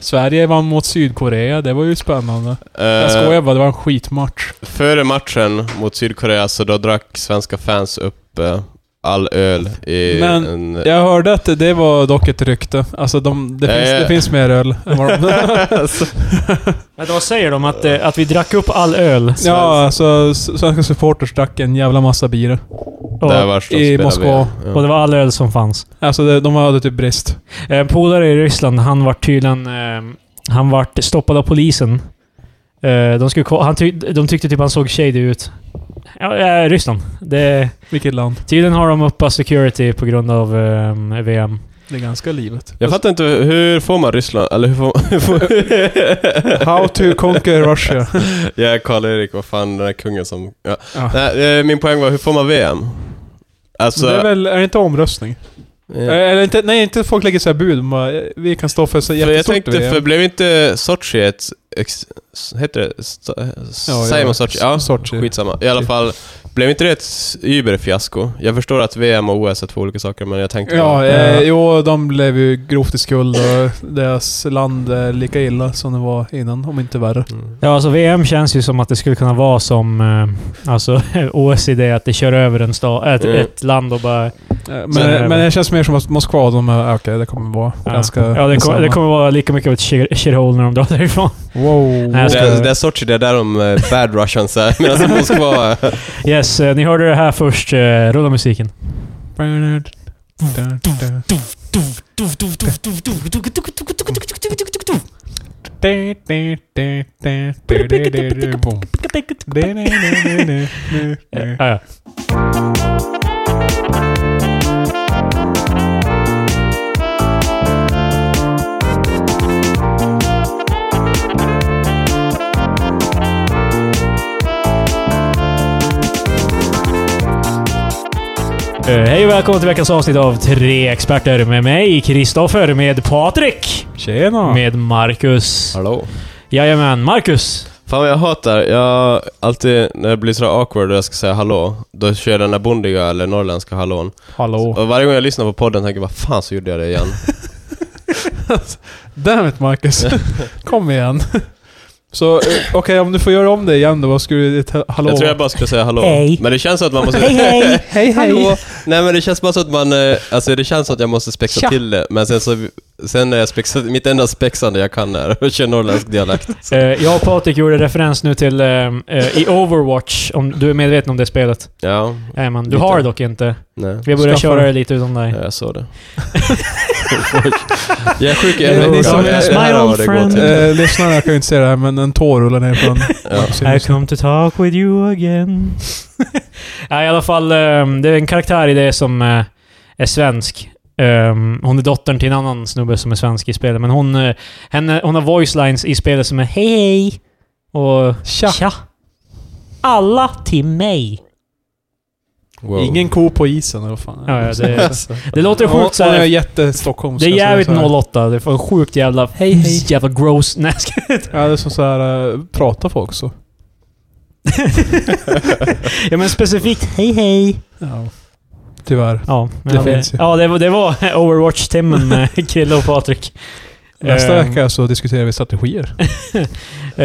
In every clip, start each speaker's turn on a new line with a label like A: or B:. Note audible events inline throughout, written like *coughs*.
A: Sverige var mot Sydkorea, det var ju spännande. Jag skojar bara, det var en skitmatch.
B: Eh, Före matchen mot Sydkorea så då drack svenska fans upp eh, all öl i
A: Men *laughs*
B: en... *laughs*
A: Jag hörde att det var dock ett rykte. Alltså, de, det, finns,
B: Eh.
A: det finns mer öl än
B: *laughs*
A: vad de...
C: Men då säger de att, eh, att vi drack upp all öl.
A: Ja, alltså s- svenska supporters drack en jävla massa bira.
C: Och,
B: där vars de
A: i
B: spelar
A: Moskva.
B: VM. Ja.
C: och det var all öl som fanns.
A: Alltså, det, de hade typ brist.
C: En polare i Ryssland, han vart tydligen... Eh, han vart stoppad av polisen. Eh, de, skulle, ko- han ty, de tyckte typ han såg shady ut. Ja, eh, Ryssland. Det,
A: Vilket land.
C: tydligen har de uppa security på grund av eh, VM.
A: Det är ganska livet.
B: Jag fattar inte, hur får man *laughs* Ryssland? Eller hur får, hur
A: *laughs*
B: får
A: How to conquer
B: *laughs*
A: Russia.
B: Jag är Karl-Erik, vad fan den där kungen som... Ja.
A: Ja.
B: Nej, eh, min poäng var, hur får man VM? Alltså...
A: det är väl, är det inte omröstning?
B: ja.
A: Eh, Eller inte, nej, inte folk lägger så här bud. De Bara, eh, vi kan stå för så
B: För jag
A: jättestort
B: tänkte,
A: VM.
B: för blev inte Sochi ett... Ex, heter det? St,
A: Ja,
B: säger
A: ja.
B: man Sochi? Ja,
A: Sochi. Typ.
B: skitsamma. I alla fall, blev inte det ett überfiasko? Jag förstår att VM och OS är två olika saker, men jag tänkte...
A: Ja,
B: bara-
A: eh,
C: Ja.
A: jo, de blev ju grovt i skuld och deras land är lika illa som det var innan, om inte värre.
B: Mm.
C: Ja, alltså VM känns ju som att det skulle kunna vara som eh, alltså, *laughs* OS i det att det kör över en sta, ett,
B: Mm.
C: ett land och bara...
A: Eh, Men,
C: Så är det
A: men
C: väl.
A: det känns mer som att Moskva, de är, okej, det kommer vara ganska...
C: ja, det, kom,
A: samma.
C: det kommer vara lika mycket av ett shit- shithole när de drar därifrån.
A: Wow.
C: Nej, jag
B: Det,
C: ska-
B: är- det är Sochi, det är där de eh, bad russians är, medan i Moskva...
A: *laughs*
B: eh,
C: Yes, eh, ni hörde det här först. Eh, rulla musiken. Eh, ja, ja. Eh, Hej och välkomna till veckans avsnitt av Tre Experter med mig, Kristoffer, med Patrik,
A: Tjena!
C: med Marcus.
B: Hallå?
C: Jajamän, Marcus!
B: Fan vad jag hatar, jag alltid när det blir sådär awkward och jag ska säga hallå, då kör jag den där bondiga eller norrländska hallån.
A: Hallå!
B: Och varje gång jag lyssnar på podden tänker jag vad fan så gjorde jag det igen.
A: Damn it Marcus! *laughs* Kom igen! Så eh, okej, om du får göra om det igen då, vad skulle du... ett Hallå?
B: Jag tror jag bara skulle säga hallå.
C: Hej.
B: Men det känns som att man måste... *laughs*
C: hej!
A: Hej hej!
B: Hallå! Nej men det känns bara så att man, eh, alltså det känns som att jag måste spexa
C: Tja.
B: till det, men sen så, sen är jag spexat, mitt enda spexande jag kan är att köra norrländsk dialekt. Så.
C: Eh, jag och Patrik gjorde referens nu till eh, eh, i Overwatch, om du är medveten om det spelet.
B: Ja,
C: Jajamän, du
B: Lite.
C: har det dock inte.
B: nej.
C: Vi börjar
A: Skaffa
C: köra
A: det.
C: det lite utan dig.
B: Ja, jag såg det. *laughs* jag är sjuk i
A: Det är
B: huvudet.
A: som
B: Det
A: my
B: här
C: old
B: har det gått
C: friend.
B: till.
A: Eh, lyssnarna kan ju inte se det här, men en tår rullar ner *laughs* från
B: Ja.
C: Eh, I
A: Marcus.
C: come to talk with you again. *laughs* ja, I alla fall, ehm, det är en karaktär i det som eh, är svensk. Ehm, hon är dottern till en annan snubbe som är svensk i spelet, men hon, eh, henne, hon har voice lines i spelet som är hej hej och
A: Tja!
C: tja. Alla till mig.
B: Wow.
A: Ingen ko på isen eller vad fan Alltså.
C: Ja, ja, det- Det låter sjukt
A: så här.
C: såhär.
A: jättestockholmska.
C: Det är
A: så
C: jävligt
A: så här-
C: 08. Det är fan sjukt jävla...
A: Hej, hej.
C: Jävla gross. Nej, jag skojar.
A: Ja, det är som såhär, eh, pratar folk så?
C: *laughs* Ja men specifikt hej hej.
A: Ja. Tyvärr.
C: Ja, men
A: Det finns ju.
C: Ja, det, var- det var
B: *laughs*
C: Overwatch-timmen med Krille och Patrik.
A: Nästa
C: Ehm,
A: vecka så diskuterar vi
C: *laughs*
A: strategier.
C: Uh,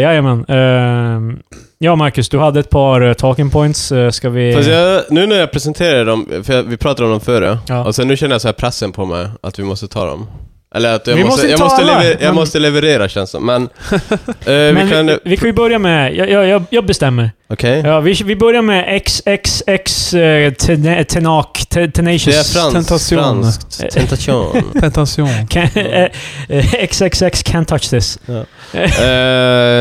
C: jajamän. Ehm, ja, Marcus, du hade ett par eh, talking points. Eh, ska vi...
B: Fast jag, nu när jag presenterar dem, för jag, vi pratade om dem före,
C: Ja.
B: och sen nu känner jag så här pressen på mig att vi måste ta dem. Eller att jag,
C: Vi
B: måste,
C: måste
B: jag,
C: ta
B: måste,
C: alla,
B: lever, jag
C: men-
B: måste leverera känns som. Men, eh,
C: Men
B: vi kan... Mm.
C: vi, vi kan ju börja med... Jag, jag, jag, jag bestämmer.
B: Okej.
C: Ja, vi, vi börjar med XXX eh, tena- Tenak... te-
B: Det är
C: Tenacious...
B: frans,
A: tentation.
B: franskt. *laughs* Tentation.
A: Tentation.
C: Can, eh, eh, XXX can't touch this.
B: eh,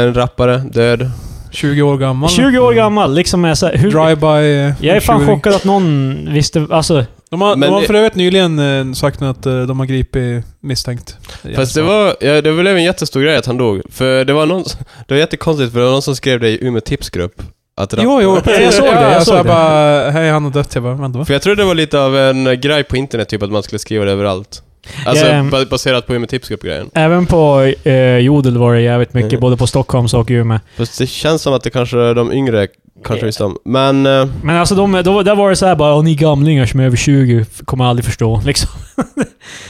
B: en rappare, död.
A: 20 år gammal.
C: 20
B: Mm.
C: år gammal, liksom är så här, hur,
A: Drive-by. eh,
C: Jag är fan
A: shooting.
C: chockad att någon visste... Alltså,
A: De har,
B: Men
A: de har
B: det-
A: för övrigt nyligen eh, sagt nu att eh, de har gripit misstänkt. Alltså.
B: Fast det var, ja, det blev en jättestor grej att han dog. För det var någon, det var jättekonstigt för det var någon som skrev det i Umeå tipsgrupp. Att
A: Jo, jo.
B: rappare-
A: Jag såg det.
C: *laughs* Ja, jag
A: Jag
C: såg
A: sa
C: det.
A: bara, hej han har dött. Jag bara, vänta va?
B: För jag trodde det var lite av en grej på internet, typ att man skulle skriva det överallt. Alltså
C: Ja, ehm.
B: ba- baserat på Umeå tipsgrupp-grejen.
C: även på eh, Jodel var det jävligt mycket,
B: Mm.
C: både på Stockholms och Umeå.
B: Fast det känns som att det kanske de yngre kanske
C: Ja.
B: visste om. Men... eh,
C: Men alltså, de, då, där var det så här bara, "Åh, ni *laughs* gamlingar som är över 20 kommer aldrig förstå. Liksom.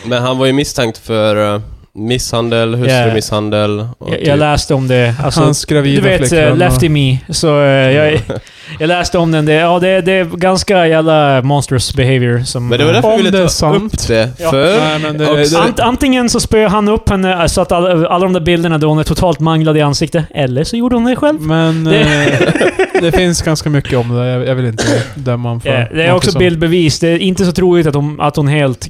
B: Men han var ju misstänkt för eh, Misshandel, hustrumisshandel. och
C: Jag,
B: typ-
C: jag läste om det. Alltså,
A: Hans
C: du
A: gravida
C: vet,
A: flickvän
C: eh,
A: och-
C: Lefty Me. Så eh, jag, *laughs* jag läste om den. Det, ja, det, det är ganska jävla monstrous behavior. Som,
B: Men det var därför vi
A: Om
B: ville
A: det är
B: ta
A: sant.
B: upp det.
C: Ja.
B: För...
A: Nej, men det,
B: Och
A: det,
C: Ant, antingen så spöade han upp henne eh, så att alla, alla de där bilderna då hon är totalt manglad i ansiktet, eller så gjorde hon det själv. *laughs*
A: men
C: Det-
A: eh, det finns ganska mycket om det. Jag, jag vill inte döma honom för
C: Eh, det är
A: något
C: också
A: som-
C: bildbevis. Det är inte så troligt att hon, att hon helt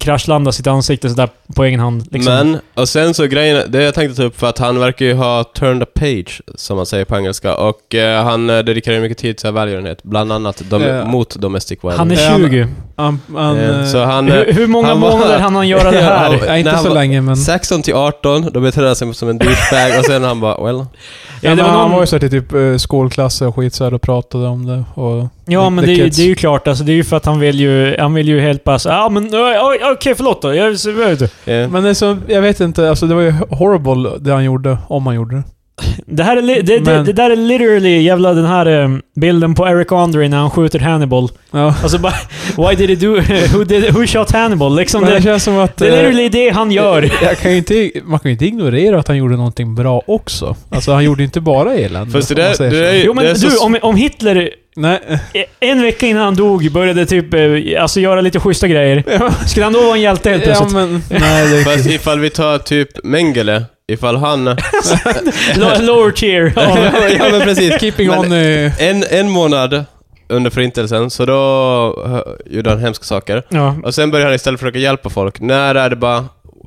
C: kraschlandar sitt ansikte sådär på egen hand. Liksom.
B: Men, och sen så grejen, det jag tänkte ta upp för att han verkar ju ha turned a page, som man säger på engelska. Och eh, han eh, dedikerar ju mycket tid till välgörenhet, bland annat dom,
A: Ja.
B: mot domestic violence.
C: han
A: Ja,
C: är
A: men-
C: 20.
A: Han, han,
B: Eh,
A: eh,
B: så Eh, han... eh,
C: *laughs* hur, hur många
B: han var-
C: månader hann han göra det
B: *laughs* Ja,
C: här?
B: han-
A: nej,
B: när
A: inte så
B: var-
A: länge men...
B: 16 till 18, då beter han sig som en douchebag och sen han bara well.
C: Ja,
A: men
C: det var
A: Han
C: någon-
A: var ju såhär till typ eh, skolklasser och skit så här och pratade om det. Och
C: Ja,
A: the-
C: men
A: the
C: det, är ju-
A: kids.
C: det är ju klart. Alltså, det är ju för att han vill ju, han vill ju helt bara så, Ja, men ö, ö, okej, förlåt då. Jag, så- jag vet inte."
B: Yeah.
A: Men det är så, jag vet inte, alltså det var ju horrible det han gjorde, om han gjorde det.
C: det, här är li- det, det,
A: Men-
C: det där är literally jävla den här eh, bilden på Eric Andre när han skjuter Hannibal.
A: Ja.
C: Alltså bara, *laughs* why did he do... *laughs* Who, did, who shot Hannibal? Liksom
A: Men det
C: det,
A: känns som att...
C: det är
A: eh,
C: literally det han gör.
A: *laughs* Jag kan ju inte, man kan ju inte ignorera att han gjorde någonting bra också. Alltså han gjorde inte bara elände.
B: Fast det
A: om man
B: där,
A: säger
B: det
A: så.
B: där är,
C: Jo men
B: det är så
C: du, om, om Hitler
A: Nej.
C: eh, en vecka innan han dog började typ eh, alltså, göra lite schyssta grejer.
A: Ja,
C: Skulle han då vara en hjälte helt
A: ja,
C: plötsligt? *laughs*
A: men, nej, det
B: Fast ifall vi tar typ Mengele, ifall han...
C: Lo- Lower tier. Ja.
B: *laughs* ja men precis.
A: Keeping
B: Men-
A: on... eh,
B: En, en månad under förintelsen, så då eh, gjorde han hemska saker.
C: Ja.
B: Och sen börjar han istället försöka hjälpa folk. När är det bara...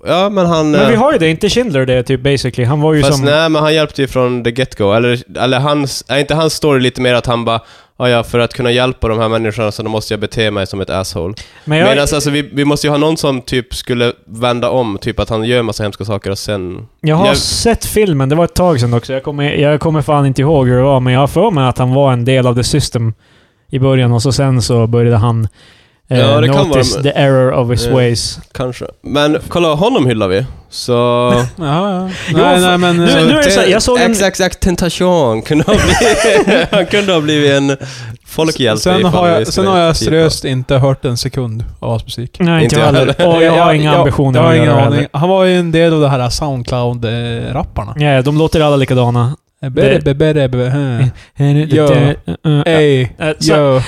B: Ja men han...
C: Men vi
B: eh,
C: har ju det, inte Schindler det typ basically. Han var ju
B: Fast
C: som...
B: nej, men han hjälpte ju från the get-go. Eller, eller hans, är inte hans story lite mer att han bara "Ja, ja, för att kunna hjälpa de här människorna så då måste jag bete mig som ett asshole.
C: Men jag,
B: Medan alltså, vi, vi måste ju ha någon som typ skulle vända om, typ att han gör massa hemska saker och sen...
C: jag har
B: jag-
C: sett filmen, det var ett tag sedan också. Jag kommer, jag kommer fan inte ihåg hur det var, men jag har för mig att han var en del av the system i början och så sen så började han eh,
B: Ja, det kan
C: notice
B: vara-
C: the error of his
B: Ja.
C: ways.
B: Kanske. Men kolla, honom hyllar vi. Så... *laughs*
A: Jaha, ja.
C: Jo,
A: Nej,
C: för-
A: nej, men...
C: Nu-
A: eh,
C: nu är det så här, jag såg en-
B: Ex, ex, ex, tentation *laughs* kunde ha blivit... *laughs* han kunde ha blivit en folkhjälte
A: sen
B: ifall
A: har
B: vi
A: jag,
B: skulle
A: sen har jag
B: titta.
C: *laughs*
A: seriöst *laughs* inte hört en sekund av hans musik. *laughs*
C: Nej, inte
B: Inte
C: jag
B: jag
C: heller. Och jag har inga
A: jag-
C: ambitioner
A: jag har
C: att
A: ingen
C: göra det
A: aning.
C: heller.
A: Han var ju en del av det här Soundcloud-rapparna. Eh,
C: Ja, de låter alla likadana. Eh,
A: Bere, bere, bere, hmm.
C: Mm.
A: Ja.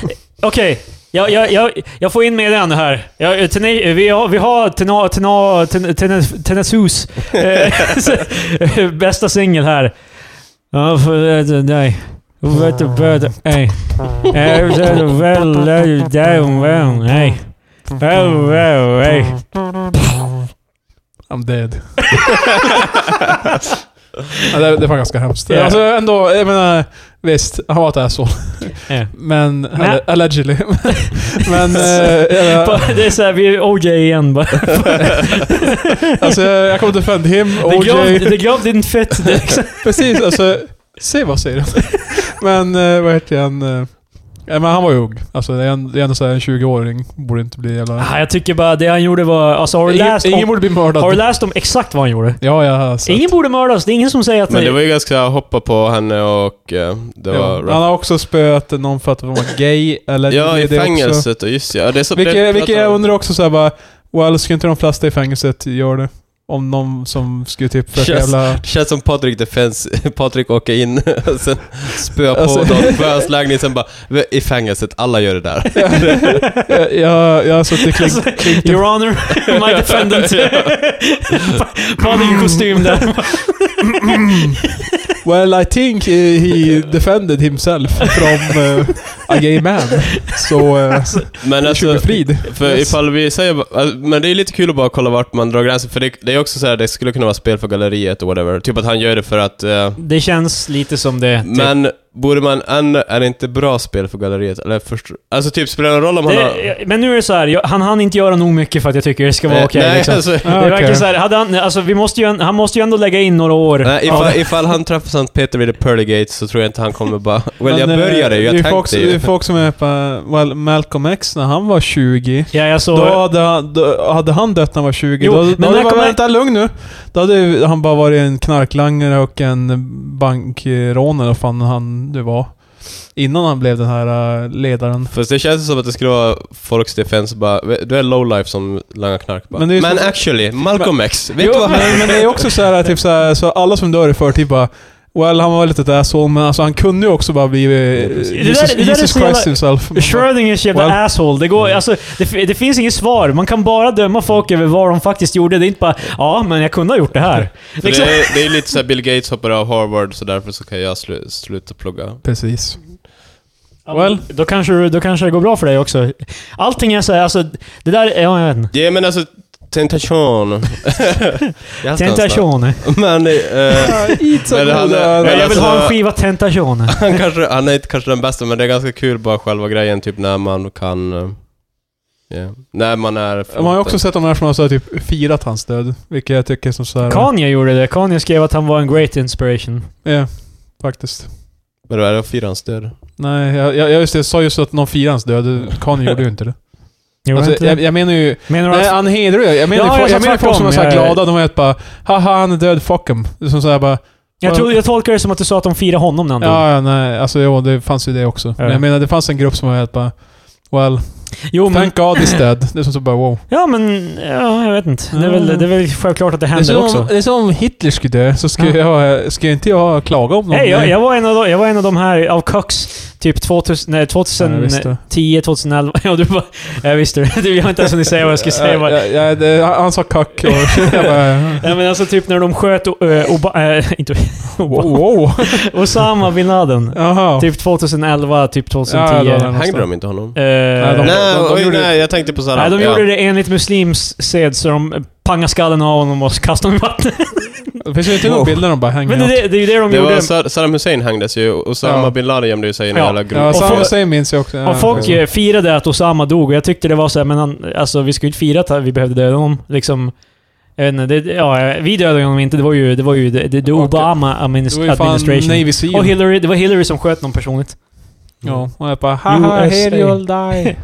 A: Ey,
C: Okej,
A: yo.
C: jag, jag, jag, jag får in med den här. Jag, eh, tene, vi har, vi har tena, tena, ten, tena, Tenasus eh, *laughs* bästa singel här. Ja, för det- nej. Vet du, vet du, nej. Eh, väl, väl, väl, väl, nej. Väl, väl, nej.
A: I'm dead. ja, det, det var ganska hemskt.
C: Ja.
A: Alltså ändå, jag menar... Visst, han var ett asshole.
C: Ja.
A: Men...
C: Nej.
A: alle- Allegedly. *laughs* men... eh, jag menar,
C: *laughs* Bara- Det är såhär, vi är OJ igen bara.
A: alltså jag kommer inte offend him,
C: The glove,
A: OJ.
C: the glove didn't fit. Det är liksom-
A: Precis, alltså... Se vad säger de? men eh, vad heter han? eh, Ja, men han var ju ung. Alltså det är en- det är ändå såhär en 20-åring. Borde inte bli jävla...
C: Ah, jag tycker bara det han gjorde var... Alltså, har, du
A: Ingen,
C: läst
A: ingen
C: om,
A: borde bli mördad.
C: har du läst om exakt vad han gjorde?
A: Ja, alltså. jag har sett.
C: Ingen borde mördas. Det är ingen som säger att...
B: Men det var ju ganska hoppa på henne och... eh, Det
A: Ja,
B: var...
A: han har också spöat någon för att hon var gay. Eller
B: Ja,
A: det
B: i
A: är det också.
B: fängelset och just ja. Det är så
A: Vilket,
B: det-
A: vilket jag undrar också såhär bara... Well, skulle inte de flesta i fängelset göra det? Om någon som skulle typ för att
B: Känns-
A: jävla... *laughs*
B: Känns som Patrik Defense, *laughs* Patrik åker in och sen spöar på
A: Alltså-
B: dem,
A: *laughs*
B: på hans lägenhet, sen bara i fängelset, alla gör det där.
A: jag, jag, jag har suttit i klink...
C: Alltså, Your *laughs* honor, my defendant. *laughs* Paddy i kostym där.
A: Mm. Well, I think eh, he defended himself from eh, a gay man. Så... Uh,
B: Men *laughs* alltså,
A: should be freed.
B: för
A: Yes.
B: ifall vi säger, alltså, men det är lite kul att bara kolla vart man drar gränsen, för det, det är också så här, det skulle kunna vara spel för galleriet och whatever. Typ att han gör det för att... eh,
C: *laughs* Det känns lite som det. typ.
B: men borde man ändå, är det inte bra spel för galleriet? Eller först, alltså typ, spelar det någon roll om han har...
C: det, men nu är det så här, jag, han hann inte göra nog mycket för att jag tycker det ska vara
B: Eh,
C: okej.
B: nej,
C: liksom.
B: alltså,
C: Det verkar så här, hade han, alltså, vi måste ju, en- han måste ju ändå lägga in några år.
B: Nej,
C: av-
B: ifall, ifall han träffar Sankt Peter vid the Pearly Gates så tror jag inte han
A: *laughs*
B: kommer bara... Well, jag
A: Men, eh,
B: började ju, jag
A: det är
B: tänkte
A: folk,
B: ju.
A: Det är folk som är på... Well, Malcolm X när han var 20.
C: Ja, jag såg...
A: Då hade, han, då hade han dött när han var 20.
C: Jo,
A: då,
C: men
A: men då hade
C: när
A: det bara,
C: kommer-
A: vänta, lugn nu. Då hade ju han bara varit en knarklangare och en bankrånare, vad fan han nu var. Innan han blev den här eh, ledaren.
B: Fast det känns som att det skulle vara folks defense bara, du är lowlife som langar knark bara.
A: Men
B: Men,
A: det är ju så-
B: actually, Malcolm X, vet
A: Jo,
B: du vad?
A: men, men det är också så här, typ så här, så alla som dör i förtid bara Well, han var lite ett asshole, men alltså han kunde ju också bara bli eh,
B: Det där-
C: det
A: Jesus,
C: där är så
A: Jesus
C: jävla-
A: Christ himself. Man bara-
C: Schrödingers jävla
A: Well-
C: asshole. Det, går, alltså, det, fi- det finns inget svar. Man kan bara döma folk över vad de faktiskt gjorde. Det är inte bara ja, men jag kunde ha gjort det här.
B: För det, är, det är lite såhär Bill Gates hoppar av Harvard så därför så kan jag slu, sluta plugga.
A: Precis.
C: Ja, men
A: Well.
C: Då, kanske, du- då kanske det går bra för dig också. Allting är såhär, alltså det där är... Ja, jag vet inte.
B: Ja men alltså,
A: *laughs*
B: tentation. Jag har
C: Tentationer.
B: stannat. Men, eh, *laughs* Men han är-
C: Jag vill ha en
B: Alltså-
C: skiva tentationer.
B: han, kanske, han är inte kanske den bästa men det är ganska kul bara själva grejen typ när man kan... eh, ja, När man är...
A: Man har ju också sett de här som har så här, typ firat hans död, vilket jag tycker är som så här...
C: Kanye gjorde det. Kanye skrev att han var en great inspiration.
A: Ja, faktiskt.
B: Vadå, är det att fira hans död?
A: Nej, jag, jag, just det, jag sa just att någon firar hans död. Kanye gjorde ju inte det.
C: Gjorde han
A: Alltså,
C: inte
A: jag,
C: det?
A: jag menar ju...
C: Menar du
A: Nej, alltså-
C: att...
A: han hedrar ju. Jag menar,
C: Ja,
A: ju folk,
C: jag eh, sa
A: jag menar folk
C: tvärtom.
A: som är så här
C: Jag-
A: glada, de är helt bara Haha, han är död, fuck him. Som så här bara...
C: Jag, tror, jag tolkar det som att du sa att de firar honom när han dog.
A: Ja, ja, nej, alltså jo, det fanns ju det också. Men jag menar, det fanns en grupp som var helt bara... Well,
C: Jo, men,
A: thank God he's dead. Det är som så bara wow.
C: ja, men... Ja, jag vet inte. Det är väl, det är väl självklart att det händer också.
A: det är som om Hitler skulle dö, så
C: skulle
A: jag, skulle inte jag klaga om
C: Nej, jag, *laughs* jag, var en av de, jag var en av de här av Cox, typ 2000, nej,
A: Ja, jag visste.
C: 2010, 2011. *laughs* Ja, du bara... Jag visste det. Du, Jag har inte ens hunnit säga vad jag skulle säga.
A: Ja, ja, ja, det, han sa kack och *laughs* shit, jag bara... ja.
C: Nej men alltså typ när de sköt uh, Oba- eh, *laughs* inte
A: Wow.
C: Obama,
A: wow.
C: Osama bin Laden.
A: Jaha.
C: Typ 2011, typ 2010.
A: Ja, då-
C: Eh,
B: Hängde de inte honom?
A: Nej, de-
B: nej,
A: de
B: oj,
A: gjorde-
B: nej, jag tänkte på såhär...
C: Nej, de gjorde det enligt muslims sed, så de pangade skallen av honom och kastade honom i vattnet.
A: Det finns ju inte några
B: Wow.
A: bilder de bara hänger
C: Men det, det, det är ju det de
B: Det
C: gjorde.
B: var Sa- Saddam Hussein hängdes ju, och Osama
A: Ja.
B: bin Laden gömde ju sig i en
C: Ja.
B: jävla
A: Ja,
B: grop.
C: Och
A: Saddam
C: folk-
A: Hussein minns jag också. Ja.
C: Och folk
B: Ja.
C: eh, firade att Osama dog och jag tyckte det var så här, men han, alltså vi skulle inte fira att vi behövde döda honom. Liksom, jag vet inte, det, ja, vi dödade honom inte. Det var ju, det var ju det, det, det
A: Och-
C: Obama administ-
A: det var ju fan
C: administration.
A: Navy Seal.
C: och Hillary, det var Hillary som sköt någon personligt.
A: ja, och jag bara haha,
C: USA.
A: here you'll
C: *laughs*
A: die.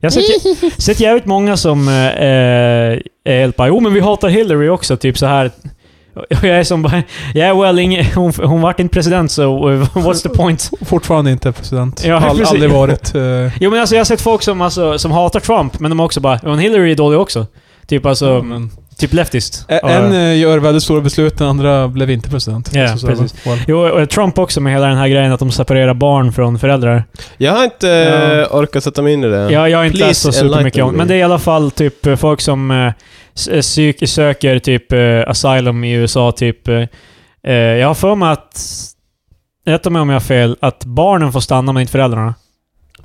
C: Jag har sett, sett jävligt många som eh, eh, är helt bara, jo men vi hatar Hillary också, typ så här. Och jag är som bara, yeah well, ing, hon, hon vart inte president så eh, what's the point?
A: Fortfarande inte president.
C: Ja,
A: All,
C: precis.
A: aldrig varit. eh,
C: Jo men alltså jag har sett folk som, alltså, som hatar Trump, men de har också bara, men Hillary är dålig också. Typ alltså,
A: men-
C: typ leftist.
A: Ä-
C: Ja.
A: En eh, gör väldigt stora beslut, den andra blev inte president. Alltså,
C: Ja,
A: Så- så-
C: precis.
A: well.
C: Jo, och Trump också med hela den här grejen att de separerar barn från föräldrar.
B: Jag har inte eh, orkat sätta mig in i det.
C: Ja, jag har inte
B: Please
C: läst så supermycket
B: enlighten
C: om
B: me.
C: Men det är i alla fall typ eh, folk som eh, s- psyk- söker typ eh, asylum i USA. Typ, eh, eh, jag har för mig att, rätta mig om jag har fel, att barnen får stanna men inte föräldrarna.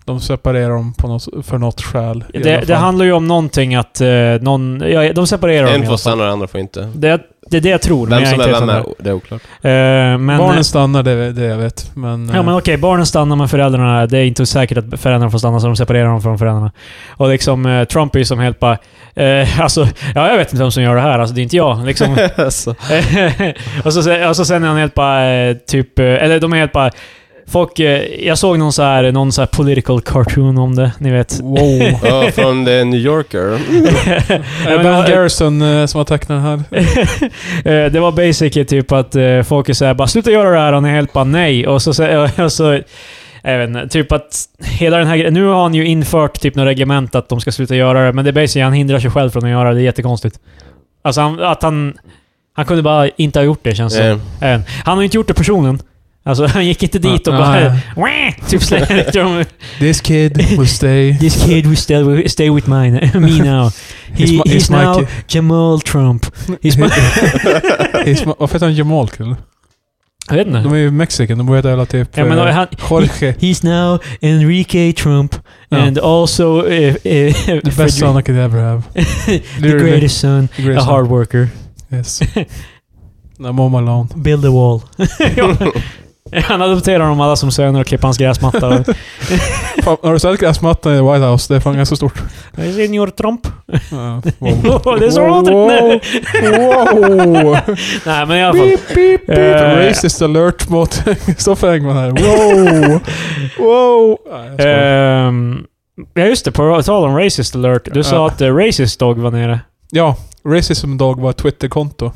A: De separerar dem på något, för något skäl. i alla
C: Det,
A: fall.
C: det handlar ju om någonting att eh, någon, ja, de separerar dem i
B: en
C: alla
B: får
C: fall.
B: stanna och den andra får inte.
C: Det, det är det jag tror, men
B: Vem
C: jag är
B: som
C: inte
B: är
C: helt
B: vem
C: hundra.
B: är, det är oklart.
C: Eh, men,
A: Barnen stannar, det är det jag vet. Men, eh,
C: Ja men okej, barnen stannar men föräldrarna, det är inte säkert att föräldrarna får stanna så de separerar dem från föräldrarna. Och liksom eh, Trump är ju som helt bara... Eh, *laughs* alltså, ja jag vet inte vem som gör det här, alltså det är inte
B: *laughs*
C: jag. Liksom. *laughs*
B: Alltså.
C: och, så, se- och så sen är han helt bara eh, typ... eh, Eller de är helt bara... Folk, eh, jag såg någon så här, någon så här political cartoon om det,
A: *laughs*
C: ni vet. *laughs*
A: Wow.
B: Ja, från The New Yorker.
A: Är det Ben Garrison eh, som har tecknat den här?
C: Eh, det var basically typ att eh, folk är såhär bara “sluta göra det här” och ni är helt bara “nej”. Och så, sä- och så jag vet inte, typ att hela den här gre- Nu har han ju infört typ något reglement att de ska sluta göra det, men det är basically han hindrar sig själv från att göra det. Det är jättekonstigt. Alltså han, att han... Han kunde bara inte ha gjort det känns det
B: Eh,
C: som. Jag vet inte. Han har ju inte gjort det personen. Alltså *laughs* han gick inte dit och
A: Ah,
C: bara...
A: ah.
C: "Wah!" typ *laughs* slängde dem.
A: This kid will stay.
C: *laughs* “This kid will stay, stay with mine, me *laughs* now. He,
A: He's my-
C: he's,
A: he's my
C: now
A: kid."
C: Jamal Trump. *laughs* He's my...
A: *laughs* He's my- Varför heter han Jamal kille?
C: jag vet inte.
A: De är ju mexikan, de borde heta typ...
C: Ja, men
A: eh,
C: han, *laughs*
A: Jorge.
C: He's now Enrique Trump
A: Ja.
C: and also uh, uh,
A: Oh. The best son I could ever have.
C: *laughs* the
A: Literally,
C: greatest son,
A: the greatest
C: a
A: son.
C: hard worker.
A: Yes.
C: *laughs*
A: I'm on my lawn.
C: Build
A: *laughs*
C: a wall. Han adopterar dem alla som söner och klipper
A: *laughs*
C: hans gräsmatta.
A: Fan, har du sett gräsmattan i White House? Det är fan ganska stort.
C: Senior Trump.
A: *laughs* Ja, wow.
C: *laughs* det är så
A: Wow,
C: roligt! Nej.
A: Wow!
C: *laughs* Nej, men i alla fall.
A: Beep, beep, beep!
C: Eh.
A: Racist alert mot *laughs* Kristoffer Engman här. Wow! *laughs* Wow! Eh. Nej, jag skojar.
C: ehm, ja, just det. På tal om Racist alert. Du eh,
A: Ja.
C: sa att uh, Racist Dog var nere.
A: Ja, Racism Dog var ett Twitterkonto.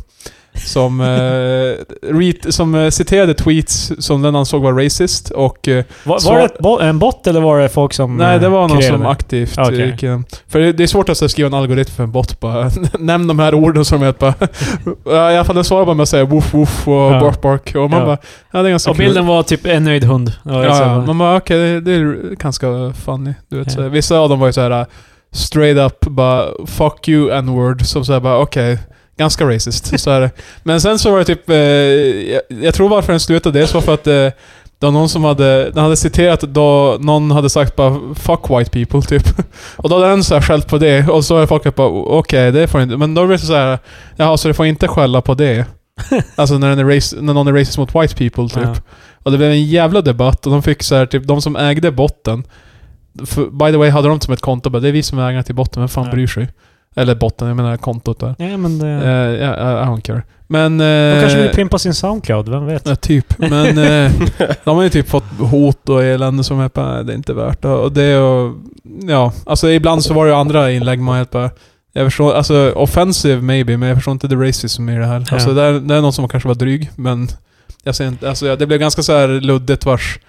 A: Som, eh, *laughs* reet, som eh, citerade tweets som den ansåg var racist och... Eh,
C: Var,
A: Så-
C: var det ett bo- en bot eller var det folk som...
A: nej, det var
C: eh,
A: någon
C: krelade?
A: som aktivt
C: Okej.
A: gick in. För det, det är svårt att så här skriva en algoritm för en bot bara. *laughs* Nämn de här orden som är bara... *laughs* ja, I alla fall den svarar bara med att säga woof woof och
C: Ja.
A: bark bark. Och man
C: Ja.
A: bara... Ja, det är ganska
C: Och
A: kul.
C: bilden var typ en nöjd hund. Det var
A: Ja,
C: liksom-
A: ja. Man bara okej, det, det är ganska funny. Du vet,
C: Ja.
A: så här. Vissa av dem var ju såhär uh, straight up bara 'fuck you n-word' som såhär bara okej, ganska racist. så
C: *laughs*
A: här. Men sen så var det typ, eh, jag, jag tror varför den slutade det så var för att eh, det var någon som hade, den hade citerat då någon hade sagt bara 'fuck white people' typ. *laughs* Och då hade den såhär skällt på det och så har folk bara okej, det får inte... Men då blir det såhär, jaha så du får inte skälla på
C: *laughs*
A: det? alltså när, den är rac- när någon är racist mot white people typ.
C: Ja.
A: Och det blev en jävla debatt och de fick så här, typ de som ägde botten. För, by the way hade de som ett konto bara, det är vi som är ägarna till botten, vem fan
C: Ja.
A: bryr sig? Eller botten, jag menar kontot där.
C: Nej, men det...
A: Eh, ja, I, I don't care. Men...
C: De
A: eh,
C: kanske vill pimpa sin Soundcloud, vem vet?
A: Ja, typ.
C: *laughs*
A: Men eh, de har ju typ fått hot och elände som är bara, det är inte värt det. Och det och, ja, alltså ibland så var det ju andra inlägg man helt bara, jag förstår, alltså offensive maybe, men jag förstår inte the racism i det här.
C: Ja.
A: Alltså det är, det är någon som kanske var dryg, men jag ser inte, alltså ja, det blev ganska så här luddigt vars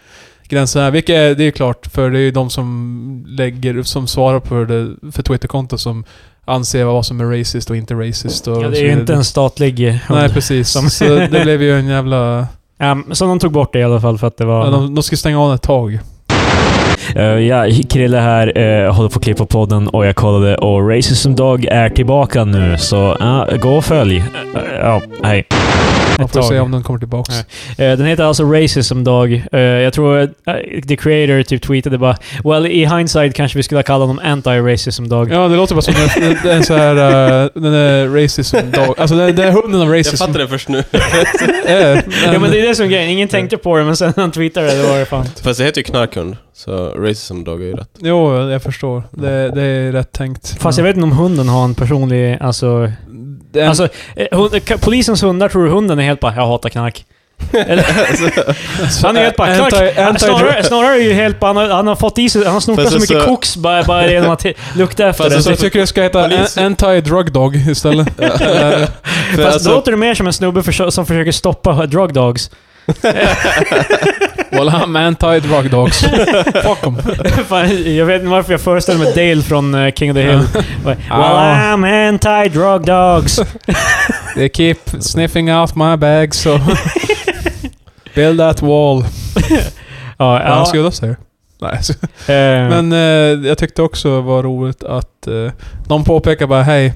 A: gränsen är. Vilket är, det är ju klart, för det är ju de som lägger, som svarar på det, för Twitterkonto som anser vad som är racist och inte racist. Och
C: Ja, det
A: så
C: är ju
A: vidare.
C: inte en statlig eh, hund.
A: Nej, precis.
C: som-
A: Så det blev ju en jävla...
C: Ehm, så de tog bort det i alla fall för att det var...
A: Ja, de, de skulle stänga av den ett tag.
D: Eh, ja, Krille här, eh, håller på att klippa podden och jag kollade och Racism Dog är tillbaka nu, så ja, gå och följ. Eh, ja, hej.
A: Man
C: Ett
A: får
C: tag.
A: se om den kommer tillbaka.
C: Nej. Eh, den heter alltså Racism Dog. Eh, jag tror att eh, the creator typ tweetade bara “Well, i hindsight kanske vi skulle ha kallat honom Anti-Racism Dog”.
A: Ja, det låter bara som en, en, en så här... eh, den där racism dog. Alltså den, den hunden av Eh,
B: Jag
A: racism.
B: fattar det först nu. *laughs*
A: det.
C: Ja men det är det som är grejen, ingen tänkte på det men sen när han tweetade det var det fan...
B: Fast det heter ju knarkhund, så racism dog är ju rätt.
A: Jo, jag förstår. Det, det är rätt tänkt.
C: Fast jag vet inte om hunden har en personlig, alltså...
A: Den,
C: Alltså, eh, hund, ka- polisens hundar tror du hunden är helt bara “Jag hatar knark”.
B: *laughs*
C: Eller,
B: Alltså,
C: han är helt bara knark.
A: eh, Anti- anti-
C: snarare, snarare är ju helt bara, han har, han har fått i sig, han har snokat
B: Fast
C: så
B: alltså-
C: mycket koks bara, bara genom att he- lukta efter
B: Fast
C: det.
A: så
B: alltså-
A: jag tycker det ska heta
B: Polis-
A: an- anti-drug dog istället. *laughs* Eh,
B: För
C: Fast
B: alltså,
C: då låter du mer som en snubbe för, som försöker stoppa
A: *laughs*
C: drug dogs.
A: well, I'm anti-drug dogs. Fuck them.
C: *laughs* Fan, jag vet inte varför jag föreställer mig Dale från eh, King of the Hill. *laughs* Well,
A: Ah.
C: I'm anti-drug dogs.
A: They keep sniffing out my bag so... Build that wall.
C: ja,
A: Ja. Vad
C: ja,
A: skulle jag då säga? Nej, så-
C: eh,
A: Men eh, jag tyckte också var roligt att eh, någon påpekade bara hej.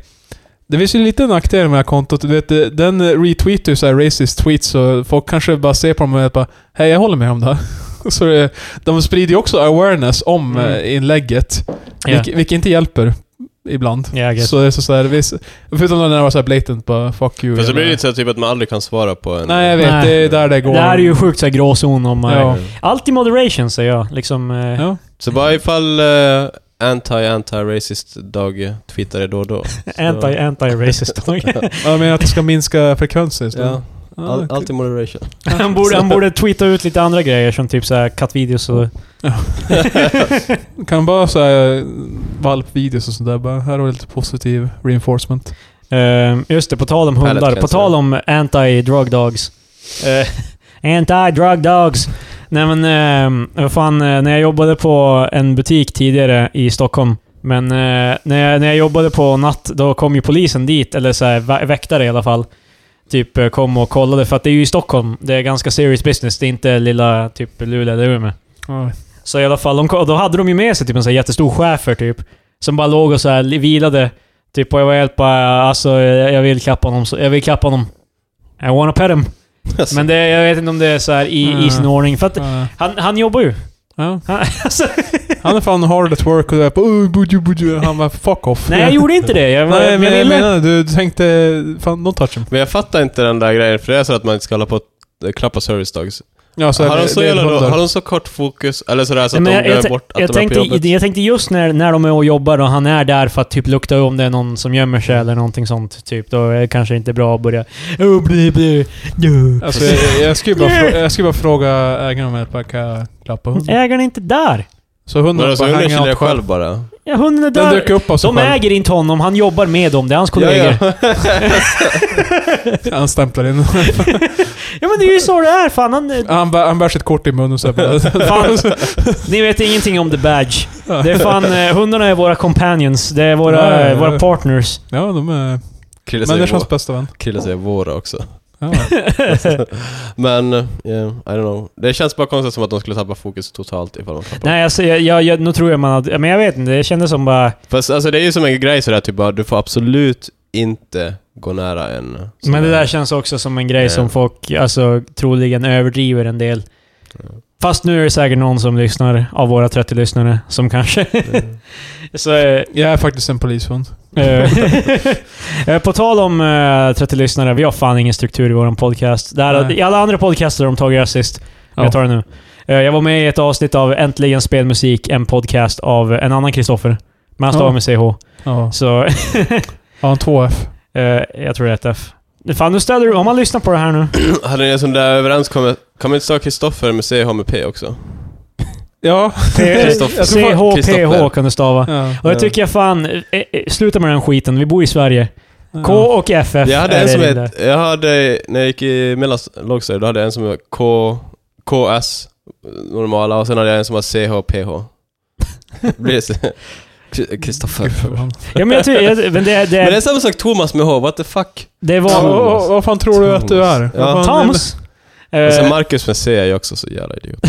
A: Det finns ju en liten nackdel med det här kontot. Du vet, det- den retweetar ju såhär racist tweets så folk kanske bara ser på dem och bara Hej, jag håller med om det här. *laughs* Så det, de sprider ju också awareness om
C: Mm.
A: eh, inlägget.
C: ja.
A: Vilket, vilket inte hjälper ibland.
C: Ja, I guess.
A: Så det är så såhär, viss- förutom när det var såhär blatant bara 'fuck you'
B: *laughs* Fast det blir
A: eller-
B: lite så här typ att man aldrig kan svara på en...
A: Nej jag vet,
C: Nej.
A: det är där det går.
C: Det här är ju sjukt såhär gråzon om... eh,
A: Ja.
C: Allt i moderation säger jag. Liksom, eh,
A: Ja.
B: Så bara ifall eh, anti-anti-racist dag twittrar då och
C: *laughs*
B: då. Så-
C: anti, anti-racist.
A: Ja, Men att det ska minska frekvensen istället.
B: Ja,
C: Ah,
A: Ja,
B: all, allt i *laughs* moderation.
C: han, borde, han borde tweeta ut lite andra grejer som typ såhär kattvideos och...
A: Kan bara säga eh, valpvideos och sånt där. Bara, här har vi lite positiv reinforcement.
C: Eh, just det, på tal om hundar.
B: Palletcleanser.
C: På tal om anti-drug dogs. Eh, *laughs* anti-drug dogs! Nej men, ehm, vad fan, eh, när jag jobbade på en butik tidigare i Stockholm. Men eh, när, jag, när jag jobbade på natt, då kom ju polisen dit, eller så här, vä- väktare i alla fall. Typ eh, kom och kollade, för att det är ju i Stockholm. Det är ganska serious business. Det är inte lilla typ Luleå eller Umeå. Så i alla fall, de, och då hade de ju med sig typ en så här jättestor schäfer typ. Som bara låg och så här li- vilade. Typ och jag var helt bara, alltså jag jag vill klappa honom. Så, jag vill klappa honom. I wanna pet him. Men det, jag vet inte om det är så här i, i sin
A: Mm.
C: ordning. För att
A: Ja.
C: han, han jobbar ju. *laughs*
A: Ja.
C: Han, alltså,
A: Han är fan hard at work och du är på "Oj, buju, buju." Han bara fuck off.
C: nej, jag gjorde inte det.
A: *laughs*
C: Jag,
A: Nej, men jag
C: ville-
A: menar du, du tänkte fan don't touch him.
B: Men jag fattar inte den där grejen, för det är så att man inte ska hålla på och eh, klappa service dogs.
A: Ja, så
B: har,
A: är
B: de
A: det,
B: så
A: det är
B: jävla,
A: hundar.
B: har de så kort fokus, eller sådär så att
C: Men
B: de
C: jag-
B: glömmer
C: jag-
B: bort att
C: jag,
B: de är på
C: tänkte,
B: jobbet?
C: jag tänkte just när, när de är och jobbar och han är där för att typ lukta om det är någon som gömmer sig eller någonting sånt. Typ. Då är det kanske inte bra att börja... Oh, bli, bli, du.
A: Alltså, jag, jag, skulle bara, frå- jag skulle bara fråga ägaren om jag bara kan jag klappa hunden.
C: Ägaren är inte där.
A: Så hunden
B: Vadå, så
A: bara
B: hunden
A: hänger
B: chillar
A: allt själv.
B: själv bara?
C: Ja, hunden är
A: Den
C: där.
A: dök upp av sig
C: De
A: själv.
C: äger inte honom, han jobbar med dem. Det är hans kollegor. Ja, ja.
A: Han stämplar in.
C: men det är ju så det är fan. *laughs* Han, eh,
A: Han, bär, han bär sitt kort i munnen och så bara...
C: *laughs* fan. Ni vet ingenting om the badge. Det är fan, eh, hundarna är våra companions. Det är våra,
A: Ja, ja, ja.
C: våra partners.
A: ja, de är
B: Krille säger, vå-
A: människans bästa vän.
B: Krille säger våra också.
C: *laughs*
A: Ja.
B: Men, eh, yeah, I don't know. Det känns bara konstigt som att de skulle tappa fokus totalt ifall de tappar.
C: Nej, alltså, jag, jag, jag, nu tror jag man hade... Men jag vet inte, det kändes som bara...
B: Fast alltså, det är ju som en grej sådär typ bara, du får absolut inte gå nära en... sån
C: Men det
B: här-
C: där känns också som en grej
B: Ja.
C: som folk alltså, troligen överdriver en del. Fast nu är det säkert någon som lyssnar, av våra 30 lyssnare, som kanske... *laughs* så, eh,
A: Jag är faktiskt en polishund.
C: eh, *laughs* eh, på tal om eh, 30 lyssnare, vi har fan ingen struktur i vår podcast. Där,
A: Nej.
C: I alla andra podcaster har de tagit assist. men Jag tar det nu. Eh, jag var med i ett avsnitt av Äntligen Spelmusik, en podcast av en annan Kristoffer. Men han stavar
A: Ja.
C: med CH.
A: Ja.
C: Så *laughs*
A: Ja, en 2F.
C: eh, jag tror det är ett F. Fan, nu ställer du... Om man lyssnar på
B: *laughs*
C: det här nu.
B: *clears throat* Hade ni en sån där överenskommelse? Kan man inte stava Kristoffer med CH med P också?
A: Ja.
B: Kristoff-
A: Jag tror fan-
C: CHPH kan du stava.
A: Ja.
C: Och jag tycker jag fan, eh, eh, sluta med den skiten. Vi bor i Sverige. K
A: Ja.
C: och FF
B: Jag hade
C: är
B: en som
C: det där.
B: hette, jag hade, när jag gick i mellanlågstadiet, då hade jag en som var K, KS, normala, och sen hade jag en som var *laughs* CHPH. Blir det så? Kristoffer.
C: Ja, men jag tycker, jag, men det,
B: *laughs* Men det är
C: det,
B: samma sak Thomas med H, what the fuck?
C: det
A: Ja,
C: var...
A: och- och- vad fan tror du att du är?
B: Ja.
A: Vad fan-
C: Toms!
B: Och sen
C: Eh,
B: Marcus med C är ju också så jävla idiot.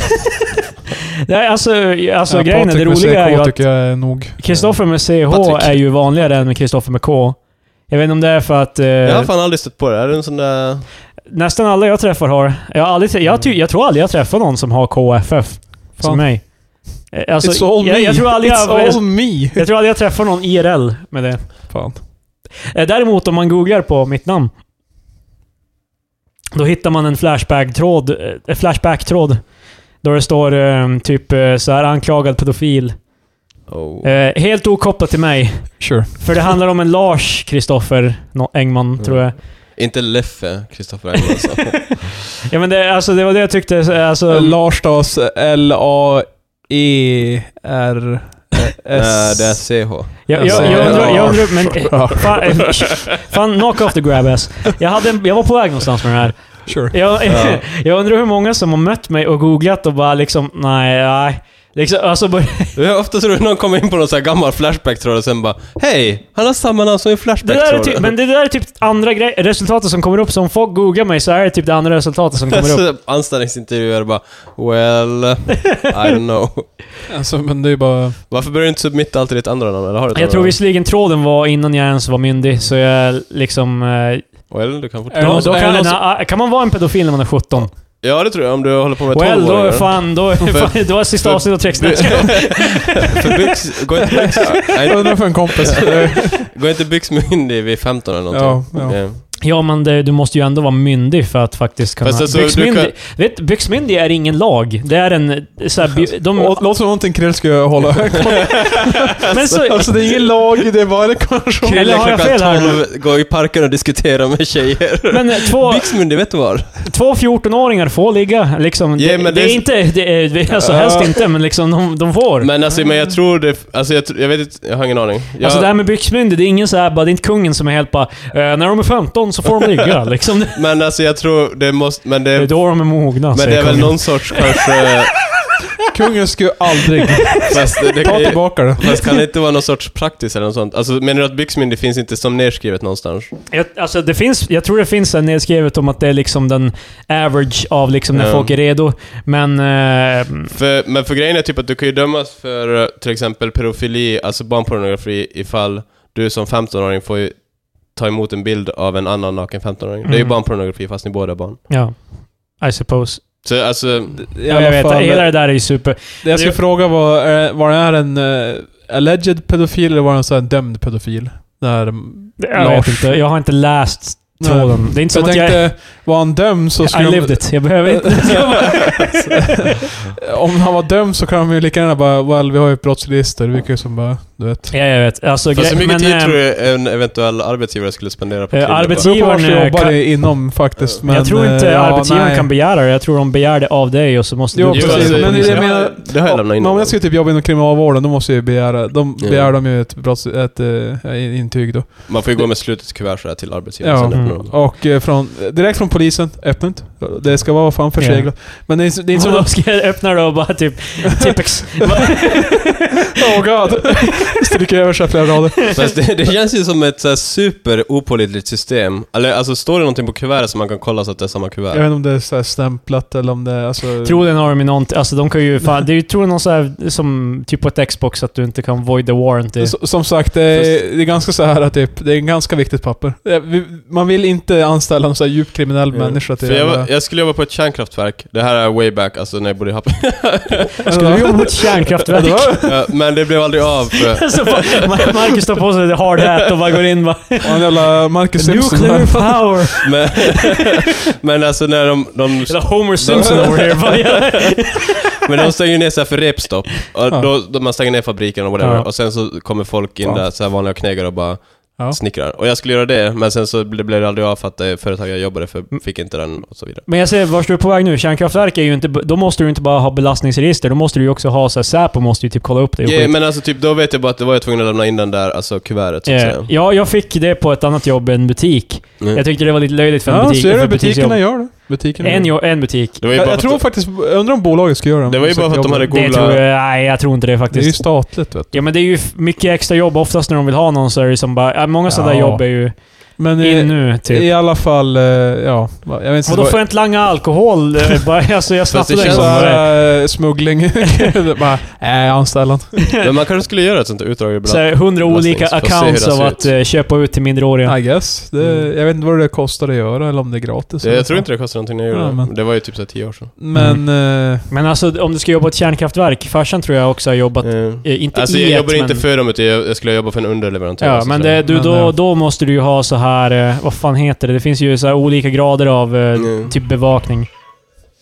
C: nej, alltså, alltså
A: Ja,
C: grejen är, det
A: Patrik med
C: roliga är
A: CK
C: ju att
A: tycker jag är nog...
C: Kristoffer med CH
B: Patrik.
C: är ju vanligare än med Kristoffer med K. Jag vet inte om det är för att... eh,
B: Jag har fan aldrig stött på det. Är det en sån där...
C: Nästan alla jag träffar har... Jag, har aldrig, trä- jag, ty, jag tror aldrig jag träffar någon som har KFF som
A: Fan.
C: mig. Eh, Alltså,
A: It's all me!
C: jag, jag tror aldrig
A: It's
C: jag,
A: all me!
C: jag tror aldrig jag träffar någon IRL med det.
A: Fan.
C: Eh, Däremot om man googlar på mitt namn. Då hittar man en flashback-tråd. eh, En flashback-tråd. Då det står eh, typ eh, så här anklagad pedofil.
B: Oh.
C: Eh, helt okopplat till mig.
A: Sure.
C: För det handlar om en Lars Kristoffer no, Engman, tror jag.
B: Inte Leffe, Kristoffer Engvall
C: *laughs*
B: alltså.
C: Ja men det, alltså, det var det jag tyckte. så- Alltså,
A: Eh, Lars Stas L-A-E-R...
B: Nej,
A: E S...
B: Eh, det är CH.
C: jag, jag, jag,
A: Alltså,
C: undrar... Jag
A: Lars.
C: undrar men,
A: *laughs*
C: eh, fan, eh, fan, knock off the grab ass. Jag, hade en, jag var på väg någonstans med den här.
A: Sure.
C: Jag,
B: Ja.
C: *laughs* jag undrar hur många som har mött mig och googlat och bara liksom, nej, nej. Liksom, alltså, bara-
B: Jag ofta tror jag någon kommer in på någon sån här gammal Flashback-tråd och sen bara Hej! Han har samma namn som i
C: det där är
B: Flashback-tråden. *laughs*
C: typ, men det där är typ andra grej, resultatet som kommer upp. Så om folk googlar mig så är det typ det andra resultatet som
B: *laughs*
C: kommer upp.
B: Så Anställningsintervjuer bara Well, I don't know.
A: Alltså, men det är ju bara...
B: Varför börjar du inte submitta alltid ditt andra namn? Eller har du ett
C: Jag
B: andra
C: tror
B: namn?
C: visserligen tråden var innan jag ens var myndig, så jag liksom... eh,
B: Well, du kan fortfarande...
A: Är det
C: Då,
A: någon som-
C: då
A: är det
C: kan,
A: någon som-
C: na, kan man vara en pedofil när man är 17?
B: Ja, det tror jag. Om du håller på med
C: Well, då är
B: tolvåringar.
C: fan... Då är, fan, då är sista
B: för-
C: avsnittet av Trixnet.
B: *laughs* För- för byx... Går inte byx...
A: Jag
B: Nej,
A: undrar för en kompis.
B: går inte byxmyndig vid 15 eller
A: ja,
B: någonting?
A: ja.
B: Yeah.
C: Ja, men det, du måste ju ändå vara myndig för att faktiskt kunna...
B: Fast alltså, du
C: byxmyndig, vet, byxmyndig är ingen lag. Det är en... Så här,
B: *laughs*
C: by- de,
A: Och, låter som någonting Krill skulle
C: *laughs*
A: hålla.
C: men så,
A: alltså det är ingen lag, det är bara en konvention.
C: Eller
B: Krille
C: har jag
B: klockan
C: fel här
B: 12 går i parken och diskuterar med tjejer.
C: men eh, två,
B: Byxmyndig, vet du var?
C: två 14-åringar får ligga. Liksom.
B: Ja,
C: det,
B: men
C: det,
B: det
C: är
B: är-
C: inte... Det är, det är alltså helst
A: Ja.
C: inte, men liksom de, de får.
B: Men alltså, men jag tror det... Alltså, jag, tr- jag vet inte... Jag har ingen aning. Jag,
C: Alltså det här med byxmyndig, det är ingen så här, bara, det är inte kungen som är helt bara eh, När de är 15 så får de ligga *laughs* liksom. Det
B: Men alltså, jag tror det måste... Men det...
C: är då de är mogna,
B: men
C: säger
B: det är väl
C: kungen.
B: någon sorts
C: *laughs*
B: kanske...
A: Kungen skulle aldrig...
B: Fast det, det
A: Ta
B: kan ju,
A: tillbaka det.
B: Fast kan det inte vara någon sorts praktiskt eller något sånt? Alltså menar du att byxmyndig finns inte som nedskrivet någonstans?
C: Jag, alltså det finns, jag tror det finns en nedskrivet om att det är liksom den average av liksom när
B: Ja.
C: folk är redo. Men... Eh,
B: För, men för grejen är typ att du kan ju dömas för eh, till exempel pedofili, alltså barnpornografi, ifall du som 15-åring får ju ta emot en bild av en annan naken 15-åring. Det är ju
C: Mm.
B: barnpornografi fast ni båda är barn.
C: ja. I suppose.
B: Så alltså,
A: I
C: Ja, jag
A: alla
C: vet.
A: fall,
C: hela det där är ju super...
A: det jag skulle fråga var, eh, var det här en eh, alleged pedofil eller var det en sån här dömd pedofil? Där,
C: Jag
A: Lars.
C: vet inte. Jag har inte läst tråden. Det är inte
A: så
C: som
A: jag
C: att jag...
A: tänkte, Var han dömd så
C: I
A: skulle
C: lived
A: de,
C: it. Jag behöver inte...
A: *laughs*
C: *laughs*
A: Om han var dömd så kan de ju lika gärna bara well, vi har ju ett brottsregister. Vi kan ju som bara, du vet.
C: ja, jag vet. Alltså,
B: Fast
C: gre-
B: hur mycket
C: men,
B: tid
C: eh,
B: tror du en eventuell arbetsgivare skulle spendera på
C: Eh,
B: klubben?
A: Det beror på vart du
C: Arbetsgivaren,
A: jobbar
C: kan-
A: det inom faktiskt. Men,
C: jag tror inte
A: eh, ja,
C: arbetsgivaren
A: nej.
C: kan begära det. Jag tror de begär det av dig och så måste
A: Jo,
C: du...
B: Jo,
A: precis.
B: alltså,
A: men det
B: jag
A: jag menar-
B: Det har jag lämnat in.
A: Men om jag skulle typ jobba inom kriminalvården, då måste jag ju begära... De
B: Ja.
A: begär de ju ett, brotts, ett eh, intyg då.
B: Man får ju gå med slutet kuvert sådär till arbetsgivaren
A: Ja.
B: sen.
C: Mm.
B: öppnar de.
A: Och eh, från, direkt från polisen, öppet. Det ska vara fan förseglat. Men det är, det är inte
C: Så
A: så...
C: de ska öppna det *laughs* och bara typ... Tippex.
A: *laughs* oh
C: *laughs*
A: god! Stryker över så här flera rader.
B: Fast det, det känns ju som ett så här super opålitligt system. Eller, alltså står det någonting på kuvertet som man kan kolla så att det är samma
A: Jag
B: kuvert?
A: vet inte om det är så här stämplat eller om det är... Alltså,
C: Troligen har de ju någonting... Alltså de kan ju... Fan, det är ju troligen någon sån här... Som typ på ett Xbox att du inte kan void the warranty.
A: S- Som sagt, det är, det är ganska så här att typ, det är en ganska viktigt papper. Eh, vi- Man vill inte anställa en så här djupt kriminell människa till...
B: För jag, var,
A: jävla-
B: jag skulle jobba på ett kärnkraftverk. Det här är way back, alltså när jag bodde i Haparanda.
C: *laughs* Skulle du jobba på ett kärnkraftverk? *laughs*
B: Ja, Men det blev aldrig av. För,
C: Så får- Ma- Marcus tar på sig det hard hat och bara går in bara...
A: Och en jävla Marcus Simpson *laughs*
C: Nuclear
A: här.
C: power!
B: men, *laughs* men alltså när de... de
C: Eller Homer Simpson over here. Bara, *laughs* ja.
B: men de stänger ju ner så här för repstopp. Och
A: Ja.
B: då, då man stänger ner fabriken och whatever.
C: Ja.
B: Och sen så kommer folk in
A: Ja.
B: där, så här vanliga knegare och bara
A: Ja.
B: snickrar. Och jag skulle göra det, men sen så blev blev det aldrig av för att det företag jag jobbade för
C: Mm.
B: fick inte den och så vidare.
C: Men jag ser vart du är på väg nu. Kärnkraftverk är ju inte... Då måste du inte bara ha belastningsregister. Då måste du ju också ha så här, Säpo måste ju typ kolla upp det. och
B: Ja,
C: skit.
B: men alltså typ, då vet jag bara att då var jag tvungen att lämna in den där, alltså kuvertet så att
C: Eh,
B: säga.
C: Ja, jag fick det på ett annat jobb, en butik.
B: Mm.
C: Jag tyckte det var lite löjligt för en
A: Ja,
C: butik.
A: ser
C: för
A: du?
C: ett butiksjobb.
A: Butikerna gör det. Butikerna gör
C: en,
A: det.
C: jo- en butik.
B: Det var ju
A: Jag,
B: bara
A: jag
B: för
A: tror
B: att-
A: faktiskt, jag undrar om bolaget ska göra det.
B: Det var ju bara för att de hade
C: Det
B: Googla-
C: tror jag, nej, jag tror inte det
A: Det är ju
C: faktiskt.
A: statligt vet du.
C: Ja men det är ju f- mycket extra jobb. Oftast när de vill ha någon så är det som bara... ja, Många sådana där
A: Ja.
C: jobb är ju
A: Men
C: in
A: i,
C: nu typ.
A: i alla fall, eh, ja. Jag vet inte.
C: Och då får jag inte langa alkohol. eh, bara, alltså, jag
B: Fast det
C: snattade
A: det
C: en
A: känns
B: känns
C: gång.
A: så
B: som
A: här, eh, smuggling.
C: *laughs*
A: *laughs* Det bara, eh, nej, anställan.
B: Men man kanske skulle göra ett sånt där utdrag
C: Så
B: ibland.
C: här, 100
B: Får
C: olika
B: se hur det
C: accounts
B: ser
C: av
B: ut.
C: att eh, köpa ut till minderåriga.
A: I guess. Det,
B: Mm.
A: Jag vet inte vad det kostar att göra eller om det är gratis.
B: Jag, jag tror inte det kostar någonting när jag gjorde
A: Ja,
B: det.
A: men-
B: Det var ju typ såhär tio år sedan.
A: Men... eh,
C: Men alltså om du ska jobba på ett kärnkraftverk. Farsan tror jag också har jobbat...
B: Eh.
C: eh, inte
B: Alltså
C: i
B: jag
C: ett,
B: jobbar inte
C: men,
B: för dem, utan jag, jag skulle jobba för en underleverantör.
C: Ja,
B: alltså,
C: men
B: så
C: det, du,
A: Men,
C: då,
A: eh,
C: då måste du ju ha så här eh, Vad fan heter det? Det finns ju så här olika grader av eh,
B: Mm. *laughs*
C: typ bevakning.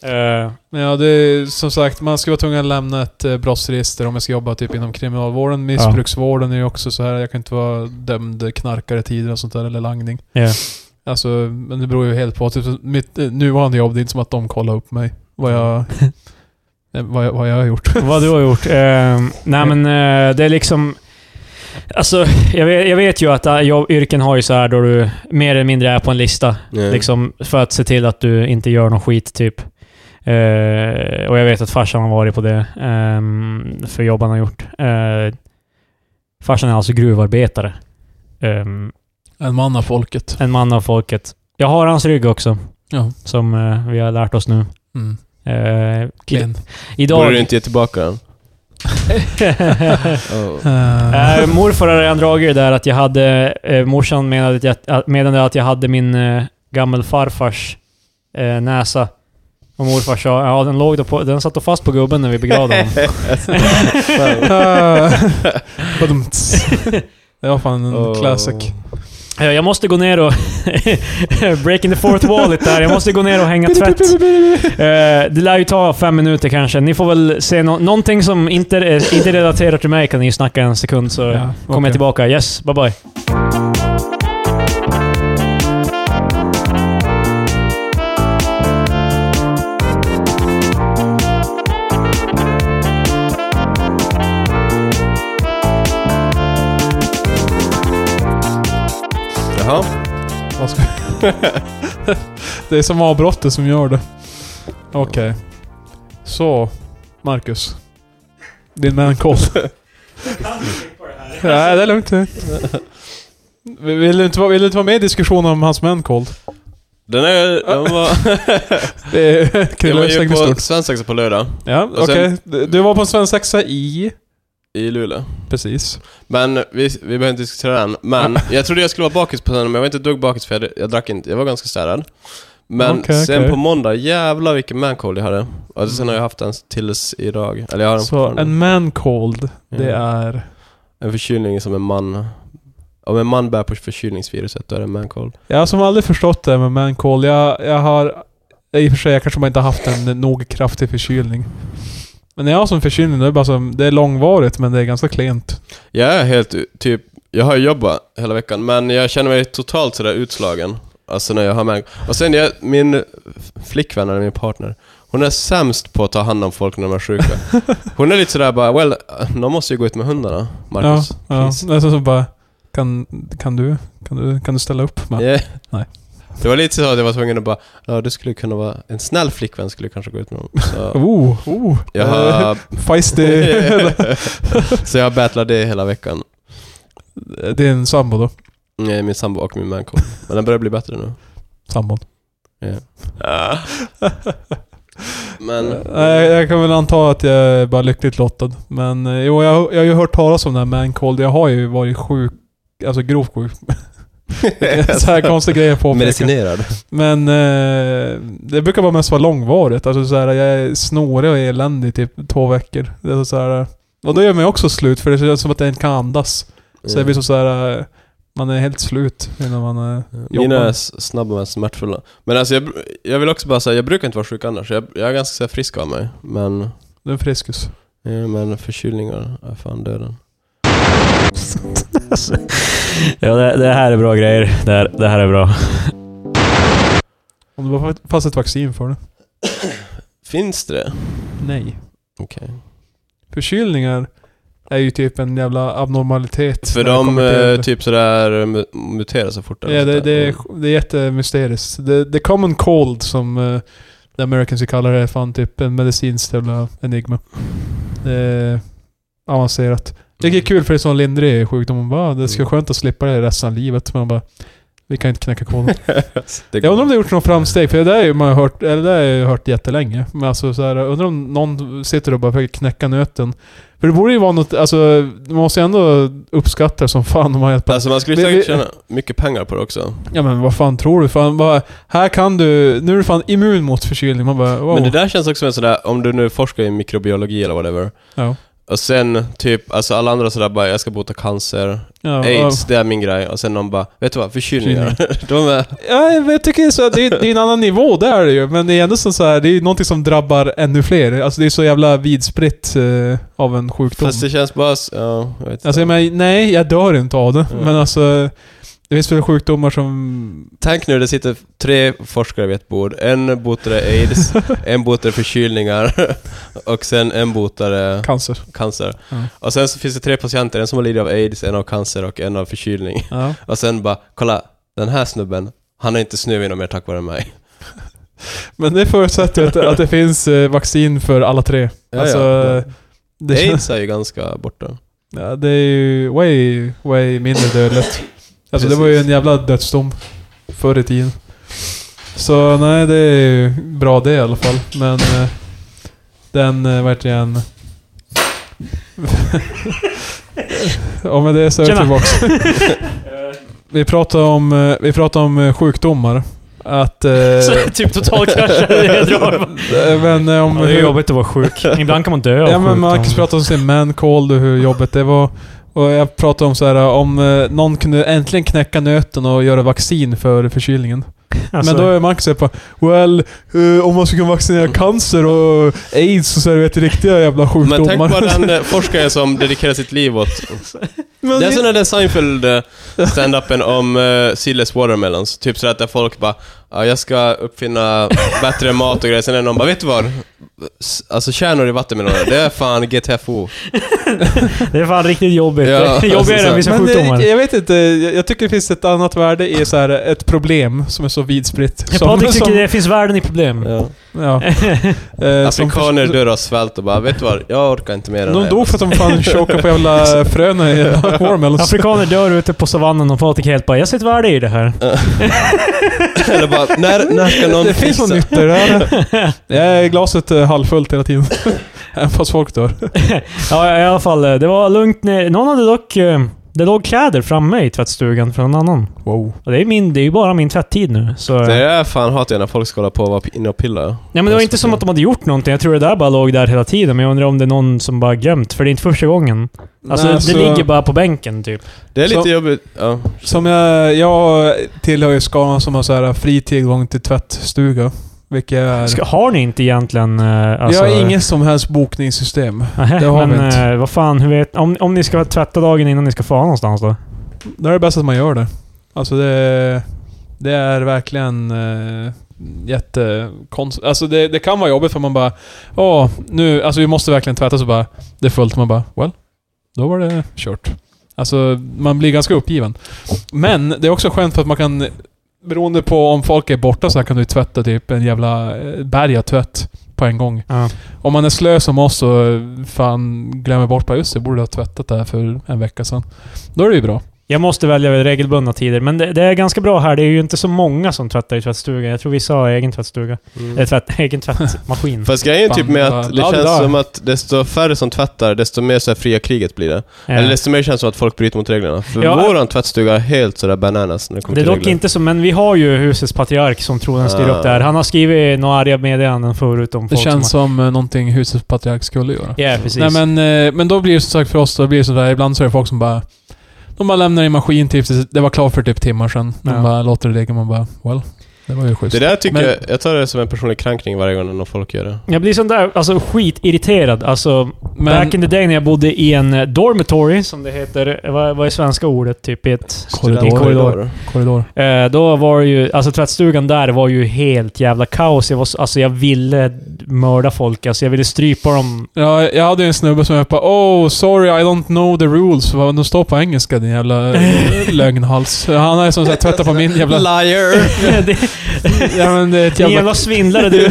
C: Eh,
A: Men ja, det är som sagt, man ska vara tvungen att lämna ett eh, brottsregister om jag ska jobba typ inom kriminalvården. Missbruksvården är ju också så här, jag kan inte vara dömd knarkare tidigare och sånt där, eller langning.
C: Ja.
A: Alltså, men det beror ju helt på. Typ, mitt eh, nuvarande jobb, det är inte som att de kollar upp mig. Vad
C: *laughs*
A: jag... eh, vad, jag vad jag har gjort.
C: Vad du har gjort? Eh, nej men eh, det är liksom... Alltså, jag vet, jag vet ju att eh, jobb, yrken har ju så här då du mer eller mindre är på en lista.
B: Ja.
C: Liksom för att se till att du inte gör någon skit typ. Eh, och jag vet att farsan har varit på det. ehm, för jobb han har gjort. Eh, farsan är alltså gruvarbetare. Ehm,
A: En man av folket.
C: en man av folket. Jag har hans rygg också.
A: Ja.
C: Som eh, vi har lärt oss nu.
A: Mm.
C: Eh, i,
A: Clean.
B: Borde
C: idag...
B: du inte ge tillbaka den?
C: *laughs*
B: Oh.
C: Eh, morfar har redan dragit det där att jag hade... Eh, morsan menade att jag, att- menade att jag hade min eh, gammelfarfars eh, näsa. Och morfar sa ja den låg då på, den satt då fast på gubben när vi begravde
D: *laughs*
C: honom.
B: *laughs*
C: *laughs*
A: *laughs* Badumts. det var fan en
B: Oh.
A: classic.
C: Eh, jag måste gå ner och... *laughs* breaking the fourth wall lite där. Jag måste gå ner och hänga
A: *laughs*
C: tvätt. Eh, det lär ju ta fem minuter kanske. Ni får väl se nå- någonting som inte, eh, inte relaterar till mig kan ni ju snacka en sekund så
A: Ja,
C: kommer
A: okej.
C: jag tillbaka. Yes, bye bye.
B: Jaha.
A: Vad ska- det är som avbrottet som gör det. Okej. Så, Marcus. Din man
B: *laughs*
A: Cole. Nej, det är lugnt. Vill du, inte vara, vill du inte vara med i diskussionen om hans man Cole?
B: Den är...
A: *laughs*
B: Den var...
A: Det
B: *laughs*
A: är
B: jag var ju
A: stängde
B: på
A: stort.
B: svensexa på lördag,
A: Ja,
B: och
A: okej.
B: sen-
A: Du- Du var på en svensexa i...
B: i Luleå.
A: Precis.
B: Men vi, vi behöver inte diskutera den. Men jag trodde jag skulle vara bakis på söndagen, men jag var inte ett dugg bakis för jag, hade- jag drack inte. Jag var ganska städad. Men
A: Okej,
B: sen
A: okej.
B: på måndag, jävlar vilken mancold jag hade. Och sen har jag haft den tills idag. Eller jag har den
A: Så
B: fortfarande.
A: en man cold, det
B: Ja.
A: är...
B: En förkylning som en man Om en man bär på förkylningsviruset, då är det mancold.
A: Jag har som aldrig förstått det med mancall. Jag, jag har... I och för sig, jag kanske bara inte har haft en nog kraftig förkylning. Men när jag har som förkylning, då är det bara som... Det är långvarigt, men det är ganska klent.
B: Jag är helt u- typ... Jag har jobbat hela veckan, men jag känner mig totalt sådär utslagen. Alltså när jag har mancold. Och sen, jag, min flickvän, eller min partner, hon är sämst på att ta hand om folk när de är sjuka.
A: *laughs*
B: Hon är lite sådär bara, well, någon måste ju gå ut med hundarna,
A: Ja,
B: Marcus.
A: ja.
B: please."
A: Det är så som bara... Kan, kan, du, kan du... Kan du ställa upp? Med?
B: Yeah.
A: Nej.
B: Det var lite så att jag var tvungen att bara, ja du skulle kunna vara, en snäll flickvän skulle kanske gå ut
A: *laughs*
B: med honom. Så
A: Oh, oh.
B: jag har,
A: Feisty. *laughs*
B: *laughs* så jag battlar det hela veckan.
A: det är en sambo då.
B: Nej, Min sambo och min mancold. Men den börjar bli bättre nu.
A: Sambon.
B: Men...
A: Nej, jag kan väl anta att jag är bara lyckligt lottad. Men eh, jo, jag, jag har ju hört talas om den här mancold. Jag har ju varit sjuk, alltså grovt sjuk.
B: *laughs*
A: så här konstiga grejer på
B: Medicinerad.
A: Men eh, det brukar bara mest vara långvarigt. Alltså så här, jag är snorig och eländig i typ två veckor. Det är så här, och då gör mig också slut för det känns som att jag inte kan andas. Så
B: Mm.
A: det blir så, så här, eh, man är helt slut innan man eh, är...
B: Mina
A: jobbar.
B: är s- snabba men smärtfulla. Men alltså jag, br- jag vill också bara säga, jag brukar inte vara sjuk annars. Jag, jag är ganska så här, frisk av mig. Men,
A: Du är friskus.
B: eh, men förkylningar är
A: *coughs*
B: fan döden.
D: *laughs* Ja, det, det här är bra grejer. Det här, det här är bra.
A: Om det bara fanns ett vaccin för det.
B: Finns det?
A: Nej.
B: Okej.
A: Förkylningar är ju typ en jävla abnormalitet.
B: För
A: när det
B: de
A: kommer till-
B: eh, typ sådär mu- muterar sig fortare.
A: Ja, det,
B: Sådär. Mm.
A: det, är, det är jättemysteriskt. The, the common cold som eh, the Americans kallar det är fan typ en medicinskt jävla enigma. Det är avancerat. Det
B: Mm.
A: är
B: *laughs*
A: kul för det är sån lindrig sjukdom. Man bara, "Ah, det skulle vara skönt att slippa det resten av livet. Men man bara, vi kan inte knäcka
B: *laughs*
A: koden.
B: det
A: Jag undrar om det har gjort någon framsteg, för det där har ju man hört, eller det där har jag ju hört jättelänge. Men alltså så här, jag undrar om någon sitter och bara försöker knäcka nöten. För det borde ju vara något, alltså man måste ju ändå uppskatta det som fan om man hjälper.
B: Alltså man skulle
A: Vi-
B: säkert
A: vi-
B: tjäna mycket pengar på det också.
A: Ja men vad fan tror du? Fan, bara, här kan du, nu är du fan immun mot förkylning. Man bara wow.
B: Men det där känns också som en sådär, om du nu forskar i mikrobiologi eller whatever.
A: Ja.
B: Och sen typ, alltså alla andra sådär bara, jag ska bota cancer,
A: Ja,
B: aids, det är min grej. Och sen någon bara, vet du vad, förkylningar. *laughs* De är...
A: Ja, jag tycker så, att det, är, det är en annan nivå, det är det ju. Men det är ändå så så här, det är ju någonting som drabbar ännu fler. Alltså det är så jävla vidspritt eh, av en sjukdom.
B: Fast det känns bara, s- ja, jag vet
A: Alltså jag menar, nej, jag dör inte av det.
B: Mm.
A: Men alltså, det finns väl sjukdomar som...
B: Tänk nu, det sitter tre forskare vid ett bord. En
A: *laughs*
B: botare aids, en botare förkylningar *laughs* och sen en botare
A: Cancer.
B: cancer.
A: Ja.
B: Och sen så finns det tre patienter, en som har lidit av aids, en av cancer och en av förkylning. *laughs*
A: Ja.
B: Och sen bara, kolla, den här snubben, han är inte snuvig mer tack vare mig.
A: Men det förutsätter ju att, att det finns eh, vaccin för alla tre.
B: Ja,
A: alltså,
B: ja.
A: Det, känns,
B: Aids är ju ganska borta.
A: ja, det är ju way, way mindre dödligt. Alltså det var ju en
B: Precis.
A: jävla dödsdom förr i tiden. Så nej, det är ju bra det i alla fall. Men eh, den, eh, vart jag *laughs* än... Och med det så är vi
C: Tjena.
A: tillbaka. Vi pratar om, eh, vi pratar om eh, sjukdomar. Att... Eh,
C: Så typ *laughs* totalkraschade jag drar.
A: eh, *laughs* men eh, om
D: Ja, det är
A: hur,
D: jobbigt att vara sjuk. Ibland kan man dö av
A: ja, men Marcus
D: sjukdom.
A: pratade om sin man cold och hur jobbigt det var. Och jag pratade om så här om eh, någon kunde äntligen knäcka nöten och göra vaccin för förkylningen.
C: Alltså,
A: Men då är Marcus på Well, eh, om man skulle kunna vaccinera cancer och aids och så här, du vet riktiga jävla sjukdomar.
B: Mm. Men tänk bara den eh, forskare som dedikerar sitt
A: *laughs*
B: liv åt...
A: Men
B: Det är
A: det-
B: som den där Seinfeld eh, stand-upen om uh, seedless watermelons. Typ sådär att där folk bara ja, jag ska uppfinna bättre mat och grejer. Sen är det någon bara, vet du vad? S- Alltså kärnor i vattenmeloner, det är fan GTFO.
C: det är fan riktigt jobbigt.
B: Ja,
C: Det är
B: alltså,
C: *laughs* Jobbigare
B: så-
C: än vissa
A: Men eh, det-
C: sjukdomar.
A: jag vet inte, jag, jag tycker det finns ett annat värde i så här ett problem som är så vidspritt.
C: Ja,
A: som,
C: Patrik
A: som,
C: tycker det finns världen i problem.
A: Ja. Eh, som
B: Afrikaner
A: förs-
B: dör av svält och bara, vet du vad? Jag orkar inte mer än det
A: De
B: här."
A: dog för att de fan chokade på jävla fröna i
C: *laughs*
A: jävla watermelons.
C: *laughs* Afrikaner dör ute på savannen och Patrik helt bara “Jag ser ett värde i det här”.
B: *laughs* Eller bara, när, när ska någon
A: Det finns något nytt i det här.
C: *laughs*
A: Jag är glaset eh, halvfullt hela tiden. *laughs* Även fast folk dör.
C: Ja, i alla fall. eh, Det var lugnt ner. Någon hade dock eh, Det låg kläder framme i tvättstugan från någon annan.
A: Wow.
C: Och det är, min, det är ju bara min tvätttid nu. Så,
B: Det är fan hatar jag när folk ska hålla på och vara inne och pilla.
C: ja, men det var inte som att de hade gjort någonting. Jag tror det där bara låg där hela tiden. Men jag undrar om det är någon som bara glömt. För det är inte första gången. Alltså
A: Nej,
C: det,
A: så-
C: det ligger bara på bänken typ.
B: Det är lite
A: Så-
B: jobbigt. Ja.
A: Som jag, jag tillhör ju skalan som har så här fri tillgång till tvättstuga. Vilket är...
C: Ska, har ni inte egentligen... eh, Alltså,
A: jag har inget som helst bokningssystem.
C: Nähä,
A: det har
C: men
A: vi inte.
C: eh, vad fan, hur vet... Om, om ni ska tvätta dagen innan ni ska fara någonstans då?
A: Det är det bästa att man gör det. Alltså det... Det är verkligen eh, jättekonstigt. Alltså det, det kan vara jobbigt för man bara... Åh, nu... Alltså vi måste verkligen tvätta så bara... Det är fullt. Man bara... Well, då var det kört. Alltså man blir ganska uppgiven. Men det är också skönt för att man kan... Beroende på om folk är borta så här kan du tvätta typ en jävla eh, berg av tvätt på en gång.
C: Ja.
A: Om man är slö som oss och fan glömmer bort bara just det, borde ha tvättat det här för en vecka sedan. Då är det ju bra.
C: Jag måste välja regelbundna tider, men det, det är ganska bra här. Det är ju inte så många som tvättar i tvättstugan. Jag tror vissa har egen tvättstuga.
A: Eh, Mm.
C: Eller tvätt, *laughs* egen tvättmaskin.
B: Fast grejen är typ
A: Fan,
B: med
A: vad-
B: att det
A: ja, det
B: känns
A: där.
B: som att desto färre som tvättar, desto mer så här fria kriget blir det. Eller
C: Eh,
B: desto mer känns det som att folk bryter mot reglerna. För
C: Ja.
B: våran tvättstuga är helt sådär bananas när det kommer
C: det är
B: till
C: dock
B: regler.
C: inte så, men vi har ju husets patriark som troligen styr upp det här. Han har skrivit några arga meddelanden förut om
A: Det
C: folk
A: känns
C: som
A: som eh, någonting husets patriark skulle göra.
C: har... Ja, precis.
A: Nej men, eh, men då blir det som sagt för oss, då blir det sådär, ibland så är det folk som bara... De bara lämnar in maskin typ, det var klart för typ timmar sedan. De
C: Ja.
A: bara låter det ligga, man bara well, det var ju schysst.
B: Det där tycker
A: Men-
B: jag, jag tar det som en personlig kränkning varje gång när folk gör det.
C: Jag blir sån där, alltså skitirriterad. Alltså,
A: men
C: back in the day när jag bodde i en eh, dormitory, som det heter. eh, Vad, vad är svenska ordet? Typ i ett...
A: Korridor.
B: Student-
A: korridor.
C: Eh, då var det ju, alltså tvättstugan där var ju helt jävla kaos. Jag, var, så- alltså, jag ville mörda folk, alltså jag ville strypa
A: *laughs*
C: dem.
A: Ja, jag hade ju en snubbe som jag bara Oh, sorry I don't know the rules. Vad de står på engelska din
C: *laughs*
A: jävla eh, lögnhals. Han har ju som sagt tvättat på min *laughs* jävla...
B: Liar!
C: det,
A: Ja men det är ett
C: jävla...
A: jävla
C: jävla
A: *laughs*
C: svindlare du.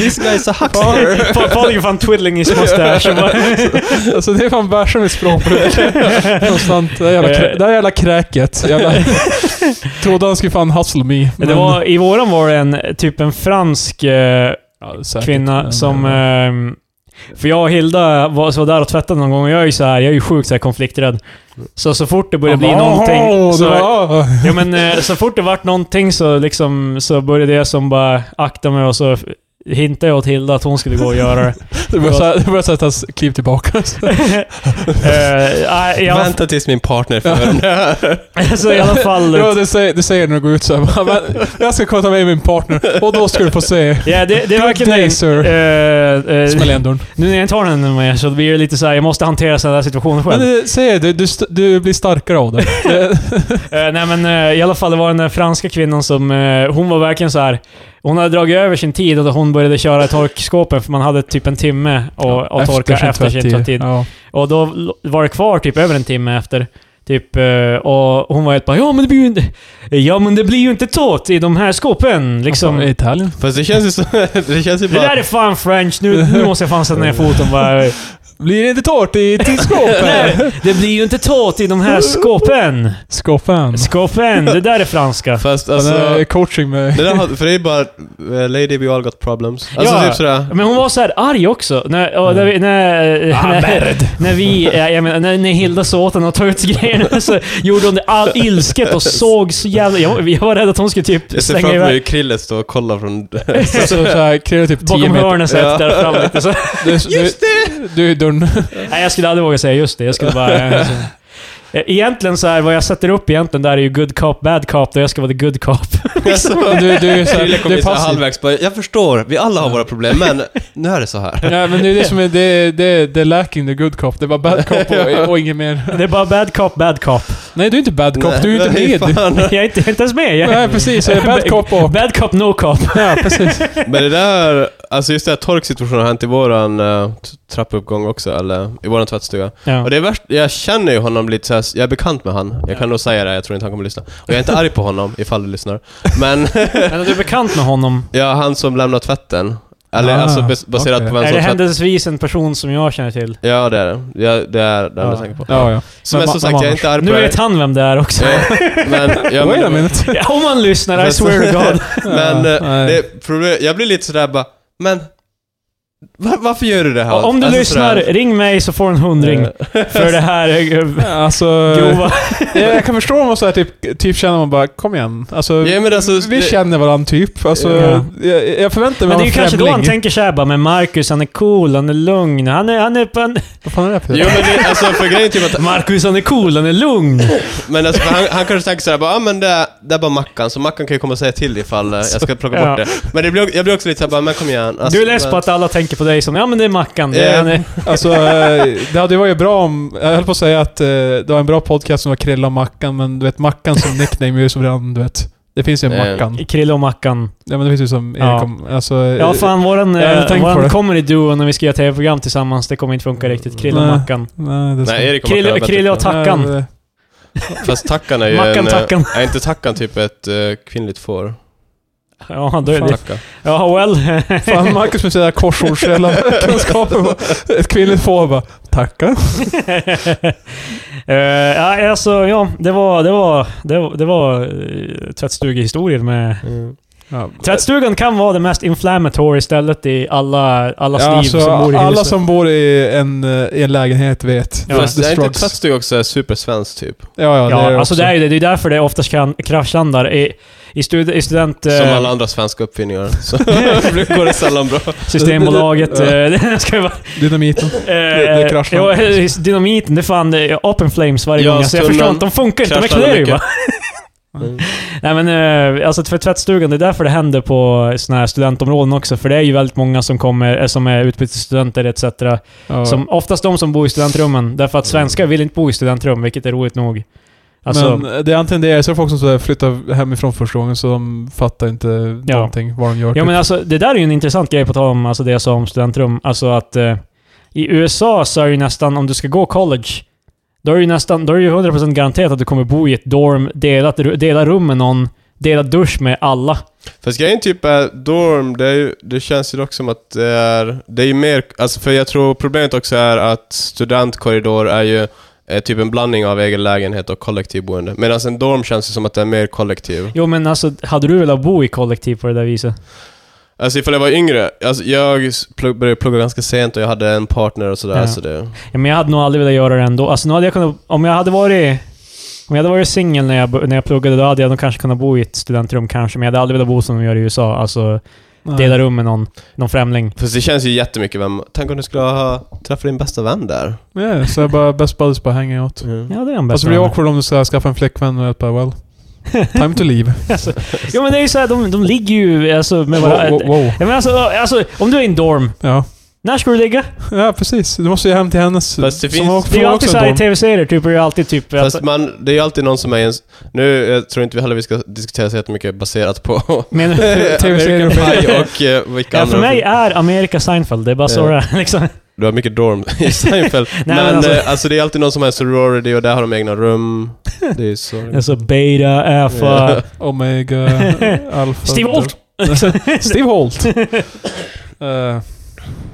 B: This guy is a
C: Fa- Patrik är fan twiddling i sin mustasch. och bara-
A: *laughs* Alltså det är fan bärs med
C: *laughs*
A: språkbruk. Konstant. Det där jävla, krä- det där jävla kräket. Jävla,
C: *laughs*
A: trodde han skulle fan hustle me. Men,
C: Det var, I våran var det en, typ en fransk eh,
A: Ja, säkert.
C: kvinna
A: Men,
C: som...
A: eh,
C: ehm, för jag och Hilda var, så var där och tvättade någon gång och jag är ju så här, jag är ju sjukt så här konflikträdd. Så så fort det började
A: han
C: bli
A: bara, "Åh,
C: någonting...
A: det
C: Så,
A: var-
C: Ja men eh, så fort det vart någonting så liksom, så började jag som bara akta mig och så hintade jag åt Hilda att hon skulle gå och göra
A: *laughs*
C: det.
A: Det började så här- det började sättas kliv tillbaka.
C: Eh, nej, i alla-
B: Vänta tills min partner får höra det här.
C: *laughs* så i alla fall...
A: *laughs* Ja, det säger, det säger när du går ut så här, bara, "Men, Jag ska kolla med min partner och då ska du få se.
C: Ja, det, det är
A: Good
C: verkligen
A: day,
C: det.
A: sir.
C: Eh, eh,
A: Smäll igen dörren.
C: nu när jag inte har den med så blir det lite så här, jag måste hantera sådana här situationer
A: Men
C: själv.
A: det, säger du, du, st- du blir starkare av det. det
C: Eh, nej men eh, i alla fall, det var den där franska kvinnan som, eh, hon var verkligen så här. Hon hade dragit över sin tid och då hon började köra i torkskåpen för man hade typ en timme att att torka efter typ sin tvättid.
A: Ja.
C: Och då l- var det kvar typ över en timme efter. Typ, eh, och hon var helt bara ja men det blir ju inte... Ja men det blir ju inte tåt i de här skåpen liksom.
A: Alltså, i Italien.
B: *laughs* Fast det känns ju som... *laughs* Det känns ju
C: det där
B: bara...
C: är fan french, nu,
A: *laughs*
C: nu måste jag fan sätta ner foten bara.
A: Blir det inte tårt i till skåpet?
C: Nej, det blir ju inte tåt i de här skåpen.
A: Skåpen.
C: Skåpen, det där är franska.
B: Fast
A: Han är
B: alltså...
A: coaching med...
B: Det där, har- för det är bara eh, “Lady, we all got problems”. Alltså
C: Ja.
B: typ sådär.
C: Men hon var så här arg också. När, och när, vi- när,
A: Ah,
C: när,
A: merd.
C: när vi... ja, Jag menar, när, när Hilda sa åt henne att ta ut grejerna så gjorde hon det all ilsket och såg så jävla... Jag, var- jag var rädd att hon skulle typ
B: Jag ser
C: slänga
B: framför
C: iväg...
B: mig Krille stå och kolla från... *laughs*
A: *laughs* Så, så här, kräver typ 10
C: Bakom
A: meter.
C: hörnet så
B: Ja.
C: efter och fram
B: *laughs*
C: lite så.
A: Du, Just du, det! Du är dun.
C: Nej, jag skulle aldrig våga säga just det. Jag
B: *laughs*
C: skulle bara... eh, så- Eh, Egentligen så här, vad jag sätter upp egentligen där är ju good cop, bad cop, där jag ska vara the good cop. *laughs*
A: Du, du, är så här,
B: Krille
A: du
B: kommer
A: är
B: in såhär
A: passiv.
B: halvvägs bara, “Jag förstår, vi alla har våra problem, men nu är det så här.
A: Ja, men det är det som är... Det, är- det, är- det är lacking the good cop. Det var bad cop och, och inget mer.
C: Det är bara bad cop, bad cop. *laughs*
A: Nej, du är inte bad cop. Du är inte
B: Nej,
A: med. Du- *laughs*
B: fan.
C: Jag är inte, jag är inte ens med. Jag,
A: Nej, precis. Det är bad cop
C: *laughs*
A: och...
C: bad cop, no cop.
A: Ja, precis.
B: Men det där, alltså just det här torksituationen har hänt i våran eh, t- trappuppgång också, eller i våran tvättstuga.
C: Ja.
B: Och det är värst, jag känner ju honom lite såhär, jag är bekant med han. Jag kan nog säga det, jag tror inte han kommer lyssna. Och jag är inte arg på honom, ifall du lyssnar.
A: *laughs*
B: Men,
C: Men är du bekant med honom?
B: ja, han som lämnar tvätten. Eller
A: Ah,
B: alltså bas- baserat
A: okej.
B: på vem
C: Är
B: som
C: det
B: tvättar.
C: händelsevis en person som jag känner till?
B: Ja, det är det. Ja, det är den jag tänker på.
A: Ja, ja.
B: Som
A: Men
B: jag
A: ma-
B: som sagt,
A: ma-
B: jag är inte arg på
C: Nu
B: det.
C: vet han vem det är också.
B: Ja, men, ja,
A: Wait a
B: men,
A: minute.
C: Ja, *laughs* Om han lyssnar, I swear to God.
B: Men
A: Ja,
B: eh,
A: nej.
B: det, problem, jag blir lite sådär bara, men Va- varför gör du det här?
C: Om du
B: Alltså,
C: lyssnar,
B: sådär.
C: ring mig så får du en hundring. *laughs* För det här eh,
A: Alltså...
C: grova...
A: jag, jag kan förstå om man så här, typ, typ känner man bara kom igen. Alltså,
B: Ja, men alltså,
A: vi
B: det-
A: känner varandra typ. Alltså,
C: Ja.
A: jag, jag förväntar mig
C: Men det är
A: av
C: ju
A: en
C: kanske då han
A: främling.
C: tänker såhär bara, men Marcus han är cool, han är lugn, han är... Han är på en...
A: Vad fan är det för
B: Jo men det, alltså för grejen är typ att,
C: Marcus han är cool, han är lugn!
B: men alltså, för han, han kanske tänker såhär bara, ah, men det, är- det är bara Mackan, så Mackan kan ju komma och säga till ifall eh, jag ska plocka
C: Ja.
B: bort det. Men det blir, också- jag blir också lite såhär bara, men kom igen. Alltså,
C: du är less på
B: men-
C: att alla tänker på dig som, ja men det är Mackan. Det,
B: Ja.
C: han är,
A: Alltså, eh, det hade ju varit bra om... Jag höll på att säga att eh, det var en bra podcast som var Krilla och Mackan, men du vet Mackan som nickname är ju som redan, du vet. Det finns ju en
B: Eh.
A: Mackan.
C: Krille och Mackan.
A: Ja men det finns ju som Erik
C: Ja.
A: om, alltså,
C: Ja fan, våran,
A: jag hade
C: eh,
A: tänkt på
C: våran
A: det.
C: comedy-duo när vi ska göra tv-program tillsammans, det kommer inte funka riktigt. Krille och
A: Nej.
C: Mackan.
A: Nej, det ska-
B: Nej, Erik och
C: Krille-
B: Mackan är bättre.
C: Krille och Ta- Tackan.
A: Nej, det-
B: Fast Tackan är ju
C: Mackan
B: en... eh,
C: Tackan.
B: Är inte Tackan typ ett eh, kvinnligt får?
C: Ja, då är det...
B: Tacka.
C: Ja, well.
A: Fan, Marcus med sina korsordskunskaper. Ett kvinnligt får bara tacka.
C: *laughs* Eh, ja, alltså, ja, det var... Det var, det var, det var eh, tvättstugehistorier med...
A: Ja.
C: Tvättstugan kan vara det mest inflammatory stället i alla, allas liv
A: alltså,
C: som bor i
A: alla
C: huset.
A: som bor i en, eh, i en lägenhet vet.
C: Ja.
B: Fast
A: the
B: är inte
A: struggles.
B: Tvättstuga också supersvensk typ?
A: Ja, ja,
C: Ja,
A: det är det
C: alltså
A: också.
C: det är ju det. Det är därför det oftast kan kraschlandar i, i, stud, i student...
B: Som
C: eh,
B: alla andra svenska uppfinningar.
C: *laughs*
B: Så *laughs* går det sällan bra.
C: Systembolaget.
A: *laughs* Ja.
C: eh, *laughs* det ska ju vara...
A: Dynamiten. det kraschar.
C: jo, eh, dynamiten, det är fan eh, up in flames varje
B: Ja,
C: gång. Alltså, jag
B: tunnan
C: förstår inte, de funkar inte. De
B: kraschar
C: exploderar ju *laughs*
B: mycket.
C: bara. Nej men eh, alltså för tvättstugan, det är därför det händer på såna här studentområden också. För det är ju väldigt många som kommer, eh, som är utbytesstudenter etc.
A: Ja. Mm.
C: Som, oftast de som bor i studentrummen. Därför att svenskar vill inte bo i studentrum, vilket är roligt nog. Alltså,
A: Men eh, det är antingen det, eller så är det folk som så här flyttar hemifrån första gången så de fattar inte
C: Ja.
A: någonting vad de gör.
C: Ja
A: typ.
C: men alltså, det där är ju en intressant grej på tal om alltså, det jag sa om studentrum. Alltså att eh, i USA så är ju nästan, om du ska gå college, då är ju nästan, då är det ju 100% garanterat att du kommer bo i ett dorm, delat, ru- dela rum med någon, dela dusch med alla.
B: Fast grejen typ är, dorm, det, är ju, det känns ju dock som att det är, det är ju mer, alltså för jag tror problemet också är att studentkorridor är ju eh, typ en blandning av egen lägenhet och kollektivboende. Medan en dorm känns ju som att det är mer kollektiv.
C: Jo men alltså, hade du velat bo i kollektiv på det där viset?
B: Alltså ifall jag var yngre, alltså jag s- plugg, började plugga ganska sent och jag hade en partner och sådär.
C: Ja.
B: Så det,
C: Ja, men jag hade nog aldrig velat göra det ändå. Alltså nu hade jag kunnat, om jag hade varit om jag hade varit singel när jag, bo- när jag pluggade, då hade jag nog kanske kunnat bo i ett studentrum kanske, men jag hade aldrig velat bo som de gör i USA. Alltså,
A: typ. Nej.
C: dela rum med någon, någon främling.
B: fast det känns ju jättemycket vem, tänk om du skulle ha träffat din bästa vän där.
A: Ja, så jag bara best buddies bara hänger åt.
C: Ja, det är den bästa.
A: Alltså det blir
C: vännen.
A: awkward om du så här, skaffar en flickvän och jag bara well, time to leave.
C: *laughs* Alltså, ja men det är ju såhär, de, de ligger ju alltså med varandra.
A: wow, wow, wow.
C: Ja, men alltså, alltså, om du är i en dorm,
A: Ja.
C: när ska du ligga?
A: ja, precis. Du måste ju hem till hennes.
B: Fast det
A: som
B: finns-
A: har-
C: Det är ju
A: får också
C: alltid
A: en
C: såhär i
A: dom.
C: tv-serier, typ, är det alltid typ...
B: Fast
C: att-
B: man, det är ju alltid någon som är ens... Nu jag tror inte vi heller vi ska diskutera så jättemycket baserat på
C: *laughs* men,
A: TV-serier och
B: American Pie och eh, vilka
C: ja,
B: andra...
C: för mig är Amerika Seinfeld, det är bara så
B: Ja.
C: det är. Liksom.
B: Du har mycket dorm *laughs* i
C: *laughs*
B: Seinfeld.
C: men
B: men
C: alltså-
B: alltså... alltså det är alltid någon som har en sorority och där har de egna rum. Det är
C: *laughs*
B: så...
C: Alltså beta, alpha...
A: Omega, Oh
C: *laughs*
A: Alpha...
C: Steve Holt!
A: *laughs* Steve Holt! Eh,
C: *laughs*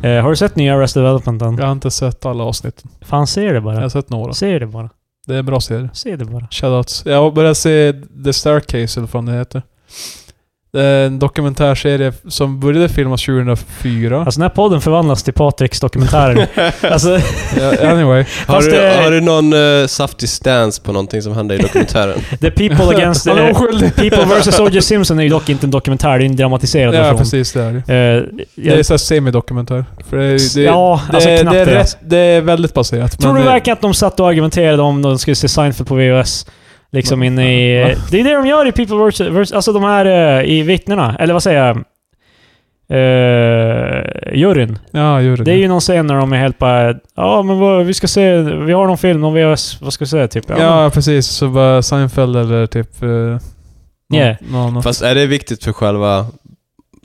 C: Eh, har du sett nya Arrested Development än?
A: jag har inte sett alla avsnitt.
C: Fan, se det
A: Jag har
C: bara.
A: sett några.
C: Se det bara.
A: Det är en bra serie.
C: Se det bara.
A: Shoutouts. Jag började se The Staircase, eller vad fan det heter. Det är en dokumentärserie som började filmas 2004.
C: Alltså den här podden förvandlas till
A: *laughs*
B: *laughs*
C: Patriks dokumentärer. alltså,
A: Ja, *laughs* anyway.
B: Har
C: *laughs* fast
B: du,
C: det-
B: har du någon eh, saftig stance på någonting som hände i
C: *laughs*
B: dokumentären?
C: The People
A: *laughs*
C: Against...
A: Han är
C: eh,
A: oskyldig!
C: People vs. O.J. Simpson är ju dock inte en dokumentär, det är en dramatiserad
A: Ja,
C: version.
A: precis. Det är det.
C: Eh,
A: Det är
C: jag,
A: såhär semidokumentär. För det, är- det,
C: ja,
A: det,
C: alltså
A: är-
C: knappt
A: det, är
C: det.
A: rätt, det är väldigt baserat.
C: Tror
A: men eh,
C: du
A: det-
C: verkligen att de satt och argumenterade om de skulle se Seinfeld på VHS? Liksom
A: Va?
C: inne i...
A: Va?
C: Det är det de gör i People vs. vs- Alltså de här eh, i vittnena, eller vad säger jag? Uh, juryn.
A: Ja, gör det.
C: Det är ju någon scen när de är helt bara... Ja, men vad, vi ska se... Vi har någon film, någon VHS. Vad ska vi säga? Typ. Ja,
A: Ja, precis. Så var Seinfeld eller typ... eh, någon-
C: Yeah.
A: någon annan.
B: Fast är det viktigt för själva...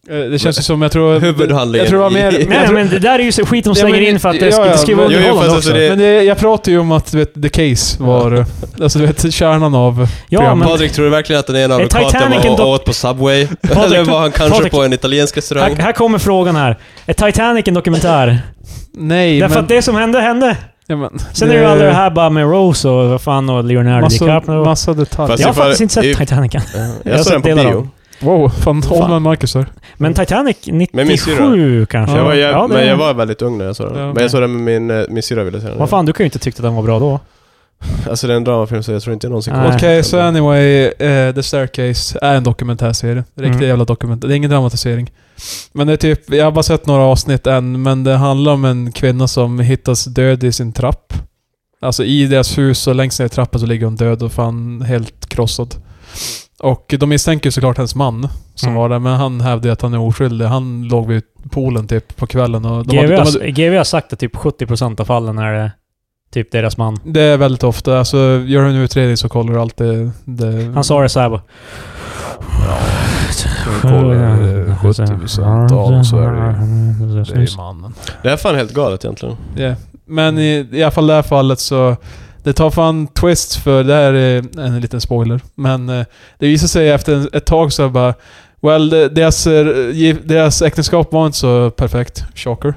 A: Eh, Det känns ju som, jag tror...
B: *laughs* Huvudhandlingen
A: Jag tror det var mer...
B: i-
A: jag
C: men,
A: tror-
C: men det där är ju så skit de
A: Ja,
C: slänger
A: men-
C: in för att det
A: ja,
C: ska, det
A: ja,
C: ska vara
A: men-
B: Jo, jo,
C: underhållande
B: fast
C: också.
B: alltså det-
A: Men det, jag pratar ju om att du vet, the case var... alltså du vet, kärnan av...
C: ja, men
B: Patrik, tror du verkligen att den ena
C: Är Titanic
B: advokaten
C: en
B: var
C: dok-
B: och åt på Subway? *laughs* Eller var han kanske
C: Patrik-
B: på en italiensk restaurang?
C: här, här kommer frågan här. Är Titanic en dokumentär?
A: Nej,
C: Därför
A: men...
C: att det som hände, hände.
A: ja, men
C: Sen är
A: det-
C: det ju alla det här bara med Rose och vad fan och Leonardo
A: Massa,
C: DiCaprio.
A: massa detaljer.
B: Fast-
C: jag har
B: ifall-
C: faktiskt inte sett
B: if-
C: Titanic än.
B: Ja,
C: har
B: jag
C: sett
B: såg den på
C: delar av
B: bio.
C: dem.
A: Wow, fan,
C: Fan.
A: fan. med Marcus där.
C: Men Titanic
B: Men min syrra.
C: 97 kanske?
B: Jag var, jäv-
C: Ja,
B: men jag var väldigt ung när jag såg den.
A: Ja,
B: Men
A: okej.
B: jag såg den med min, eh, min syrra ville se den.
C: Vad fan, du kan ju inte tycka att den var bra då.
B: Alltså det är en dramafilm så jag tror inte Alltså, jag någonsin
C: Nej.
A: Okej, så anyway. eh, The Staircase är en dokumentärserie. Riktig
C: Mm.
A: jävla dokumentär. Det är ingen dramatisering. Men det är typ, jag har bara sett några avsnitt än, men det handlar om en kvinna som hittas död i sin trapp. Alltså i deras hus och längst ner i trappan så ligger hon död och fan helt krossad. Och de misstänker ju såklart hennes man som
C: Mm.
A: var där, men han hävdade ju att han är oskyldig. Han låg vid poolen typ på kvällen och... De hade-
C: GW
A: de hade,
C: har, GW har sagt att typ 70% av fallen är det typ deras man.
A: det är väldigt ofta, alltså gör du en utredning så kollar du alltid det...
C: Han sa det såhär bara...
A: kollar, eh, 70% av så är
C: det
A: Det är ju mannen.
B: Det här är fan helt galet egentligen.
A: Ja, Men i, i alla fall det här fallet så... Det tar fan twist för det här är en liten spoiler. Men eh, det visar sig efter en- ett tag så bara... Well, de- deras, eh, gi- deras äktenskap var inte så perfekt. Shocker.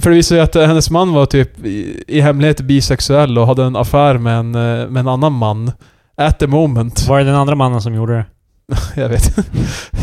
A: För det visar sig att eh, hennes man var typ i, i hemlighet bisexuell och hade en affär med en, eh, med en annan man. At the moment. *laughs*
C: Var det den andra mannen som gjorde det?
A: Jag vet *laughs*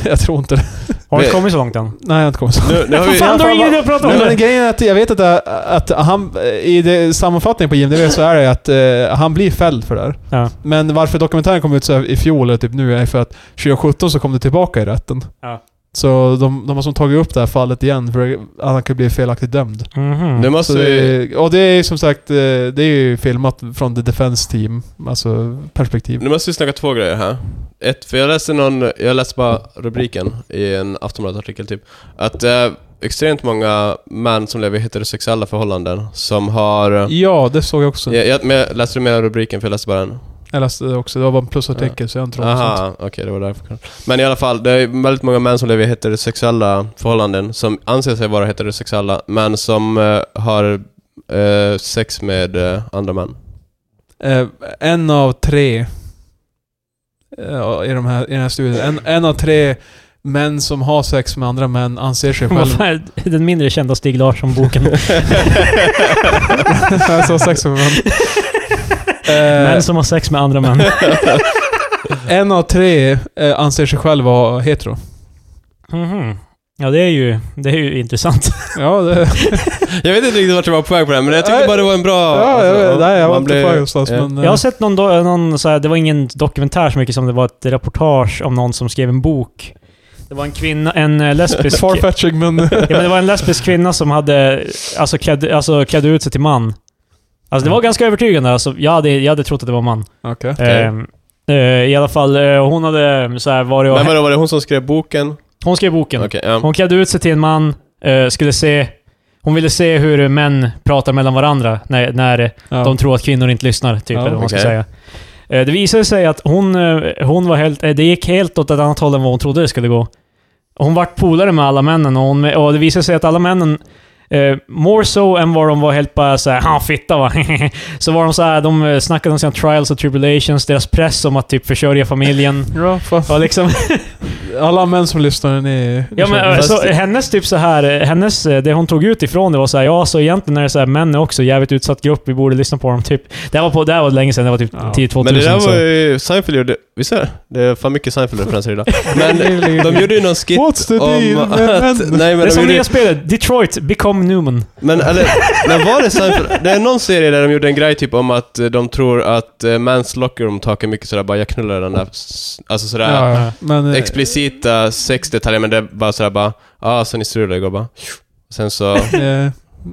A: Jag tror inte det.
C: Har inte
B: Det-
C: kommit så långt än.
A: Nej, jag har inte kommit så
B: Nu, nu har
C: Vad
B: vi...
C: fan, då är det ingen idé att prata om
A: Nej, men
C: det!
A: grejen är att jag vet att, det- att han, i det, sammanfattningen på IMDB så är det att eh, han blir fälld för det här.
C: Ja.
A: Men varför dokumentären kom ut så här i fjol, eller typ nu, är för att 2017 så kom det tillbaka i rätten.
C: Ja.
A: Så de, de har som tagit upp det här fallet igen för att han kunde bli felaktigt dömd.
C: Mhm.
B: Nu
A: Så
B: måste vi...
A: det, och det är ju som sagt, eh, det är ju filmat från the defense team, alltså perspektiv.
B: Nu måste vi snacka två grejer här. Ett, för jag läste någon... Jag läste bara rubriken i en Aftonbladet-artikel typ. Att eh, extremt många män som lever i heterosexuella förhållanden som har...
A: Ja, det såg jag också.
B: Jag, jag, men jag läste du mer rubriken för jag läste bara den?
A: Jag läste det också, det var bara en plusartikel så jag har inte trodde sånt.
B: Aha, okej det var därför kanske. Men i alla fall, det är väldigt många män som lever i heterosexuella förhållanden som anser sig vara heterosexuella men som eh, har eh, sex med eh, andra män.
A: Eh, en av tre eh, i, de här, i den här studien. En, en av tre män som har sex med andra män anser
C: *laughs*
A: sig
C: *laughs* Vad
A: själv...
C: fan är Den mindre kända
B: *laughs*
C: Stig Larsson-boken.
A: *laughs* Alltså, har sex med män. Eh,
C: *laughs* Män som har sex med andra män.
A: en av tre eh, anser sig själv vara hetero.
C: Mhm. Ja, det är ju, det är ju intressant.
A: *laughs* Ja, det,
B: *laughs* Jag vet inte riktigt vart jag var på väg på det här, men jag tyckte
A: Nej.
B: bara det var en bra...
A: ja,
B: alltså,
A: jag, vet, nej, jag var
B: man
A: inte
B: blir-
A: på väg någonstans,
B: ja.
A: men... eh,
C: Jag har sett någon, do- någon så här, det var ingen dokumentär så mycket som det var ett reportage om någon som skrev en bok. Det var en kvinna, en
B: *laughs*
C: eh, lesbisk... ja,
A: Farfetching, *laughs* men...
C: men det var en lesbisk kvinna som hade, alltså klädde, alltså klädde ut sig till man. Alltså det var ganska övertygande. Alltså, jag, hade, jag hade trott att det var man. *laughs*
A: Okej.
C: Ehm, eh, I alla fall, eh, hon hade så här, varit och...
B: Men vadå, var det hon som skrev boken?
C: Hon skrev boken.
B: Okej, ja.
C: Hon klädde ut sig till en man, eh, skulle se... Hon ville se hur män pratar mellan varandra när, när
A: Ja.
C: de tror att kvinnor inte lyssnar, typ,
A: Ja,
C: eller vad man ska
B: okej.
C: säga. Eh, Det visade sig att hon, eh, hon var helt... eh, Det gick helt åt ett annat håll än vad hon trodde det skulle gå. Hon vart polare med alla männen och, hon, och det visade sig att alla männen, eh, more so än vad de var helt bara såhär “Han fitta va?” *laughs* Så var de såhär, de eh, snackade om sina trials och tribulations, deras press om att typ försörja familjen.
A: Ja, fan.
C: Och liksom,
A: Alla män som lyssnar, ni... ni
C: Ja, men,
A: känner-
C: eh, så, hennes typ så här, eh, hennes, eh, det hon tog ut ifrån det var så här, ja så egentligen är det så här, män är också en jävligt utsatt grupp, vi borde lyssna på dem. Typ. Det här var, på, det här var länge sedan, det var typ
A: Ja.
C: 10-2000.
B: Men det där
C: så.
B: var ju... Seinfeld gjorde... Visst är det? Det är fan mycket
A: *laughs*
B: Seinfeld-referenser idag. Men de gjorde ju någon skit
A: What's the
B: om
A: deal med
B: att-
A: män?
B: *laughs* Nej, men
C: det är
B: de
C: som
B: gjorde
C: nya spelet, Detroit Become Newman.
B: Men eller, när var det Seinfeld? Det är någon serie där de gjorde en grej typ om att eh, de tror att eh, mans locker room talk är mycket sådär bara jag knullar den där, s- alltså sådär
A: Ja, ja. *laughs* Men... eh,
B: explicita sexdetaljer men det är bara sådär bara, ah så ni strular igår bara. Sen
C: *laughs*
B: så,
A: eh, nej,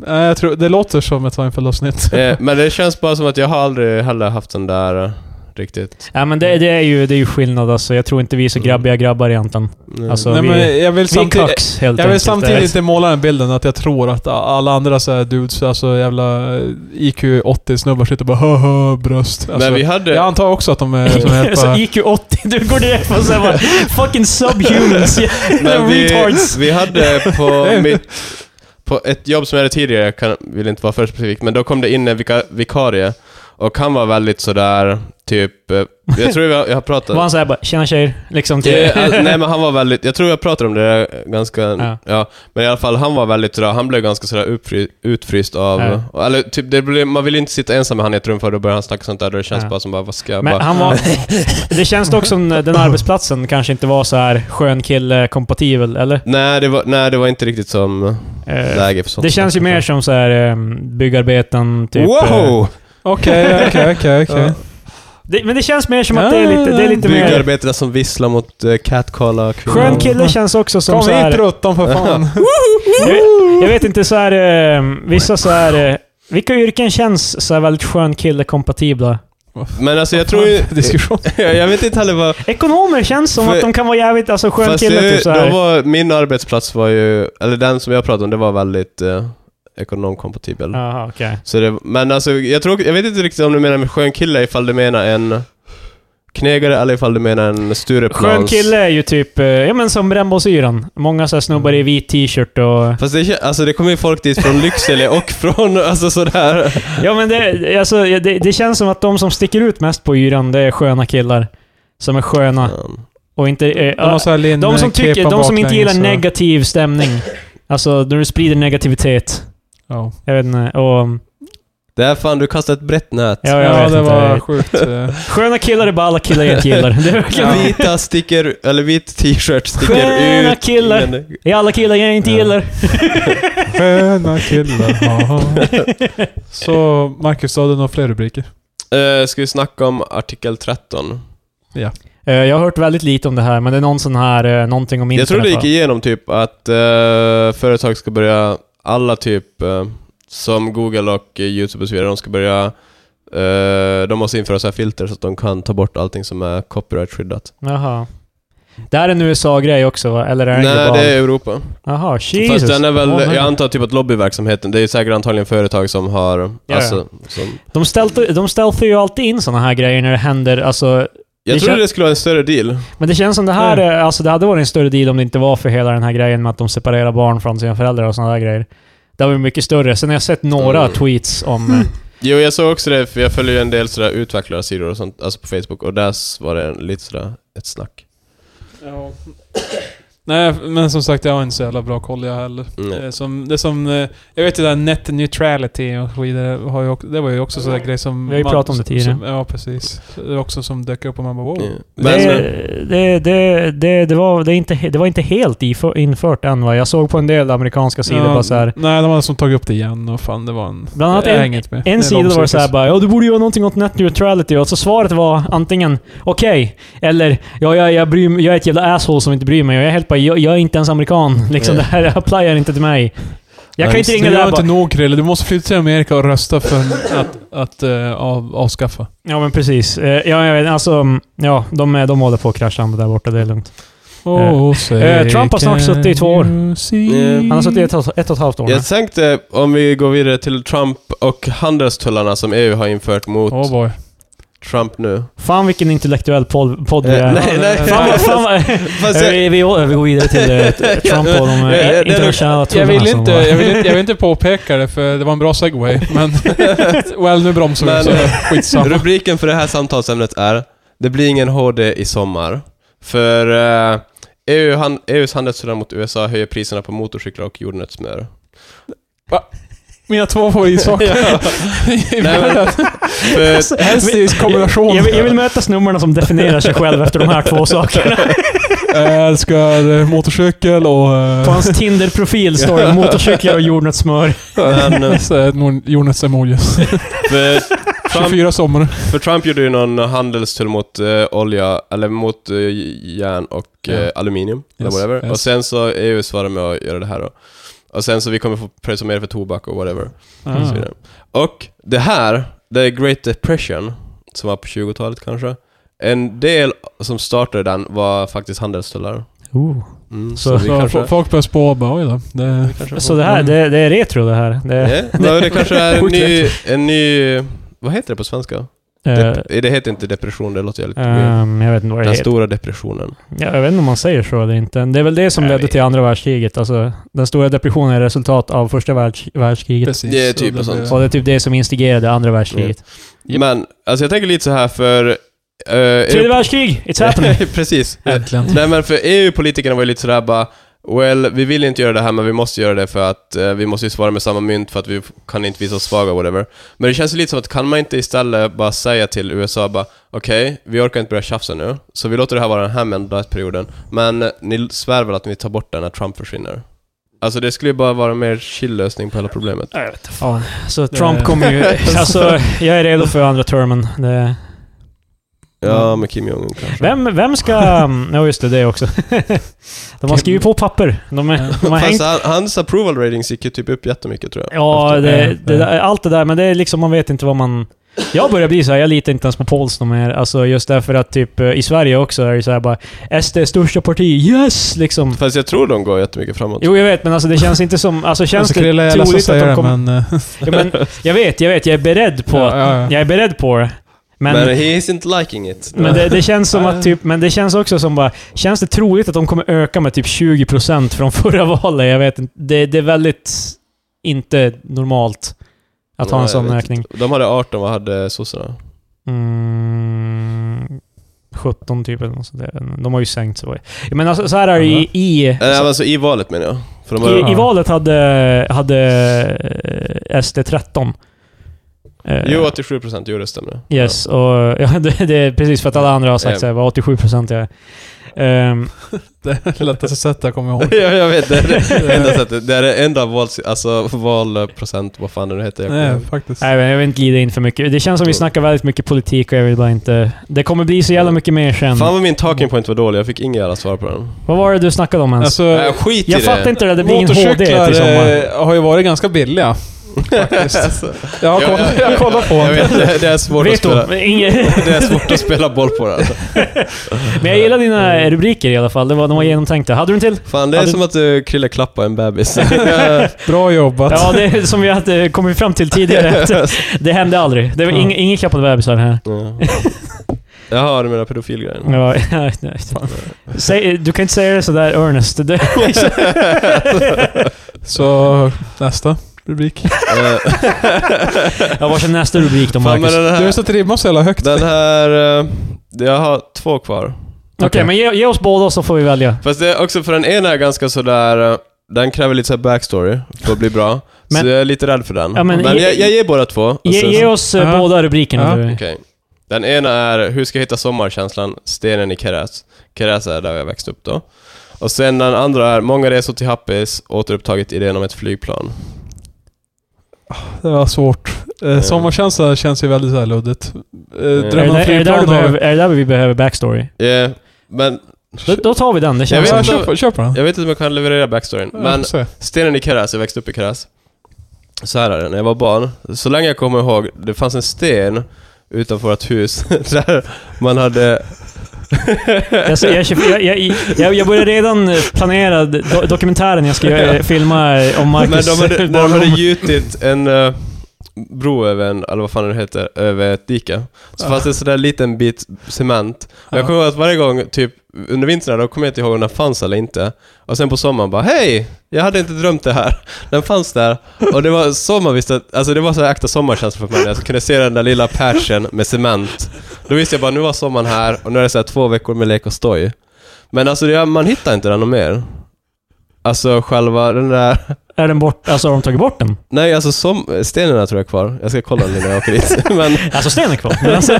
A: jag tror, det låter som ett Seinfeld-avsnitt.
B: eh, men det känns bara som att jag har aldrig heller haft den där eh, riktigt.
C: Ja, men det, det, är ju, det är ju skillnad alltså. Jag tror inte vi är så grabbiga grabbar egentligen.
B: Mm.
C: Alltså,
A: Nej,
C: vi,
A: men jag vill
C: vi är
A: samtidigt...
C: cucks helt
A: Jag vill
C: enkelt.
A: samtidigt inte måla den bilden att jag tror att alla andra så här dudes, alltså jävla IQ 80-snubbar sitter och bara höhö bröst. Alltså,
B: men vi hade...
A: Jag antar också att de är som är
C: *laughs* så
A: bara,
C: IQ 80, du går direkt på såhär bara, fucking subhumans,
B: *laughs* Men
C: jävla
B: vi,
C: retards.
B: vi hade
C: *laughs*
B: på mitt... På ett jobb som jag hade tidigare, jag kan, vill inte vara för specifik, men då kom det in en vika, vikarie. Och han var väldigt sådär, typ... eh, Jag tror jag, jag har pratat...
C: Var han såhär bara “Tjena tjejer”? Liksom till...
B: Det, all, nej men han var väldigt, jag tror jag pratade om det där ganska,
C: Ja.
B: ja. Men i alla fall, han var väldigt sådär, han blev ganska sådär uppfry, utfryst av, eller typ, det blev, man vill ju inte sitta ensam med han i ett rum för då börjar han snacka sånt där, då det känns
C: Ja.
B: bara som bara, vad ska jag
C: Men
B: bara...
C: han var...
B: *laughs*
C: Det känns dock som den arbetsplatsen kanske inte var så här skön kille-kompatibel, eller?
B: Nej det, var, nej, det var inte riktigt som
C: Eh,
B: läge för sånt.
C: Det känns ju mer som så här ehm, byggarbeten, typ... eh,
B: wow!
A: Okej, okej,
C: *laughs*
A: okej, okej.
C: Det, men det känns mer som att det är lite, det är lite mer...
B: Byggarbetare som visslar mot uh, catcalla kvinnor.
C: Skön
B: *laughs*
C: kille känns också som
A: Kom
C: så här,
A: hit Ruttan för
C: *laughs*
A: fan.
C: jag, jag vet inte, så här, eh, vissa så här, eh, Vilka yrken känns så här väldigt skön kille-kompatibla?
B: Men alltså jag tror ju...
A: *laughs* Diskussion.
B: *laughs* jag vet inte heller vad...
C: Ekonomer känns som
B: För-
C: att de kan vara jävligt alltså, skön
B: Fast
C: kille,
B: det,
C: typ så
B: då
C: här.
B: var, min arbetsplats var ju, eller den som jag pratade om, det var väldigt eh, ekonomkompatibel.
C: Jaha, okej.
B: Så det, men alltså, jag, tror, jag vet inte riktigt om du menar med skön kille, ifall du menar en knegare eller ifall du menar en Stureplans.
C: Skön kille är ju typ, eh, ja men som Brännbollsyran. Många så här snubbar i vit t-shirt och...
B: Fast det, kän- alltså, det kommer ju folk dit från Lycksele och från, alltså sådär.
C: Ja men det, alltså, ja, det, det känns som att de som sticker ut mest på yran, det är sköna killar. Som är sköna
B: Um,
C: och inte... eh,
A: De, har så här linne-
C: De som, tycker,
A: kepa
C: de som
A: baklänges
C: inte gillar
A: och-
C: negativ stämning. Alltså, när du sprider negativitet.
A: Ja,
C: Jag vet inte. Och, um,
B: Det är fan, du kastar ett brett nät.
C: ja, jag
A: ja
C: vet
A: det
C: inte.
A: var sjukt. eh.
C: *laughs* Sköna killar är bara alla killar jag inte gillar. Det verkar
A: Ja.
B: *laughs* Vita sticker, eller vit t-shirt sticker
C: Sköna
B: ut.
C: killar.
B: Ingen-
C: Det är alla killar jag inte
B: Ja.
C: gillar.
A: *laughs* Sköna killar.
C: *laughs*
A: aha. Så Marcus, du hade några fler rubriker?
B: Eh, ska vi snacka om artikel 13?
C: Eh, Jag har hört väldigt lite om det här, men det är någon sån här, eh, någonting om
B: Jag tror
C: internet.
B: det gick
C: va?
B: igenom typ att eh, företag ska börja, alla typ eh, som Google och eh, YouTube och så vidare, de ska börja eh, de måste införa så här filter så att de kan ta bort allting som är copyright-skyddat.
C: Jaha. Det här är en USA-grej också va? Eller är det en
B: Nej,
C: global?
B: det är Europa.
C: Jaha, Jesus.
B: Fast den är väl,
C: Åh, nej.
B: jag antar typ att lobbyverksamheten, det är säkert antagligen företag som har,
C: ja.
B: alltså, som,
C: De, stealth,
B: Mm.
C: de stealthar ju alltid in såna här grejer när det händer, alltså... Det
B: Jag trodde
C: kän-
B: det skulle vara en större deal.
C: Men det känns som det här,
B: Mm.
C: är- alltså det hade varit en större deal om det inte var för hela den här grejen med att de separerar barn från sina föräldrar och såna där grejer. Det var mycket större. Sen har jag sett några
B: Mm.
C: tweets om... eh,
B: Jo, jag såg också det, för jag följer ju en del sådär utvecklarsidor och sånt, alltså på Facebook, och där var det lite sådär ett snack.
A: Nej, men som sagt jag har inte så jävla bra koll jag heller.
B: Mm.
A: Det är som, det är som, eh, jag vet ju det där net neutrality och så vidare, har ju, också- det var ju också sådär grej som...
C: Vi har ju
A: man-
C: pratat om det tidigare.
A: Som, ja, precis. Det är också som dök upp och man bara wow.
C: Oh.
B: Ja. Men- eh,
C: Det, det, det, det, det, var, det, är inte, det var inte helt ifö- infört än va? Jag såg på en del amerikanska sidor bara så här.
A: Nej, de har som tagit upp det igen och fan det var en...
C: Bland annat
A: jag
C: en-
A: hänger inte med. Det är
C: En sida var det
A: långsökt.
C: såhär bara ja, du borde göra någonting åt net neutrality och så svaret var antingen okej, eller ja, jag, jag, bryr, mig- jag är ett jävla asshole som inte bryr mig och jag är helt bara, jag, jag är inte ens amerikan. *laughs* Liksom,
B: Ja.
C: det här applyar inte till mig. Jag kan
B: Nej,
C: inte
A: Du
C: ringa det
A: gör
C: där
A: inte
C: bara,
A: nog Krille, du måste flytta till Amerika och rösta för att, att eh, av, avskaffa.
C: Ja men precis. Eh, Ja, jag vet, alltså, mm, ja, de, är- de håller på att krascha där borta, det är lugnt.
A: say,
C: Eh, Trump har snart
A: can
C: suttit i två år.
A: you see?
B: Yeah.
C: Han har suttit i ett, och- ett och ett halvt år nu.
B: Jag tänkte, om vi går vidare till Trump och handelstullarna som EU har infört mot
A: Oh boy.
B: Trump nu.
C: Fan vilken intellektuell podd podd vi
B: Eh,
C: är.
B: nej, nej.
C: Fan, vad-
B: fast-
C: fan, vad-
B: *laughs* fast
C: Eh,
B: jag-
C: vi, vi, vi går vidare till
B: *laughs*
C: eh, Trump och de
B: Ja, ja,
C: eh,
B: det-
C: internationella
A: Jag
C: tullarna
A: vill,
C: som
A: inte,
C: var-
A: jag, vill inte, jag vill inte påpeka det för det var en bra segway, men... well, nu bromsar vi
B: Men- eh,
A: så
C: *laughs*
A: skitsamma.
B: Rubriken för det här samtalsämnet är Det blir ingen HD i sommar. För eh, EU, han, EUs handelstullar mot USA höjer priserna på motorcyklar och jordnötssmör.
A: Mina två
B: *laughs*
A: favoritsaker.
B: Ja.
A: I
B: Nej, men-
A: världen.
B: För,
A: Helst i kombination.
C: Jag vill, jag vill möta snubbarna som definierar sig själv efter de här två sakerna.
A: Jag älskar eh, motorcykel och... eh, *laughs*
C: På hans Tinder-profil står det motorcyklar och jordnötssmör.
B: men, eh,
A: så här, Nor- Jonas Emojis.
B: för, Trump,
A: 24 sommar.
B: för Trump gjorde ju någon handelstull mot eh, olja, eller mot eh, järn och eh,
A: Ja.
B: aluminium. eller
A: Yes,
B: whatever.
A: yes.
B: Och sen så EU svarade med att göra det här då. Och sen så vi kommer få pröjsa mer för tobak och whatever. Och, så
A: Ah.
B: vidare. och det här, det är Great Depression, som var på 20-talet kanske. En del som startade den var faktiskt handelstullar.
C: Uh.
B: Mm,
C: Så-
B: vi
A: Så
B: kanske...
A: fo- folk börjar spå och bara oj då. Det, Mm.
B: vi kanske
C: Så det här, det, det är retro det här. Det,
A: *laughs*
B: Ja, men det kanske är en
A: Sjukt
B: ny, en ny... Vad heter det på svenska?
C: Eh,
B: Dep- det heter inte depression, det låter jävligt weird.
C: ehm, jag vet inte vad det
B: Den
C: heter.
B: stora depressionen.
C: Ja, jag vet inte om man säger så eller inte. Det är väl det som
D: Jag
C: ledde
D: vet.
C: till andra världskriget. Alltså, den stora depressionen är resultat av första världs- världskriget.
A: Precis.
B: Det är typ
A: Och då
B: och sånt.
A: blir-
C: Och det är typ det som instigerade andra världskriget.
A: Japp.
B: Men, alltså jag tänker lite så här för... eh,
C: Tredje
B: Europa-
C: världskrig!
B: *laughs*
C: It's happening!
B: Precis.
A: Äntligen.
B: Nej men för EU-politikerna var ju lite sådär bara Well, vi vill inte göra det här men vi måste göra det för att eh, vi måste ju svara med samma mynt för att vi f- kan inte visa oss svaga whatever. Men det känns ju lite som att kan man inte istället bara säga till USA bara okej, vi orkar inte börja tjafsa nu, så vi låter det här vara den här mandatperioden, men eh, ni svär väl att ni tar bort den när Trump försvinner? Alltså det skulle ju bara vara en mer chill lösning på hela problemet.
C: Jag vet inte fan. Så Trump
A: Det-
C: kommer ju... Alltså, jag är redo för andra termen. Det,
B: Ja, med Kim Jong-Un kanske.
C: vem, vem ska... Ja, just det, det också. De har skrivit på papper. De, är, de har hängt
B: Fast han, hans approval ratings gick ju typ upp jättemycket tror jag.
C: Ja,
B: Efter-
C: det,
A: Ja,
C: det,
A: ja.
C: där- allt det där, men det är liksom, man vet inte vad man... Jag börjar bli så här, jag litar inte ens på polls någon mer. Alltså just därför att typ eh, i Sverige också är det så här bara SD är största parti, yes! Liksom.
B: Fast jag tror de går jättemycket framåt.
C: Jo, jag vet, men alltså det känns inte som... Alltså känns
A: Alltså,
C: det
A: Krille, jag är ledsen att
C: troligt att
A: säga det,
C: de kommer...
A: men... eh,
C: Ja, men jag vet, jag vet, jag är beredd på...
A: Ja, ja, ja.
C: Jag är beredd på det. Men,
B: Men,
C: men,
B: he isn't liking it.
C: det, det känns som att typ... Men det känns också som bara... Känns det troligt att de kommer öka med typ 20% från förra *laughs* valet? Jag vet inte. Det, det är väldigt inte normalt att ha
B: Nej,
C: en
B: jag
C: sån
B: vet
C: ökning.
B: De hade 18, vad hade sossarna? Eh,
C: Mm, 17 typ eller något sånt där. De har ju sänkt så. Men alltså, så här är det i... I,
B: Eh, alltså i valet menar jag. För de har,
C: i, i
A: Ja.
C: valet hade, hade eh, SD 13. Eh,
B: Jo, 87 procent, jo det stämmer.
C: Yes, och *laughs* ja, det, det är precis för att alla andra har sagt så här, vad 87 procent jag är. Ehm,
A: Det är det lättaste sättet jag kommer
B: Ja. *laughs*
A: ihåg.
B: ja, jag vet. Det är det enda sättet. Det är det enda val, alltså valprocent, vad fan det nu heter. Jag kommer
A: Nej,
B: ihåg.
A: faktiskt.
C: nej, men jag vill inte glida in för mycket. Det känns som vi snackar väldigt mycket politik och jag vill bara inte... Det kommer bli så jävla mycket mer sen.
B: Fan vad min talking point var dålig, jag fick inga jävla svar på den.
C: Vad var det du snackade om ens?
A: Alltså,
B: Nej, skit i
C: Eh, jag
B: det.
C: fattar inte det, där. det blir ingen HD
A: motorcyklar
C: till sommaren.
A: eh, har ju varit ganska billiga.
B: *laughs*
A: Faktiskt.
B: Alltså,
A: Jag har kollat, jag har kollat på
B: jag
A: dem.
B: vet, det- det är svårt att
C: Vet
B: spela.
C: du? Ingen...
B: *laughs* Det är svårt att spela boll på det. Alltså.
C: Men jag gillar dina rubriker i alla fall. Det var, de var genomtänkta. Hade du en till?
B: Fan, det
C: Ja,
B: är
C: det-
B: som att du Krille klappar en
C: *laughs*
B: bebis. Ja,
A: Bra jobbat.
C: Ja, det är som vi hade kommit fram till
B: *laughs*
C: tidigare. att Det hände aldrig. Det var ing, ingen klappade bebisar här.
B: *laughs* Ja. Jaha, du menar pedofilgrejen? *laughs*
C: Ja, nej, nej. Säg, du kan inte säga det sådär earnest. Det,
A: Så nästa
B: *laughs*
A: rubrik.
B: Eh,
C: ja, vars är nästa rubrik då,
B: Fan, men
C: Marcus? Okej,
B: den här,
A: Du har satt ribban så jävla högt.
B: den här... eh, Jag har två kvar.
A: okej.
C: men ge, ge oss båda så får vi välja.
B: Fast det är också för den ena är ganska sådär... eh, Den kräver lite så här backstory för att bli bra.
C: Men-
B: så jag är lite rädd för den.
C: Ja, men
B: men
C: ge-
B: jag, jag ger båda två. och
C: Ge,
B: sen-
C: ge oss eh,
A: Ja.
C: båda rubrikerna.
A: Ja.
C: du.
B: Okej. Den ena är Hur ska jag hitta sommarkänslan? Stenen i Keras. Keras är där jag växte upp då. Och sen den andra är Många resor till Happis, återupptagit idén om ett flygplan.
A: Det var svårt. Eh, sommarkänsla känns ju väldigt så här luddigt. Eh,
C: Är, det
A: drömmen om
C: där, är, det där du
A: flygplan
C: behöver,
A: har...
C: är det där vi behöver backstory?
B: Eh, men
C: Då, då tar vi den. Det
B: Jag
C: känns
B: vet
A: Ja,
C: som...
B: inte-
A: kör, på- kör på den.
B: jag vet inte om jag kan leverera backstoryn. Men
A: Ja, så.
B: Stenen i Karas, jag växte upp i Karas. Så här är det, när jag var barn, så länge jag kommer ihåg, det fanns en sten utanför vårt hus *laughs* där man hade...
C: Jag, ser- jag, jag, jag, jag, jag börjar redan planera do, dokumentären jag ska göra, filma om
B: Men
C: Marcus
B: de hade, de hade
C: *laughs* barndom.
B: gjutit en eh, bro över en, eller vad fan det heter, över ett dike. Så
A: Ja.
B: fanns det en sån där liten bit cement. Och jag kommer ihåg att varje gång, typ under vintern, då kommer jag inte ihåg om den fanns eller inte. Och sen på sommaren bara, hej! Jag hade inte drömt det här. *laughs* Den fanns där. Och det var så man visste, att, alltså det var så här äkta sommarkänsla för mig. Jag kunde se den där lilla patchen med cement. Då visste jag bara, nu var sommaren här och nu är det så här två veckor med lek och stoj. Men alltså det, man hittar inte den någon mer. Alltså själva den där...
C: Är den bort, alltså har de tagit bort den?
B: Nej, alltså som, stenarna tror jag är kvar. Jag ska kolla nu när jag åker dit. *laughs* Men,
C: Alltså stenen är kvar. Men, alltså,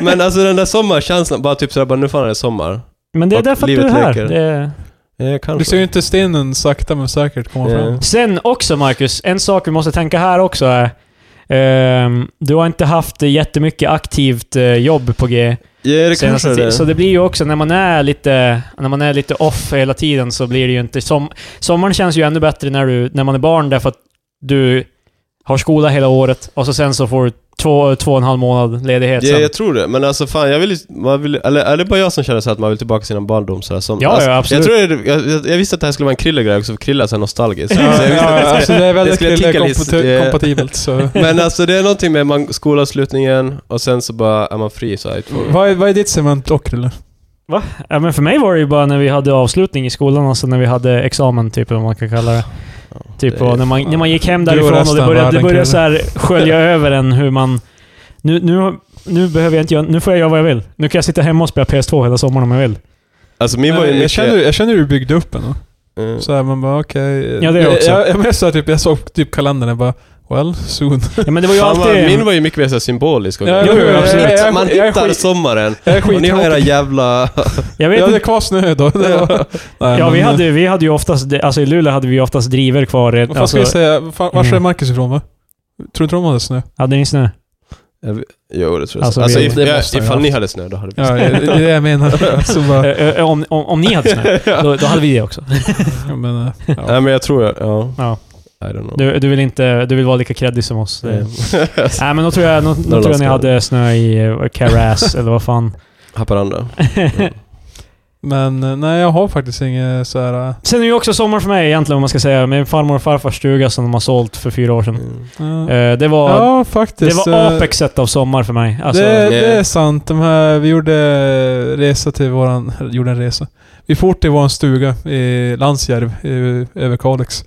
B: men alltså den där sommarkänslan, bara typ sådär, bara, nu fan är det sommar.
C: men det är
B: Och
C: därför att du
B: livet
C: är här.
B: leker.
C: Det är...
B: Eh,
A: Du ser ju
B: kanske.
A: inte stenen sakta men säkert komma
B: *laughs* Ja.
A: fram.
C: Sen också Marcus, en sak vi måste tänka här också är... ehm, du har inte haft jättemycket aktivt eh, jobb på G
B: Ja, det
C: senaste
B: kanske
C: tiden.
B: det är.
C: Så det blir ju också, när man är lite, när man är lite off hela tiden så blir det ju inte... Som, sommaren känns ju ännu bättre när, du, när man är barn därför att du har skola hela året och så sen så får du två, två och en halv månad ledighet
B: Ja,
C: sen.
B: jag tror det. Men alltså fan, jag vill, ju- man vill Eller är det bara jag som känner så här att man vill tillbaka till sin barndom sådär som...
C: Ja,
B: alltså,
C: ja, absolut.
B: Jag, tror det, jag, jag, jag visste att det här skulle vara en Krille-grej också, för Krille är så här nostalgisk. Så jag
A: Ja,
B: visste att det
A: ja,
B: skulle-
A: alltså det är
B: det
A: väldigt
B: skulle
A: Krille
B: kicka list,
A: kompati-
B: eh.
A: kompatibelt så.
B: Men alltså det är någonting med man, skolavslutningen och sen så bara är man fri så här i två år.
A: Vad är, vad är ditt segment då, Krille?
C: Ja, men för mig var det ju bara när vi hade avslutning i skolan, alltså när vi hade examen, typ, vad man kan kalla det. Typ,
B: det är
C: och när, man,
B: fan-
C: när man gick hem
A: Du och
C: därifrån och
A: resten
C: det
A: av
C: började, det
A: världen,
C: började
A: Krille. *laughs*
C: så här skölja över en hur man... Nu, nu, nu behöver jag inte göra... Nu får jag göra vad jag vill. Nu kan jag sitta hemma och spela PS2 hela sommaren om jag vill.
B: Alltså min var ju
A: jag,
B: mycket...
A: känner, jag känner hur du byggde upp en.
B: eh,
A: Så här, man bara okej.
C: Ja, det är jag också.
A: Jag, jag, jag, jag, typ, jag såg typ kalendern och bara well, *laughs* soon.
C: Ja, men det var ju
B: fan, vad-
C: alltid...
B: Min var ju mycket mer så här symbolisk och
A: Ja,
B: grejer.
C: jo, jo, absolut.
B: Man-
A: Jag- jag-
B: Man
A: jag är
B: hittar
A: skit-
B: sommaren.
A: Jag är
B: Och ni har era
A: skittråkig.
B: jävla...
C: jag vet
A: Jag hade
C: inte,
A: kvar snö
B: *laughs*
A: då. Det var, nej,
C: ja, vi
A: men,
C: hade, vi hade ju oftast... Alltså i Luleå hade vi ju oftast driver kvar.
A: Vad
C: redan-
A: fan ska
C: Alltså,
A: vi säga? Var, var är
C: Mm.
A: Marcus ifrån va? Tror du inte de hade snö?
C: hade ni snö?
B: Jo, det tror jag.
C: Alltså,
B: Alltså, alltså
C: vi-
B: if,
A: det
B: ja,
A: måste jag
B: ifall
A: ha
B: ni
A: haft.
B: hade snö, då hade vi
A: Ja, det det är det jag *laughs* menar. Så bara,
C: Ö, ö, Om, om, om ni hade
A: *laughs*
C: snö,
B: *laughs*
C: då, då hade vi det också.
A: jag menar,
B: Nej
A: ja.
B: men jag tror jag... Ja.
C: Ja.
B: I don't know.
C: Du, du, vill inte, du vill vara lika creddig som oss. Det- *laughs* Nej, men då tror jag, då, då tror jag ni
B: Norrlandskan.
C: hade snö i eh,
A: *laughs*
C: Caras, eller vad fan. *laughs*
B: Haparanda.
A: Men eh, nej, jag har faktiskt inget så här... eh,
C: Sen är det ju också sommar för mig egentligen, om man ska säga. Min farmor och farfars stuga som de har sålt för fyra år sedan.
B: Mm.
C: Eh, det var,
A: ja, faktiskt.
C: det var
A: eh,
C: apexet av sommar för mig. Alltså,
A: det,
B: Nej.
A: det är sant. De här, vi gjorde resa till våran... eller Gjorde en resa. Vi for till våran stuga i Lansjärv i Överkalix.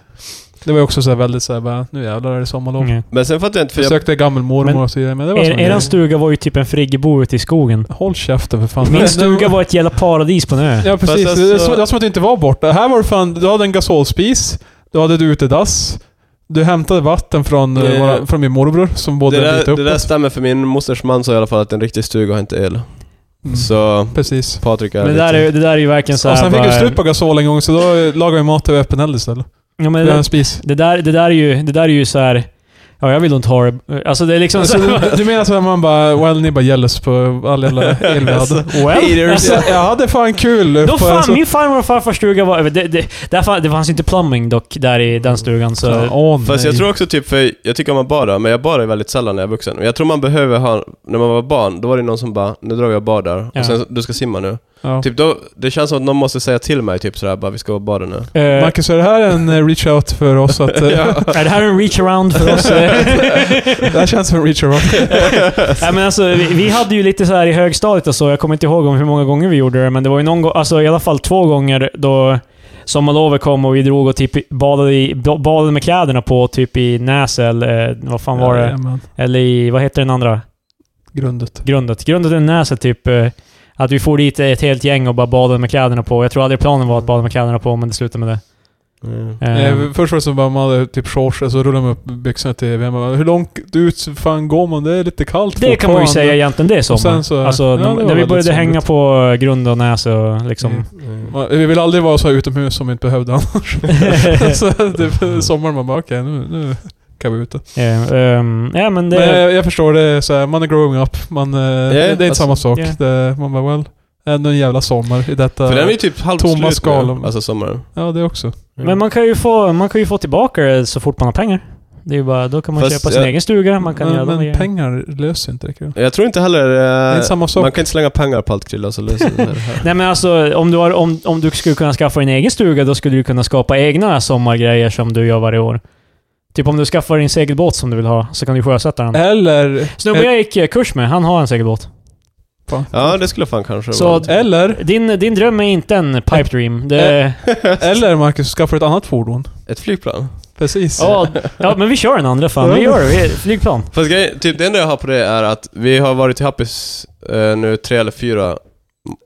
A: Det var ju också så här väldigt så här, bara, nu jävlar är det sommarlov.
C: mm.
B: Men sen fattar jag inte, för jag...
A: Besökte gammelmormor
C: Men-
A: och så vidare. Men det var
C: er,
A: som en
C: eran
A: grej.
C: stuga var ju typ en friggebo ute i skogen.
A: Håll käften för fan.
C: Min
A: Men-
C: stuga var ett jävla paradis på en ö.
A: Ja, precis.
B: Fast alltså-
A: Det, är som, det är som att du inte var borta. Här var det fan, du hade en gasolspis, du hade ett utedass, du hämtade vatten från, eh,
B: Det-
A: våra, från min morbror som bodde
B: Det
A: en
B: där,
A: bit upp.
B: det där stämmer, för min mosters man sa i alla fall att en riktig stuga har inte el.
A: Mm.
B: Så
A: Precis.
B: Patrik är
C: Men det
B: lite...
C: där, är, ju- det där är ju verkligen
A: Och
C: såhär...
A: sen fick vi slut på gasol en gång, så då eh, lagade vi mat över öppen eld istället.
C: ja, men
A: Vi hade
C: det,
A: en spis.
C: det, där, det där är ju, det där är ju såhär... Ja, jag vill inte ha det. Alltså det är liksom
A: Alltså, *laughs*
C: så,
A: du, du menar så att man bara, well, ni bara jealous på all jävla el vi hade.
C: Well,
B: Haters.
C: alltså,
A: Så Jag hade fan kul.
C: Då
A: på-
C: fan,
A: alltså-
C: min farmor och farfars stuga var... Det, det, där fann, det fanns ju inte plumbing dock, där i den stugan. Så,
A: Ja, åh,
B: Fast
A: nej.
B: jag tror också typ, för jag tycker om att bada, men jag badar väldigt sällan när jag är vuxen. Men jag tror man behöver ha, när man var barn, då var det någon som bara nu drar vi och badar,
C: Ja.
B: och sen du ska simma nu.
A: Ja.
B: Typ då, det känns som att någon måste säga till mig typ sådär bara vi ska bada nu.
C: eh,
A: Marcus, är det här en eh, reach out för oss? Att,
B: *laughs*
A: eh,
C: *laughs* är det här en reach around för oss? *laughs*
A: Det här
B: *laughs*
A: känns som en reach out.
C: Nej, men alltså, vi, vi hade ju lite så här i högstadiet och så, jag kommer inte ihåg om hur många gånger vi gjorde det, men det var ju någon gång, alltså i alla fall två gånger då sommarlovet kom och vi drog och typ badade, i, ba- badade med kläderna på, typ i Näsel, eh, vad fan var det?
A: Jajamän.
C: Eller i, vad heter den andra?
A: Grundet.
C: grundet. Grundet är näset typ eh, att vi får dit ett helt gäng och bara badade med kläderna på. Jag tror aldrig planen var att bada med kläderna på, men det slutade med det. Eh,
A: Eh, först var det så bara man hade typ shorts och så rullade man upp byxorna till VM. Man bara, Hur långt ut fan går man? Det är lite kallt
C: det kan man ju
A: fortfarande."
C: säga egentligen, det är
A: Och
C: sommar.
A: sen så-
C: alltså,
A: ja, det
C: när,
A: var
C: när vi
A: väldigt
C: började
A: somrigt.
C: hänga på eh, grund och näs och liksom...
A: Mm. Man- Vi vill aldrig vara så här utomhus som vi inte behövde
C: *laughs*
A: annars. *laughs* så typ, sommaren man bara okej nu, nu kan vi ute.
C: Eh, ehm, ja, men det...
A: Men jag, jag förstår det är så här, man är growing up. Man, eh, det är inte
B: alltså,
A: samma sak.
C: ja.
A: Det, man bara well, ändå en jävla sommar i detta.
B: För den är ju typ halvt
A: Tomma
B: slut
A: skal.
B: nu, alltså sommaren.
A: Ja det också.
C: men man kan, ju få, man kan ju få tillbaka det så fort man har pengar. Det är ju bara, då kan man
B: Fast
C: köpa sin
B: jag-
C: egen stuga, man kan göra
A: men
C: de
A: men
C: grejerna.
A: pengar löser inte det. Kul.
B: Mm. Jag tror inte heller...
A: Det är
B: Eh,
A: inte samma sak.
B: man kan inte slänga pengar på allt Krille, så löser det
C: *laughs*
B: här.
C: Nej men alltså, om du, har, om, om du skulle kunna skaffa en egen stuga, då skulle du kunna skapa egna sommargrejer som du gör varje år. Typ om du skaffar din segelbåt som du vill ha, så kan du sjösätta
A: Eh,
C: den.
A: Eller...
C: Snubben jag gick eh, kurs med, han har en segelbåt.
A: Fan.
B: Ja, det skulle fan kanske
C: Så
B: vara.
C: att-
A: Eller,
C: Din, din dröm är inte en pipe dream.
A: Eh,
C: Det,
A: eller Marcus, skaffa ett annat fordon.
B: *laughs* Ett flygplan.
A: Precis.
C: ja, ja, men vi kör den andra fan. Vi gör det. Vi, flygplan.
B: Fast grejen, typ det enda jag har på det är att vi har varit i Happis eh, nu tre eller fyra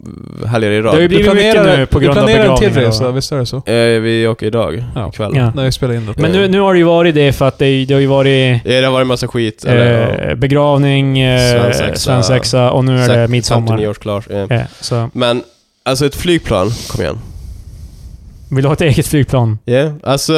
B: mm, helger i rad.
C: Det har ju blivit mycket nu på grund
A: du
C: av
A: planerar en till
C: begravningar och-
A: resa, visst är det så?
B: Eh, vi åker idag,
A: Ja.
B: ikväll.
C: Ja.
A: När vi spelar in det.
C: Men nu, nu har det ju varit det för att det, det har ju varit
B: Eh, Det har varit massa skit. eller, ja.
C: eh, begravning, eh,
B: Svensexa.
C: svensexa och nu är det
B: Säkert
C: midsommar.
B: 59 års klar. Eh.
C: Ja, så
B: Men, alltså ett flygplan, kom igen.
C: vill du ha ett eget flygplan?
B: Yeah.
C: *laughs*
B: Alltså...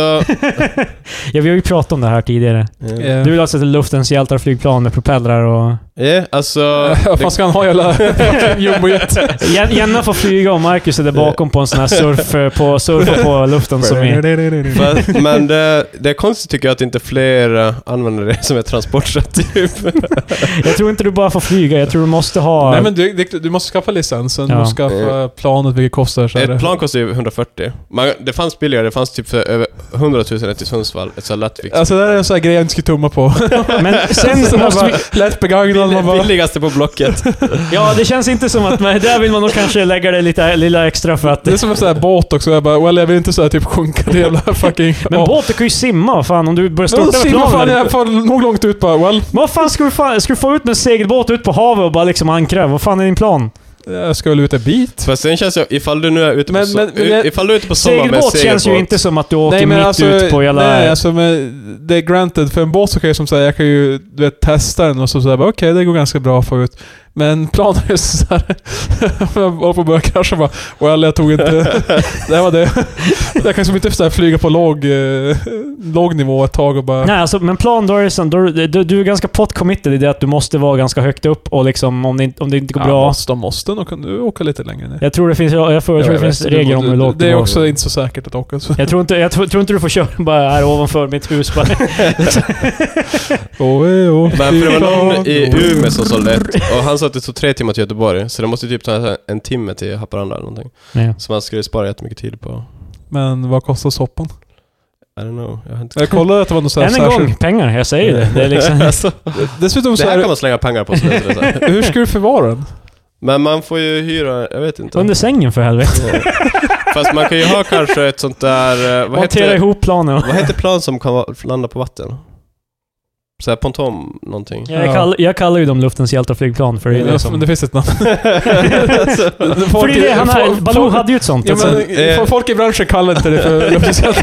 C: Ja, vi har ju pratat om det här tidigare.
B: eh,
A: Eh,
C: Du vill alltså till luftens hjältar flygplan med propellrar och...
B: Eh,
C: *laughs*
B: alltså...
A: Vad fan ska han ha jävla fucking *laughs* jumbojet?
C: Jen- Jenna får flyga och Marcus är där bakom på
B: *laughs*
C: en sån här surf eh, på, surfa på luften som är...
B: Fast- men det, det är konstigt tycker jag att inte fler eh, använder det som ett transportsätt typ.
C: Jag tror inte du bara får flyga, jag tror du måste ha...
A: Nej men du, du, du måste skaffa licensen, du
C: Ja.
A: måste skaffa planet vilket kostar så här.
B: Eh. Ett plan kostar ju 140. Man, det fanns billigare, det fanns typ för över 100 000 till Sundsvall. Ett sånt lättvikt.
A: Alltså det där är en sån här grej jag inte skulle tumma *laughs* på.
C: men
A: Så
C: sen
A: man
C: måste vi...
A: bara, lätt begagnad, man bara...
B: Billigaste på Blocket.
C: Ja, det känns inte som att... Men där vill man nog kanske lägga det lite lilla extra för att...
A: Det är som en sån här båt också, jag bara well, jag vill inte så här typ sjunka till jävla fucking...
C: Men
A: Ja.
C: båten kan ju simma, vad fan. Om du börjar
A: Men
C: störta
A: vad
C: över
A: simmar fan,
C: planen.
A: jag får nog långt ut bara well.
C: Vad fan ska du, fan, ska du få ut med en segelbåt ut på havet och bara liksom ankra? Vad fan är din plan?
A: Jag ska väl ut en bit.
B: Fast sen känns jag, ifall du nu är ute på,
A: Men-
B: so-
A: men- men jag-
B: ifall du är ute på sommar med
C: Segelbåt känns ju
B: segelbåt.
C: inte som att du åker mitt ut alltså, på jävla...
A: nej, alltså men, det är granted. För en båt så kan jag som säga, jag kan ju du vet, testa den och så säga okej det går ganska bra att få ut. Men planen är såhär, *laughs* jag var på att börja krascha bara, well jag tog inte, *laughs* det här var det. *laughs* Jag kan som inte så här, flyga på låg, eh, låg nivå ett tag och bara...
C: Nej, alltså, men plan då är det sen, då, du, du är ganska pot committed i det att du måste vara ganska högt upp och liksom om det, inte- om det inte går
A: ja,
C: bra.
A: Måste, de måste nog kunna åka lite längre ner.
C: Jag tror det finns, jag, jag tror det
A: vet
C: finns
A: inte,
C: regler om hur lågt
A: Det är
C: du
A: också inte så säkert att åka. Så.
C: Jag tror, inte, jag tror, tror inte du får köra bara här ovanför mitt
A: *laughs*
C: hus. Bara. *laughs*
A: Oh, eh, oh,
B: Men för
A: fy
B: det var någon
A: fan.
B: i
A: *laughs*
B: Umeå som sålde ett, och han sa att det tog tre timmar till Göteborg, så det måste typ ta en- en timme till Haparanda eller någonting.
C: Nej.
B: Så man skulle spara jättemycket tid på...
A: Men vad kostar soppan?
B: I don't know, jag har inte...
A: Jag kollade att det var något så här
C: Än en
A: särskilt-
C: gång, pengar. Jag säger det. det
B: *laughs*
C: är liksom,
A: Dessutom
B: Det
A: så
B: Alltså, här
A: är
B: kan man slänga pengar på, så det är inte det.
A: *laughs* Hur ska du förvara den?
B: Men man får ju hyra, jag vet inte.
C: *laughs* under sängen för helvete.
B: Ja. *laughs* Fast man kan ju ha kanske ett sånt där... eh, Vad
C: Montera
B: heter,
C: ihop planen.
B: vad heter plan som kan va- landa på vatten? Så här pontom någonting.
A: Ja.
C: Jag, kall, jag kallar ju dem luftens hjältarflygplan för det är
A: Ja, men
C: liksom...
A: det finns ett namn. *laughs*
B: Alltså,
C: För det är det, han har,
A: folk-
C: Baloo hade ju ett sånt.
A: Ja,
C: alltså.
A: men,
B: eh,
A: folk i branschen kallar inte det
C: *laughs*
A: för luftskatt.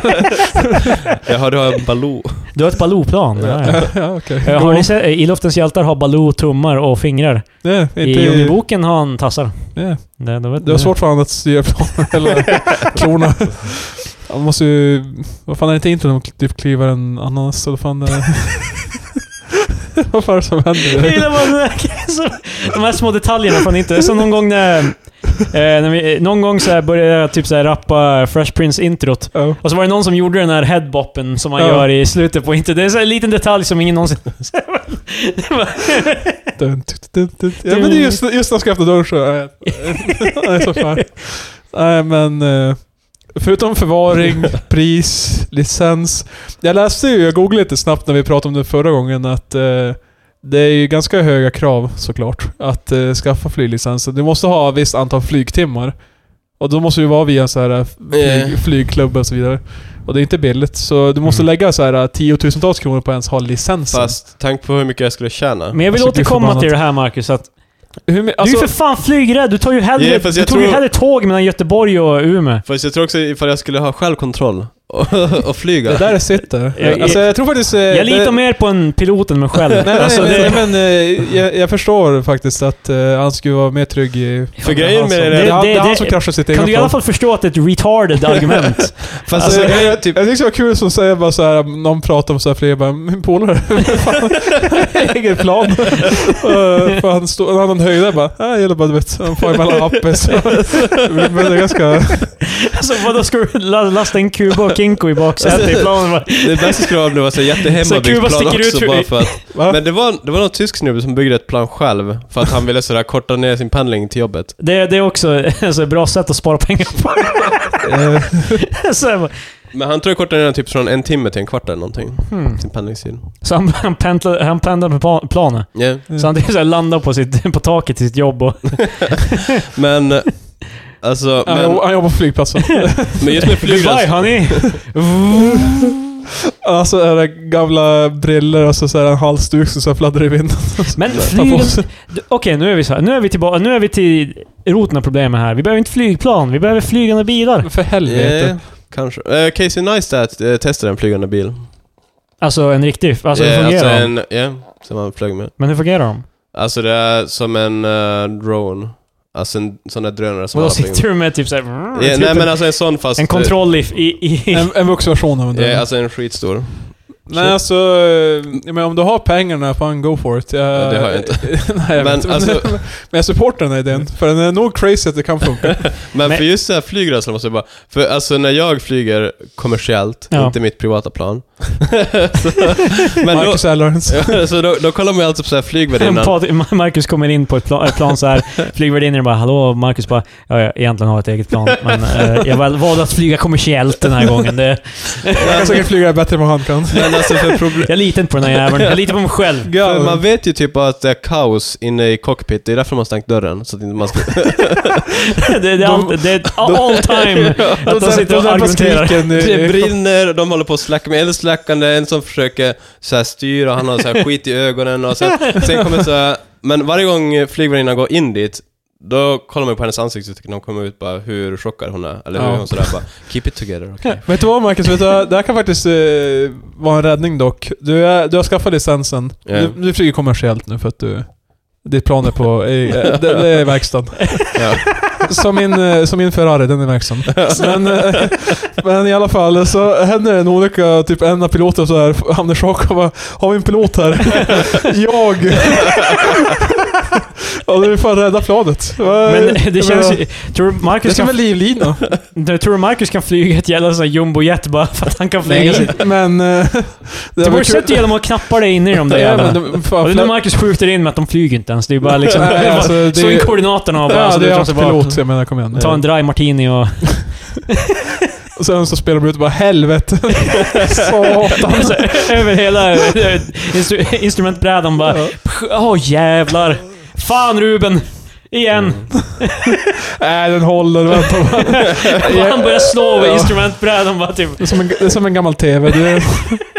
B: Jaha, du har Baloo.
C: Du har ett Baloo-plan. Ja. ja.
A: ja, okej.
C: Eh,
A: Gå.
C: Har ni sett, eh, I Luftens hjältar har Baloo tummar och fingrar.
A: Nej, inte
C: I Djungelboken har han tassar.
A: Nej.
C: Det, det,
A: Det var
C: *laughs*
A: svårt för honom att styra *laughs* planen eller klorna. Han måste ju... Vad fan är det inte intro när de typ kliver en ananas? Eller fan, eh? *laughs* vad fan är det som
C: Jag
A: händer?
C: gillar bara den här- *laughs* så- de här små detaljerna fan inte. Som någon gång när... eh, när vi, eh, någon gång så här började jag typ så här rappa Fresh Prince-introt.
A: Ja.
C: Och så var det någon som gjorde den här headboppen som man
A: Ja.
C: gör i slutet på inte. Det är en sån här liten detalj som ingen någonsin... *laughs* Det var-
A: Dun, tut, dun, tut. Ja men det är just, just när jag ska öppna dörren så... Nej, *laughs* nej, så fan. Nej men... eh, Förutom
C: *laughs*
A: förvaring, pris, licens. Jag läste ju, jag googlade lite snabbt när vi pratade om det förra gången att eh, det är ju ganska höga krav såklart att eh, skaffa flyglicensen. Du måste ha ett visst antal flygtimmar. Och då måste du vara via så här flyg,
B: Eh.
A: flygklubb och så vidare. Och det är inte billigt, så du måste
C: Mm.
A: lägga så här eh, tiotusentals kronor på att ens ha licensen.
B: Fast tänk på hur mycket jag skulle tjäna.
C: Men jag vill
A: Alltså, gud
C: återkomma
A: förbannat.
C: till det här Marcus, att
A: Hur, my- alltså-
C: du är ju för fan flygrädd. Du tar ju hellre,
B: Ja,
C: du
B: fast jag
C: tog ju
B: tror-
C: hellre tåg mellan Göteborg och Umeå.
B: Fast jag tror också ifall jag skulle ha självkontroll och, och flyga.
A: Det där sitter.
C: Jag-
A: alltså, jag tror faktiskt... eh,
C: Jag
A: det,
C: litar mer på en pilot än mig själv.
A: Nej, nej,
C: Alltså,
A: nej,
C: det-
A: men eh, jag, jag förstår faktiskt att eh, han skulle vara mer trygg i...
B: För grejen med
A: det,
B: det-
A: det, är han-
C: det-
A: det är han
C: det-
A: som kraschar sitt
C: Kan
A: egna
C: du i alla
A: plan.
C: fall förstå att det är
A: *laughs*
C: ett retarded argument?
B: Fast
A: Alltså,
B: det-
A: jag, jag, typ, jag tyckte det var kul som säger bara så här, någon pratar om så här fler bara min polare, *laughs* fan, *laughs* egen plan. Eh, för han stod, en annan höjdare bara, äh, jag gillar bara du vet, han far mellan *laughs* appes. Men det är ganska...
C: alltså, vadå, ska du la- lasta in Kuba och Kinko i baksätet i planen? Va?
B: Det bästa skulle vara om det var så här
C: Så
B: jättehemmabyggt
C: Kuba
B: plan
C: sticker ut
B: också
C: för-
B: bara för
C: *laughs*
B: att...
A: Va?
B: Men det var, det var någon tysk snubbe som byggde ett plan själv för att han ville sådär korta ner sin pendling till jobbet.
C: Det, det är också *laughs* alltså, ett bra sätt att spara pengar på.
A: Eh,
C: *laughs* så, här, va.
B: Men han tror jag kortade ner den typ från en timme till en kvart eller någonting.
C: hmm.
B: Sin pendlingstid.
C: så han, han, pendlar, han pendlar med pla- planet.
B: Yeah.
C: Så han
A: Mm.
C: typ *laughs* så här landar på, sitt, på taket till sitt jobb och...
B: Men... eh, Alltså,
A: han,
B: men,
A: jobb- han jobbar på flygplatsen. *laughs*
B: men just med
C: *laughs* Goodbye
B: flygräds...
C: honey!
A: Alltså är det gamla briller och så, så här, en halsduk som så här fladdrar i vinden.
C: Men
A: Ta på
C: flygen...
A: sig.
C: Du, Okej, nu är vi så här. Nu är vi tillbaka. Nu är vi till roten av problemet här. Vi behöver inte flygplan. Vi behöver flygande bilar.
A: Men för helvete.
B: Yeah, kanske. Eh, Casey Neistat eh, testade en flygande bil.
C: Alltså en riktig... Alltså hur
B: Eh,
C: fungerar de?
B: en, yeah, som han flög med.
C: Men hur fungerar de?
B: Alltså det är som en eh, drone. Alltså en sån där drönare som
C: Och då
B: alla
C: sitter
B: flyger
C: du med typ såhär...
B: med. Yeah, nej men alltså en sån fast...
C: *laughs* en kontroll i... i, i
A: En, en vuxenversion av den.
B: eh, yeah, alltså en skitstor.
A: Nej alltså, eh, men om du har pengarna, fan go for it. Jag,
B: Ja, det har jag inte.
A: Nej, jag
B: Men
A: men, vet.
B: alltså-
A: men jag supportar den här idén, för den är nog crazy att det kan funka.
B: Men,
C: Men-
B: för just så här flygrädsla måste jag bara... För alltså när jag flyger kommersiellt,
C: Ja.
B: inte mitt privata plan. *laughs*
C: *laughs*
B: så, men då,
A: Marcus Allerens.
B: *laughs* så då, då kollar man ju alltid på så här flygvärdinnan.
C: Pat- Marcus kommer in på ett plan, ett plan så här. *laughs* Flygvärdinnan bara “Hallå?” Marcus bara “Ja, jag egentligen har jag ett eget plan, men eh, jag val- valde att flyga kommersiellt den här gången. Det,
A: Jag kan säkert flyga bättre än vad han kan.
B: Men alltså för
C: *laughs*
B: problem...
C: jag litar inte på den här jäveln. Jag litar på mig själv.
B: För
A: Gal.
B: man vet ju typ bara att det är kaos inne i cockpit, det är därför man har stängt dörren. Så att inte man ska...
C: *laughs* *laughs* Det, det, är allt- det är all *laughs* time att de
A: där-
C: sitter och
A: där på
C: argumenterar.
A: skriken i-
B: Det
A: i-
B: brinner, de håller på att släcka med eldsläckaren, det är en som försöker så här styra, han har så här skit i ögonen och sen, sen kommer så här, Men varje gång flygvärdinnan går in dit, då kollar man på hennes ansiktsuttryck när hon kommer ut bara hur chockad hon är. Eller hur
A: Ja.
B: hon sådär bara, keep it together, okej.
A: Vet du vad Marcus? Vet du, vad? det här kan faktiskt eh, vara en räddning dock. Du, är, du har skaffat licensen.
B: Ja.
A: Du, du flyger kommersiellt nu för att du... Ditt plan är på... eh, eh, det, det är verkstaden.
B: Ja.
A: Som, min, eh, som min Ferrari, den är verkstaden. Men, eh, men i alla fall, så händer en olycka, typ en av piloterna så här hamnar i chock och bara Har vi en pilot här? *laughs* jag! och du är fan rädda planet. *laughs*
C: Men det känns ju... Tror du
A: Det
C: Marcus
A: ska
C: kan,
A: väl livlina?
C: tror du Marcus kan flyga ett jävla sån här jumbojet bara för att han kan flyga sitt...
A: men... eh, det
C: Du
A: var
C: borde
A: kul-
C: sätta genom att knappa dig inne i de där
A: Ja,
C: jävlarna.
A: men de- fan,
C: Och det är
A: flö-
C: nu Marcus skjuter in med att de flyger inte ens. Det är bara
A: *laughs*
C: liksom...
A: Nej,
C: det är bara-
A: alltså, det
C: *laughs* Slå
A: är-
C: in koordinaterna och bara...
A: Ja,
C: så
A: det
C: drar
A: är
C: sig
A: hans
C: bak.
A: pilot, jag menar kom igen.
C: Ta en dry
A: *laughs*
C: martini och...
A: Och sen så spelar de ut och bara
C: *laughs*
A: helvete. Satan.
C: Alltså, över hela eh, instru instrumentbrädan bara...
A: Ja.
C: Åh jävlar! Fan Ruben! Igen!
A: Nej, den håller. Vänta.
C: *laughs* Han börjar slå över
A: Mm. *laughs* Ja.
C: instrumentbrädan bara typ...
A: Det är som en, det är som en gammal TV. Det är,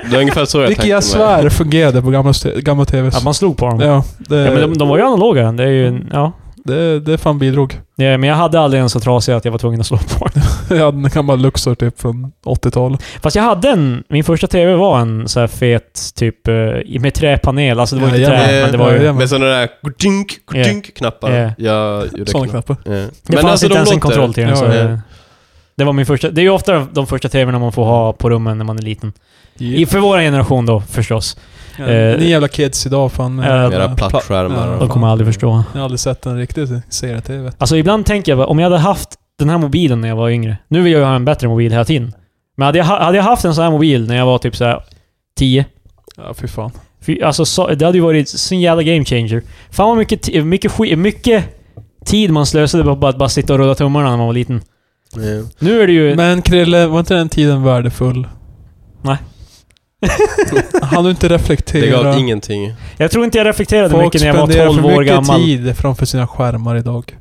B: Det var ungefär så jag
A: vilket
B: tänkte
A: jag
B: mig.
A: svär fungerade på gamla, gamla TVs.
C: Att man slog på dem. Ja,
A: Ja, eh- det,
C: men de, de var ju analoga. Det är ju... Ja.
A: det, det fan bidrog.
C: Ja, men jag hade aldrig en så trasig att jag var tvungen att slå på den.
A: Jag hade en gammal Luxor typ från 80-talet.
C: Fast jag hade en... Min första TV var en så här fet typ... eh, Med träpanel. Alltså det var ju inte
A: Ja,
C: trä,
B: ja,
C: men det var ju...
A: ja,
B: Med sådana där dink, dink knappar.
C: Ja.
B: Jag gjorde
A: Sådana
B: knapp-
A: knappar.
B: Ja. Men alltså,
C: Det fanns inte
B: de
C: ens en
B: låter.
C: kontroll till den.
A: Ja,
C: så
A: ja.
C: det- Det var min första. Det är ju ofta de första TVn man får ha på rummen när man är liten. I, för vår generation då förstås.
A: Ja,
C: eh,
A: ni jävla kids idag fan.
C: Ja,
A: eh,
B: Era
A: Ja,
B: plattskärmar.
A: de
B: och-
C: De kommer aldrig förstå.
A: Jag har aldrig sett en riktig serie-TV.
C: Alltså ibland tänker jag bara, om jag hade haft den här mobilen när jag var yngre. Nu vill jag ju ha en bättre mobil hela tiden. Men hade jag, ha- hade jag haft en sån här mobil när jag var typ så här 10.
A: Ja, fy fan.
C: Fy, alltså så, det hade ju varit en sån jävla game changer. Fan vad mycket, ti- mycket, skit, mycket tid man slösade på att bara, bara sitta och rulla tummarna när man var liten.
B: Ja.
C: Nu är det ju...
A: Men Krille, var inte den tiden värdefull?
C: Nej.
A: *laughs* Han du inte reflektera.
B: Det gav ingenting.
C: jag tror inte jag reflekterade
A: Folk
C: mycket när jag var
A: spenderar
C: 12
A: för
C: år
A: mycket
C: gammal. *laughs* Alltså,
A: tid framför sina skärmar idag.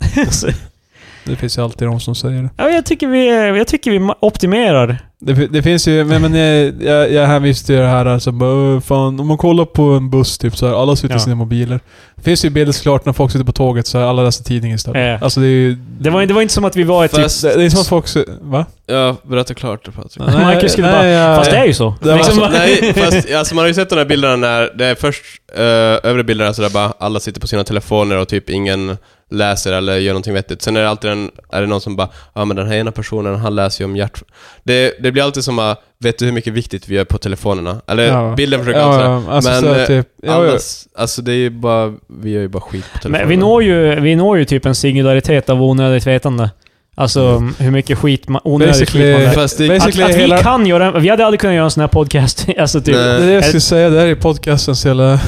A: Det finns ju alltid de som säger det.
C: Ja, men jag, tycker vi, jag tycker vi ma- optimerar.
A: Det, fi- det finns ju, men, men jag, jag, jag hänvisar till det här alltså, bara, "Åh, fan, om man kollar på en buss typ så här, alla sitter i
C: Ja.
A: sina mobiler. Det finns ju bilder såklart när folk sitter på tåget så här, alla läser tidningen istället.
C: Eh.
A: Alltså det är ju...
C: Det var, det var inte som att vi var ett typ...
B: Fast-
A: Det, det är som att folk... se- Va?
B: Ja, berätta klart Patrik.
C: Nej, *laughs* Marcus skulle bara-
A: jag-
C: Fast det är ju så.
A: Det var
C: liksom,
A: så- *laughs*
C: *laughs*
B: Nej, fast alltså, man har ju sett de här bilderna när det är först uh, övre bilderna så där bara alla sitter på sina telefoner och typ ingen läser eller gör någonting vettigt. Sen är det alltid en, är det någon som bara ja men den här ena personen han läser ju om hjärt... Det, det blir alltid som bara, vet du hur mycket viktigt vi gör på telefonerna? Eller
A: Ja.
B: bilden försöker alltid
A: Ja,
B: sådär.
A: ja, alltså,
B: Men,
A: så här,
B: eh,
A: typ, ja, ja.
B: Annars, alltså det är ju bara, vi gör ju bara skit på telefonerna.
C: men vi når, ju, vi når ju typ en singularitet av onödigt vetande. Alltså
B: Mm.
C: hur mycket skit man, onödigt skit
A: Basically-
C: man lär.
B: Fast det,
A: Basically-
C: Att, att vi
A: hela-
C: kan göra... en- Vi hade aldrig kunnat göra en sån här podcast. *laughs* Alltså typ,
A: Det
B: Nej.
A: är det jag skulle säga, det här är podcastens hela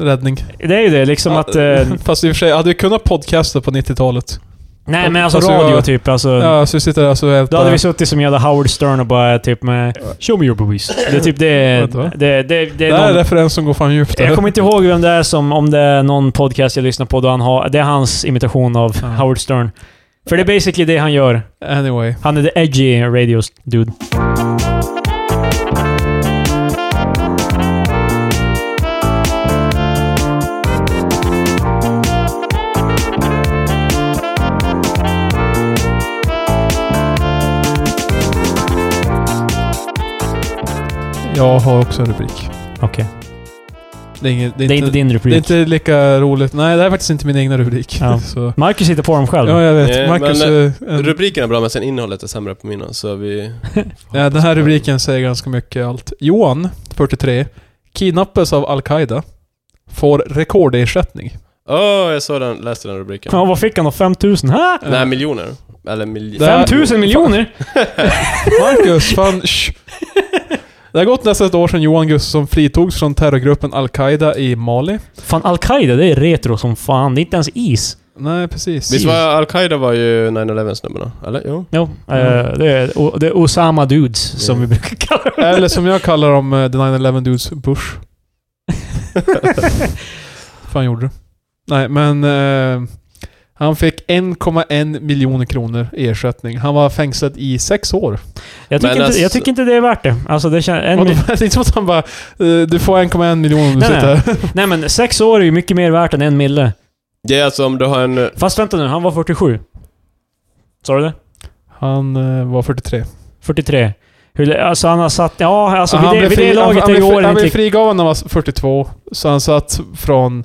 A: räddning.
C: det är ju det liksom
A: Ja, *laughs*
C: att... Eh,
A: Fast i och för sig, hade vi kunnat podcasta på 90-talet?
C: nej men alltså
A: Alltså,
C: radio
A: jag-
C: typ. Alltså,
A: Ja, så vi sitter där så helt...
C: Då hade vi suttit som jävla Howard Stern och bara typ med... Show me your boobies. Det är typ det...
A: Vet du vad?
C: Det, det, det, det
A: det
C: är
A: här är
C: någon-
A: en referens som går fan djupt. där.
C: Jag kommer inte ihåg vem det är som, om det är någon podcast jag lyssnar på då han har, det är hans imitation av
A: Ja.
C: Howard Stern. För det är basically det han gör.
A: Anyway.
C: Han är the edgy radio dude.
A: Jag har också en rubrik.
C: Okej.
A: Det är, inget, det är,
C: Det är inte din
A: det är
C: rubrik.
A: inte lika roligt. Nej, det här är faktiskt inte min egna rubrik. *laughs*
C: Ja.
A: Så.
C: Marcus hittar på dem själv.
A: Ja, jag vet.
B: Nej,
A: Marcus...
B: men,
A: eh, en-
B: Rubriken är bra, men sen innehållet är sämre på mina, så vi...
A: *laughs* Ja, den här rubriken säger ganska mycket allt. Johan, 43, kidnappas av Al-Qaida. Får rekordersättning.
B: Åh, jag såg den, läste den rubriken.
C: Ja, vad fick han då? 5000? Hä?
B: Nej, miljoner. Eller miljoner.
A: Där-
C: 5000 miljoner?
A: Marcus, fan shh. Det har gått nästan ett år sedan Johan Gustafsson fritogs från terrorgruppen Al-Qaida i Mali.
C: Fan, Al-Qaida, det är retro som fan. Det är inte ens is.
A: Nej, precis.
B: Visst var Al-Qaida var ju 9-11 snubbarna? Eller? Jo.
C: Jo,
A: Mm.
C: eh, det, är, o- det är Osama Dudes, som vi brukar kalla dem.
A: Eller som jag kallar dem, eh, The 9-11 Dudes,
C: *laughs*
A: Bush. fan gjorde du? Nej, men... Eh, han fick 1,1 miljoner kronor i ersättning. Han var fängslad i sex år.
C: Jag tycker,
B: Men
C: inte,
B: alltså-
C: jag tycker inte det är värt det. Alltså, det känns... En,
A: Vadå? *laughs* det är inte som att han bara eh, Du får 1,1 miljon om du
C: Nej,
A: sitter här.
C: nej men, sex år är ju mycket mer värt än en mille.
B: Det är alltså om du har en...
C: Fast vänta nu, han var 47. Sa du det?
A: Han eh, var 43.
C: 43. Hur, lä- alltså han har satt... Ja, alltså
A: han
C: vid det, vid det laget
A: han,
C: är ju
A: blev fri- han
C: åren
A: blev
C: inte...
A: frigiven när han var 42. Så han satt från...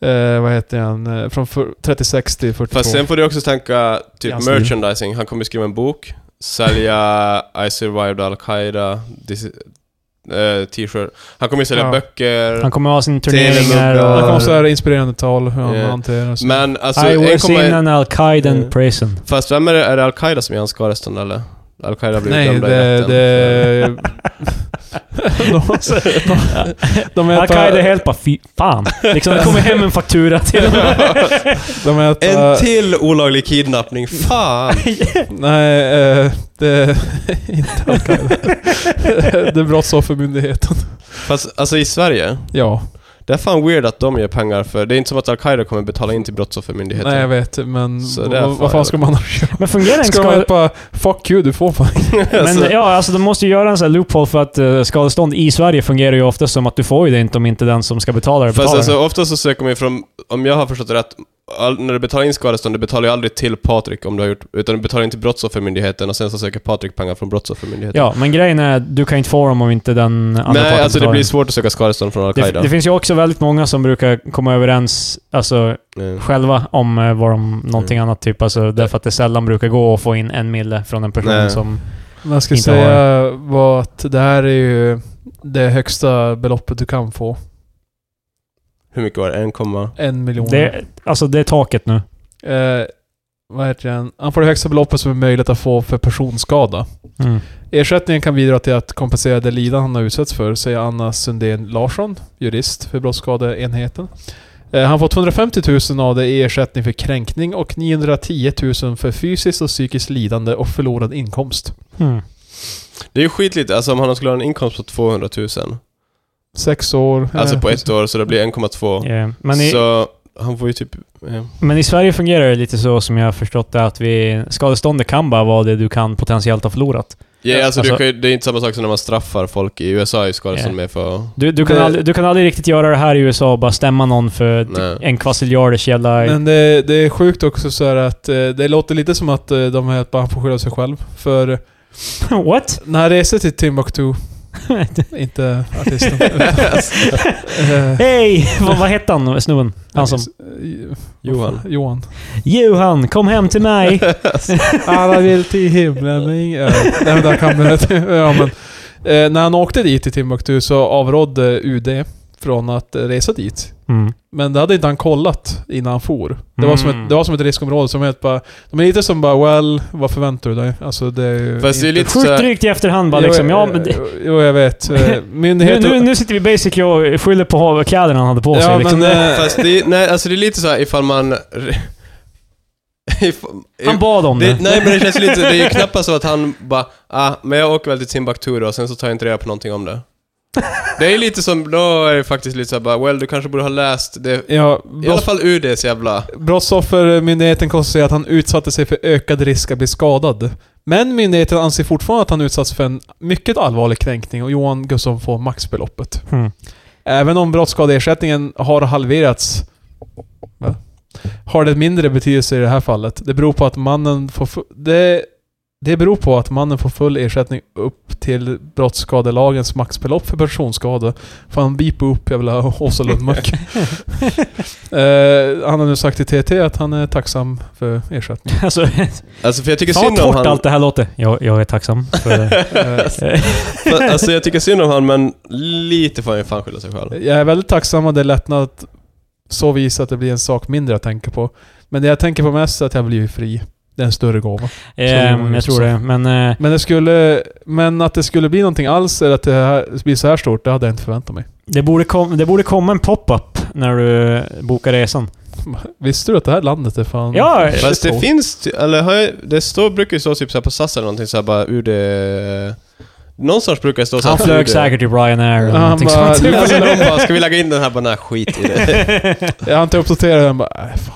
A: Eh, vad heter han? Eh, Från fyr- 36 till 42.
B: Fast sen får du också tänka typ
A: Yes.
B: merchandising. Han kommer skriva en bok, sälja I survived Al-Qaida, this, eh, t-shirt. Han kommer sälja
A: Ja.
B: böcker.
C: Han kommer ha sin
A: han
C: turneringar
A: kommer
C: och...
A: också ha inspirerande tal hur han
B: Ja.
A: hanterar och så. Eh.
B: Men alltså,
C: I was
B: 1,1
C: in an Al-Qaida
B: Mm.
C: prison.
B: Fast vem är det? Är det Al-Qaida som är hans skadeständ eller? Al-Qaida blir
A: Nej,
B: dömda i
A: det...
B: rätten.
A: det de, de,
C: Al-Qaida är
A: äter,
C: helt bara fy fan. Liksom, det kommer hem en faktura till
B: *laughs*
A: *laughs* de
C: Eh.
B: En
A: äter...
B: till olaglig kidnappning,
C: *laughs*
B: fan!
A: Nej, eh, det... inte Al-Qaida. det är Brottsoffermyndigheten.
B: Fast alltså i Sverige,
A: Ja.
B: det är fan weird att de ger pengar för... Det är inte som att Al-Qaida kommer betala in till Brottsoffermyndigheten.
A: Nej jag vet, men
B: Så
A: v-
B: det är
A: vad
B: fan
A: vad fan ska man annars göra?
C: Men fungerar en
A: Ska man
C: skada...
A: hjälpa 'fuck you, du får fan
B: *laughs*
C: Men ja, alltså de måste ju göra en sån här loophole för att eh, skadestånd i Sverige fungerar ju ofta som att du får ju det inte om inte den som ska betala det
B: Fast
C: betalar.
B: alltså, ofta så söker man ju från, om jag har förstått det rätt, all, när du betalar in skadestånd, du betalar ju aldrig till Patrik om du har gjort, utan du betalar in till Brottsoffermyndigheten och sen så söker Patrik pengar från Brottsoffermyndigheten.
C: ja, men grejen är att du kan inte få dem om inte den andra
B: Nej,
C: parten
B: alltså det
C: betalar.
B: blir svårt att söka skadestånd från
C: det,
B: Al-Qaida.
C: det finns ju också väldigt många som brukar komma överens, alltså
B: Mm.
C: själva om eh, vad de, någonting annat typ. Alltså, därför att det sällan brukar gå att få in en mille från en person
B: Nej.
C: som...
A: Man ska
C: Inte
A: säga var att det här är ju det högsta beloppet du kan få.
B: Hur mycket var det? 1, komma-
A: En miljon.
C: Det, alltså det är taket nu.
A: Eh, vad heter den? Han får det högsta beloppet som är möjligt att få för personskada.
C: Mm.
A: Ersättningen kan bidra till att kompensera det lidande han har utsatts för, säger Anna Sundén Larsson, jurist för brottsskadeenheten. Eh, Han får 250 000 av det i ersättning för kränkning och 910 000 för fysiskt och psykiskt lidande och förlorad inkomst.
C: Mm.
B: Det är ju skitlite, alltså om han skulle ha en inkomst på 200 000,
A: Sex år.
B: alltså
A: eh,
B: på ett år, så det blir 1,2.
C: Yeah. Eh, Men i,
B: Så han får ju typ... eh,
C: Men i Sverige fungerar det lite så som jag har förstått det att vi, skadeståndet kan bara vara det du kan potentiellt ha förlorat.
B: Ja, alltså,
C: Alltså-
B: du kan, ju- det är inte samma sak som när man straffar folk i USA i skadestånd
C: Ja.
B: med för att-
C: Du, du, kan
A: Det-
C: aldrig, du kan aldrig riktigt göra det här i USA och bara stämma någon för
B: Nej.
C: en kvassiljarders jävla...
A: Men det, det är sjukt också så här att eh, det låter lite som att eh, de här bara får skylla sig själv. För
C: *laughs*
A: eh,
C: What? *laughs*
A: när han reste till Timbuktu, *laughs* inte
B: *laughs*
A: artisten. eh,
C: Hej! vad, vad hette han, snubben? Han som...
A: eh,
B: Johan. Alltså,
A: Johan.
C: Johan, kom hem
B: *laughs*
C: till mig! *laughs*
A: Alla vill *laughs* till himlen men ingen... Eh, Nej men där kan man... Ja men... Eh, när han åkte dit till Timbuktu så avrådde UD från att eh, resa dit.
C: Mm.
A: Men det hade inte han kollat innan han for. Det var, som,
C: Mm.
A: ett, det var som ett riskområde som helt bara... De är lite som bara well, vad förväntar du dig? Alltså det är ju...
B: Fast det är lite så
C: Sjukt
B: här-
C: drygt i efterhand bara liksom. Ja, men det,
A: Jo, jo, jag vet. Eh,
C: *laughs* nu,
A: Myndigheter...
C: nu, nu sitter vi basic och skyller på kläderna han hade på sig.
A: ja,
C: liksom.
A: men, eh,
B: Fast det, är- nej, alltså det är lite så här ifall man... *laughs* If-
C: han bad om det.
B: det, nej men det känns lite, det är ju knappast så att han bara ah, men jag åker väl till Timbuktu då, och sen så tar jag inte reda på någonting om det. Det är lite som, då är det faktiskt lite såhär bara, well du kanske borde ha läst det,
A: ja,
B: i alla
A: brotts,
B: fall UDs jävla...
A: brottsoffermyndigheten konstaterar att han utsatte sig för ökad risk att bli skadad. Men myndigheten anser fortfarande att han utsatts för en mycket allvarlig kränkning och Johan Gustafsson får maxbeloppet.
C: Mm. *laughs*
A: Även om brottsskadeersättningen har halverats va? har det mindre betydelse i det här fallet. Det beror på att mannen får... fu- Det, Det beror på att mannen får full ersättning upp till brottsskadelagens maxbelopp för personskada. Fan, bipa upp jävla Åsa Lundmark. eh, han har nu sagt till TT att han är tacksam för ersättning.
C: Alltså,
B: Alltså för jag tycker
C: fan
B: synd
C: vad
B: om
C: torrt
B: han... *laughs*
C: allt det här låter. Jag, jag är tacksam för det. *laughs*
A: Eh,
B: Fa- Alltså jag tycker synd om han men lite får han ju fan skylla sig själv.
A: Jag är väldigt tacksam och det är lättnad så vis att det blir en sak mindre att tänka på. Men det jag tänker på mest är att jag blir fri. Det är en större gåva.
C: Ehm, jag tror det. Men eh,
A: Men, det skulle, men att det skulle bli någonting alls eller att det här blir så här stort, det hade jag inte förväntat mig. *laughs*
C: det, borde kom, det borde komma en pop-up när du bokar resan.
A: Visste du att det här landet är fan...
C: Ja,
A: Shit
B: Fast det
A: hole.
B: finns, ty- eller har jag, det står, brukar ju stå typ så här på SAS eller någonting så här bara UD... Någonstans brukar det stå så här
C: Han flög
B: UD. *laughs*
C: säkert till Ryanair eller
A: Ja, han
C: någonting
A: bara-
C: sånt. *laughs*
B: Alltså de bara, ska vi lägga in den här? Bara, nej skit i det.
A: Jag har inte uppdaterat den bara, nej fan.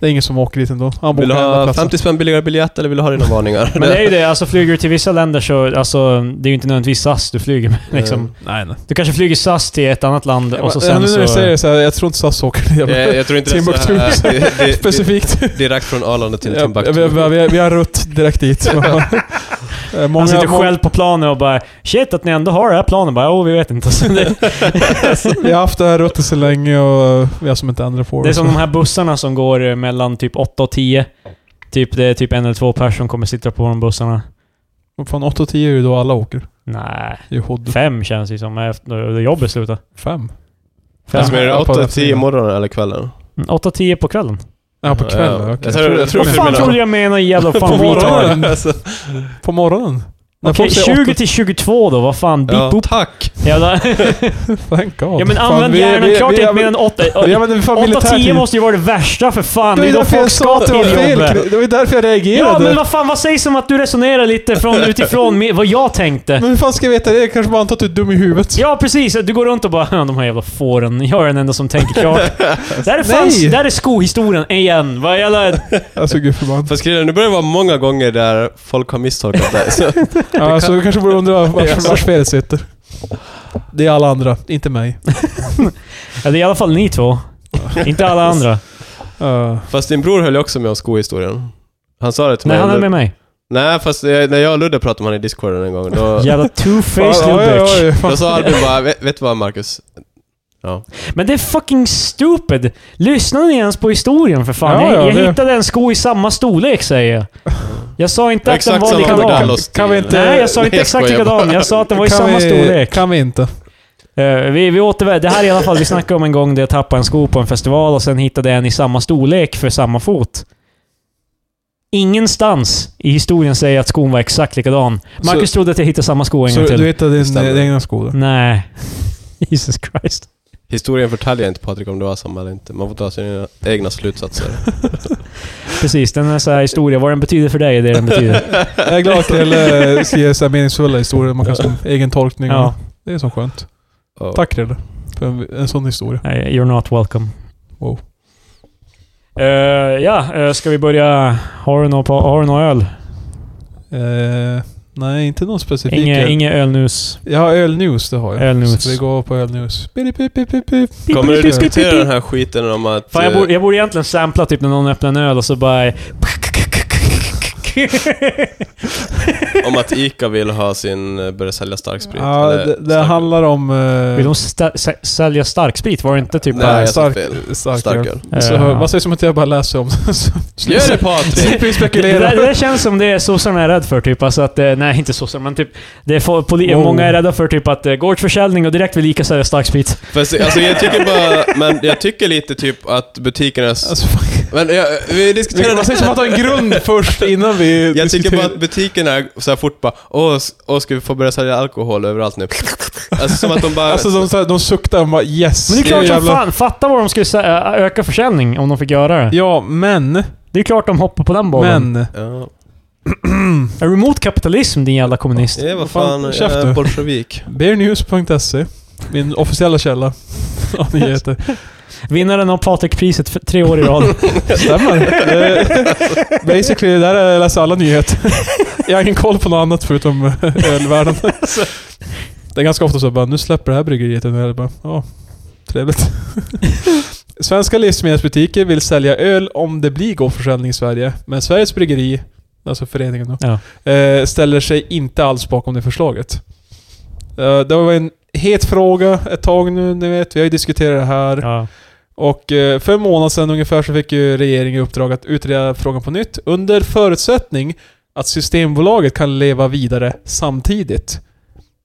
A: Det är ingen som åker dit ändå. Han
B: Vill du
A: bokar enda
B: ha
A: platsen.
B: 50 spänn billigare biljett eller vill du ha dina varningar?
C: *laughs* Men det är ju det, alltså flyger du till vissa länder så, alltså det är ju inte nödvändigtvis SAS du flyger med liksom.
A: Eh, Nej, nej.
C: Du kanske flyger SAS till ett annat land
A: Jag,
C: och så
A: bara, ja, eh,
C: sen
A: nu när
C: så...
A: du säger det så här, jag tror inte SAS åker dit. Jag bara, *laughs*
B: jag, jag tror inte *laughs* det är så här, eh,
A: Timbuktu.
B: det- det- det-
A: Specifikt.
B: Direkt från Arlanda till
A: Ja,
B: Timbuktu.
A: vi, vi, vi, vi har rutt direkt
C: *laughs*
A: dit. Eh, många,
C: han sitter
A: må-
C: själv på planet och bara “Shit att ni ändå har det här planet” bara “Jo, vi vet inte”. *laughs* Alltså, det,
A: Vi har haft det här ruttet så länge och eh, vi har som inte ändrat på
C: det är som de här bussarna som går eh, mellan typ 8 och 10. Typ, det är typ en eller två personer som kommer sitta på de bussarna.
A: Vad Fan 8 och 10 är ju då alla åker.
C: Nej,
A: Det är ju Hood.
C: fem känns det som efter då jobbet slutar.
A: Fem.
C: Fem.
B: Alltså, men är det
A: Ja, på
B: 8
A: den
B: 10
A: tiden.
B: morgonen eller kvällen?
C: 8-10 på kvällen.
A: Ja, på kvällen.
B: Ja.
A: Okej.
B: Jag tror- jag tror-
C: Vad
B: du
C: fan
B: menar-
C: tror du
A: *laughs*
C: jag menar jävla fan
A: På
C: retard?
A: morgonen.
B: Alltså,
A: På morgonen. När
C: Okej,
A: folk säger
C: 20 till 22 då, vad fan? Beep
B: ja,
C: boop.
B: tack!
A: *laughs*
C: Jävla...
A: åtta- Thank God.
C: Ja men
A: Fan,
C: använd
A: vi-
C: hjärnan
A: vi-
C: klart
A: vi-
C: inte mer än 8.
A: Vi använder fan
C: 8-10
A: militärtid.
C: måste ju vara det värsta för fan. Det är då
A: därför
C: folk
A: jag sa
C: ska
A: att
C: till
A: det var fel.
C: jobbet.
A: Det var ju därför jag reagerade.
C: Ja men vad fan, vad sägs om att du resonerar
A: *laughs*
C: lite från, utifrån med vad jag tänkte?
A: Men hur fan ska jag veta det? Jag kanske bara antar att du är dum i huvudet.
C: Ja precis, du går runt och bara "Ja, de här jävla fåren, jag är den enda som
A: *laughs*
C: tänker klart. Där är, fanns,
A: Nej.
C: där är skohistorien igen. Vad jävla...
A: Alltså gud förbannat.
B: Fast grejen är, nu börjar det vara många gånger där folk har misstolkat det. Så,
C: *laughs*
A: Ja, alltså, du kanske borde undra vars, vars felet sitter. Det är alla andra, inte mig.
C: Ja, det är i alla fall
A: *laughs*
C: ni två. Inte alla andra.
A: Uh,
B: fast din bror höll ju också med om skohistorien. Han sa det till
C: Nej,
B: mig.
C: han är med mig.
B: Nej, fast jag, när jag och Ludde pratade om han i discorden en gång,
C: *laughs*
B: då,
C: Jävla two-faced Ludbeck.
B: då sa Albin bara, vet, vet du vad Marcus?
C: Men det är fucking stupid! Lyssnade ni ens på historien för fan?
A: Ja,
C: jag
A: ja,
C: jag
A: det-
C: hittade en sko i samma storlek säger jag. Jag sa inte att den
B: Exakt
C: var
B: samma
C: likadan.
B: modell och stil.
A: Kan vi inte-
C: Nej, jag sa
B: Nej, *laughs*
C: inte
B: jag
C: exakt
B: skojar bara.
C: likadan. Jag sa att den var i
A: kan
C: samma
A: vi,
C: storlek.
A: Kan vi inte.
C: Eh, vi, vi återvänder. Det här är i alla fall, vi snackade om en gång där jag tappade en sko på en festival och sen hittade jag en i samma storlek för samma fot. Ingenstans i historien säger jag att skon var exakt likadan. Marcus trodde att jag hittade samma sko en
A: Så
C: gång till. Mm.
A: du hittade din,
B: Stämmer.
A: din egna skola?
C: Nej. *laughs* Jesus Christ.
B: Historien förtäljer inte Patrik om det var samma eller inte. Man får dra sina egna
C: *laughs*
B: slutsatser.
C: Precis, den är så här historia. Vad den betyder för dig är det
B: *laughs*
C: den betyder.
A: Jag är glad att
C: *laughs*
A: Krille skriver så här meningsfulla historier. Man kan ha sin egen tolkning.
C: Ja.
A: Det är så skönt.
B: Och-
A: Tack Krille. För en, en sån historia.
C: Nej, You're not welcome.
A: Wow.
C: Eh, ja, eh, ska vi börja? Har du någon, på, har du någon öl?
A: Eh, nej, inte någon specifik.
C: Inge,
A: öl.
C: inge ölnus.
A: Jag har ölnews, det har jag.
C: Ölnews.
A: Så vi går på ölnews. Pip, pip, pip, pip, pip.
B: Kommer du diskutera den här skiten om att...
C: Fan, jag
B: eh,
C: borde, jag borde egentligen sampla typ när någon öppnar en öl och så bara...
B: Om att ICA vill ha sin, eh, börja sälja starksprit?
A: Ja,
B: Eller
A: det, det
B: stark-
A: handlar om... eh,
C: Vill de sta- sä- sälja starksprit? Var det inte typ...
B: Nej, jag sa
A: stark-
B: fel.
A: starköl.
B: Starköl.
A: Så,
C: Eh,
A: Vad sägs om att jag bara läser om det? Så-
B: Gör det *laughs* Patrik!
A: Slipper vi
C: Det,
A: spekulera.
C: där, det där känns som det sossarna är rädd för, typ. Alltså att, eh, nej, inte sossarna, men typ... Det är fo- poli-
A: Wow.
C: Många är rädda för typ att eh, gårdsförsäljning och direkt vill lika sälja starksprit.
B: Fast, alltså jag tycker bara, men jag tycker lite typ att butikernas...
A: Alltså, fuck.
B: Men jag, vi diskuterar
A: Man säger som att ha en grund först innan vi
B: Jag tycker
A: diskuterar.
B: bara att butikerna så här fort bara åh, s- åh, ska vi få börja sälja alkohol överallt nu? Alltså som att de bara...
A: Alltså de, så här, de suktar och bara yes.
C: Men det är klart som
A: jävla-
C: fan, fatta vad de skulle sä- ö- öka försäljning om de fick göra det.
A: Ja, men...
C: Det är klart de hoppar på den bollen.
A: Men...
B: ja,
C: Är du emot kapitalism din jävla kommunist?
B: det var
A: Vad fan,
B: fan, jag
A: käften.
B: är bolsjevik.
A: Beernews.se. E, Min officiella källa av nyheter.
C: Vinnaren av Patrik-priset för tre år
B: *laughs*
C: i rad.
A: Stämmer. Eh, Basically, där är- jag läser alla nyheter. Jag har ingen koll på något annat förutom eh, ölvärlden. Det är ganska ofta så bara, nu släpper det här bryggeriet en öl. Bara, Ja, trevligt. Svenska livsmedelsbutiker vill sälja öl om det blir gårdsförsäljning i Sverige. Men Sveriges bryggeri alltså föreningen då,
C: Ja.
A: eh, ställer sig inte alls bakom det förslaget. Eh, det var en het fråga ett tag nu, ni vet. Vi har ju diskuterat det här.
C: Ja.
A: Och eh, för en månad sedan ungefär så fick ju regeringen i uppdrag att utreda frågan på nytt under förutsättning att Systembolaget kan leva vidare samtidigt.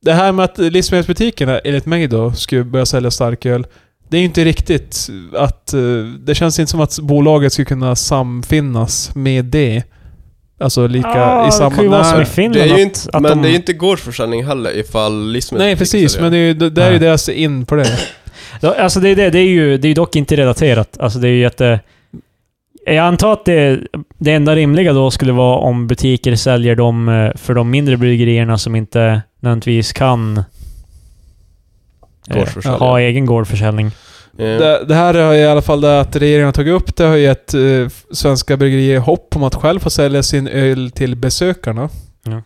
A: Det här med att livsmedelsbutikerna, enligt mig då, skulle börja sälja starköl. Det är ju inte riktigt att... eh, Det känns inte som att bolaget skulle kunna samfinnas med det. Alltså lika
C: Ah,
A: i
C: det
A: samma...
C: kan ju vara som i
A: Nej.
C: Finland.
B: Det är ju
C: att-
B: inte,
C: att
B: men
C: de-
B: det är ju inte gårdsförsäljning heller ifall livsmedel liksom
A: Nej precis, men det är ju, det, det är ju deras in på det.
C: Ja, Alltså det är det. Det är ju det är ju dock inte relaterat. Alltså det är ju jätte... Jag antar att det, det enda rimliga då skulle vara om butiker säljer dem eh, för de mindre bryggerierna som inte nödvändigtvis kan eh,
B: Gårdsförsäljning.
C: ha egen gårdsförsäljning.
B: det...
A: Det, det här har i alla fall det att regeringen har tagit upp. Det har gett eh, f- svenska bryggerier hopp om att själv få sälja sin öl till besökarna.
C: Ja.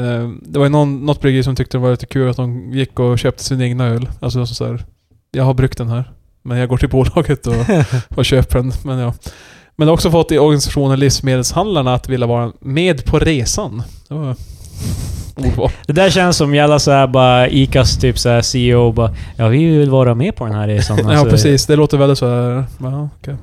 A: Eh, det var ju någon, något bryggeri som tyckte det var lite kul att de gick och köpte sin egna öl. Alltså så här, jag har bryggt den här. Men jag går till *laughs* bolaget
C: *laughs*
A: och, och köper den. Men, ja. men det har också fått i organisationen Livsmedelshandlarna att vilja vara med på resan. Det
C: *laughs*
A: var ordval.
C: Det där känns som jävla såhär bara Icas typ såhär CEO bara Ja vi vill vara med på den här
A: *laughs*
C: resan. Alltså,
A: Ja, precis. Det låter väldigt så här... Ja, okej.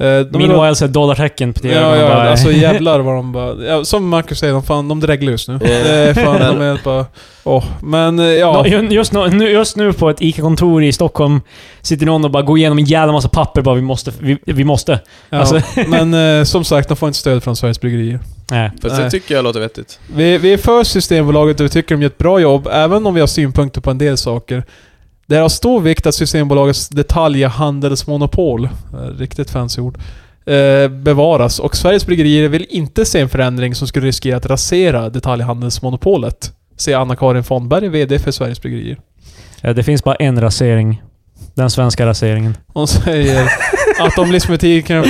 A: Eh, de vill-
C: Meanwhile så är dollartecken på tv.
A: Ja,
C: Man
A: ja,
C: bara- *laughs*
A: alltså jävlar vad de bara... Ja, som Marcus säger, de, fan, de dräglar just nu.
B: Ja.
A: Det är fan, de är bara... Åh, men eh, ja...
C: Nå- ju- Just nu, nu- just nu på ett ICA-kontor i Stockholm sitter någon och bara går igenom en jävla massa papper bara vi måste, vi, vi måste.
A: ja
C: alltså-
A: *laughs* men eh, som sagt, de får inte stöd från Sveriges Bryggerier.
C: Nej.
B: Fast
A: Nej.
B: det tycker jag låter vettigt.
A: Vi, vi är för Systembolaget och vi tycker de gör ett bra jobb, även om vi har synpunkter på en del saker. Det är av stor vikt att Systembolagets detaljhandelsmonopol, eh, riktigt fancy ord, eh, bevaras och Sveriges Bryggerier vill inte se en förändring som skulle riskera att rasera detaljhandelsmonopolet. Säger Anna-Karin Fonberg, VD för Sveriges Bryggerier.
C: Eh, Det finns bara en rasering. Den svenska raseringen.
A: Hon säger att om livsmedelsbutikerna,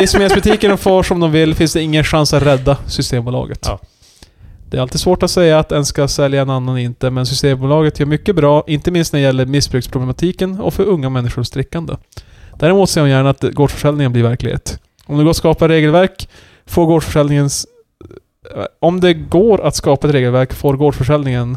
A: livsmedelsbutikerna får som de vill finns det ingen chans att rädda Systembolaget.
C: Ja.
A: Det är alltid svårt att säga att en ska sälja en annan inte, men Systembolaget gör mycket bra, inte minst när det gäller missbruksproblematiken och för unga människors drickande. Däremot ser hon gärna att gårdsförsäljningen blir verklighet. Om det går att skapa regelverk får gårdsförsäljningens... eh, Om det går att skapa ett regelverk får gårdsförsäljningen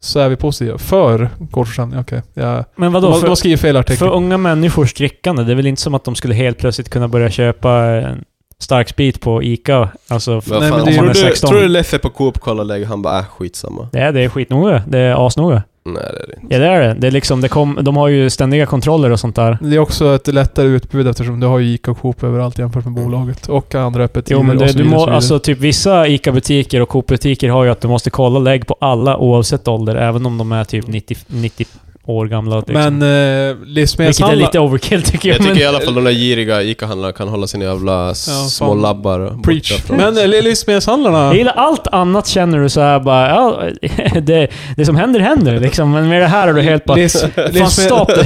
A: så är vi positiva. För gårdsförsäljning, okej. Jag
C: Men vadå?
A: de, de
C: För,
A: skriver fel artikel.
C: för unga människors drickande, det är väl inte som att de skulle helt plötsligt kunna börja köpa en starksprit på ICA? Alltså,
B: Vad
A: Nej,
B: fan,
A: men det är-
B: tror,
A: man är
B: du,
C: 16.
B: tror du Leffe på Coop kollar läge? Han bara äh, skitsamma.
C: det är, det är skitnoga. Det är asnoga.
B: Nej det är det inte.
C: Ja, det är det. Det är liksom, det kom, de har ju ständiga kontroller och sånt där.
A: Det är också ett lättare utbud eftersom du har ju Ica och Coop överallt jämfört med bolaget. Och andra öppettider
C: Jo, men
A: och
C: det,
A: så
C: du
A: vidare,
C: må,
A: så vidare.
C: alltså typ vissa ICA-butiker och Coop-butiker har ju att du måste kolla lägg på alla oavsett ålder, även om de är typ 90, 90 år gamla. Liksom.
A: men eh,
C: Vilket är
A: livsmedelshandlare...
C: lite overkill tycker jag.
B: Jag tycker
C: men,
B: i alla fall de där giriga ICA-handlarna kan hålla sina jävla s-
A: Ja, fan.
B: små labbar borta
A: Preach.
B: från-
A: Men eh, livsmedelshandlarna...
C: jag gillar allt annat känner du så här bara, ja, *laughs* det, det som händer händer liksom. Men med det här är du helt bara...
A: Livs,
C: Fan,
A: livsmed,
C: stopp det.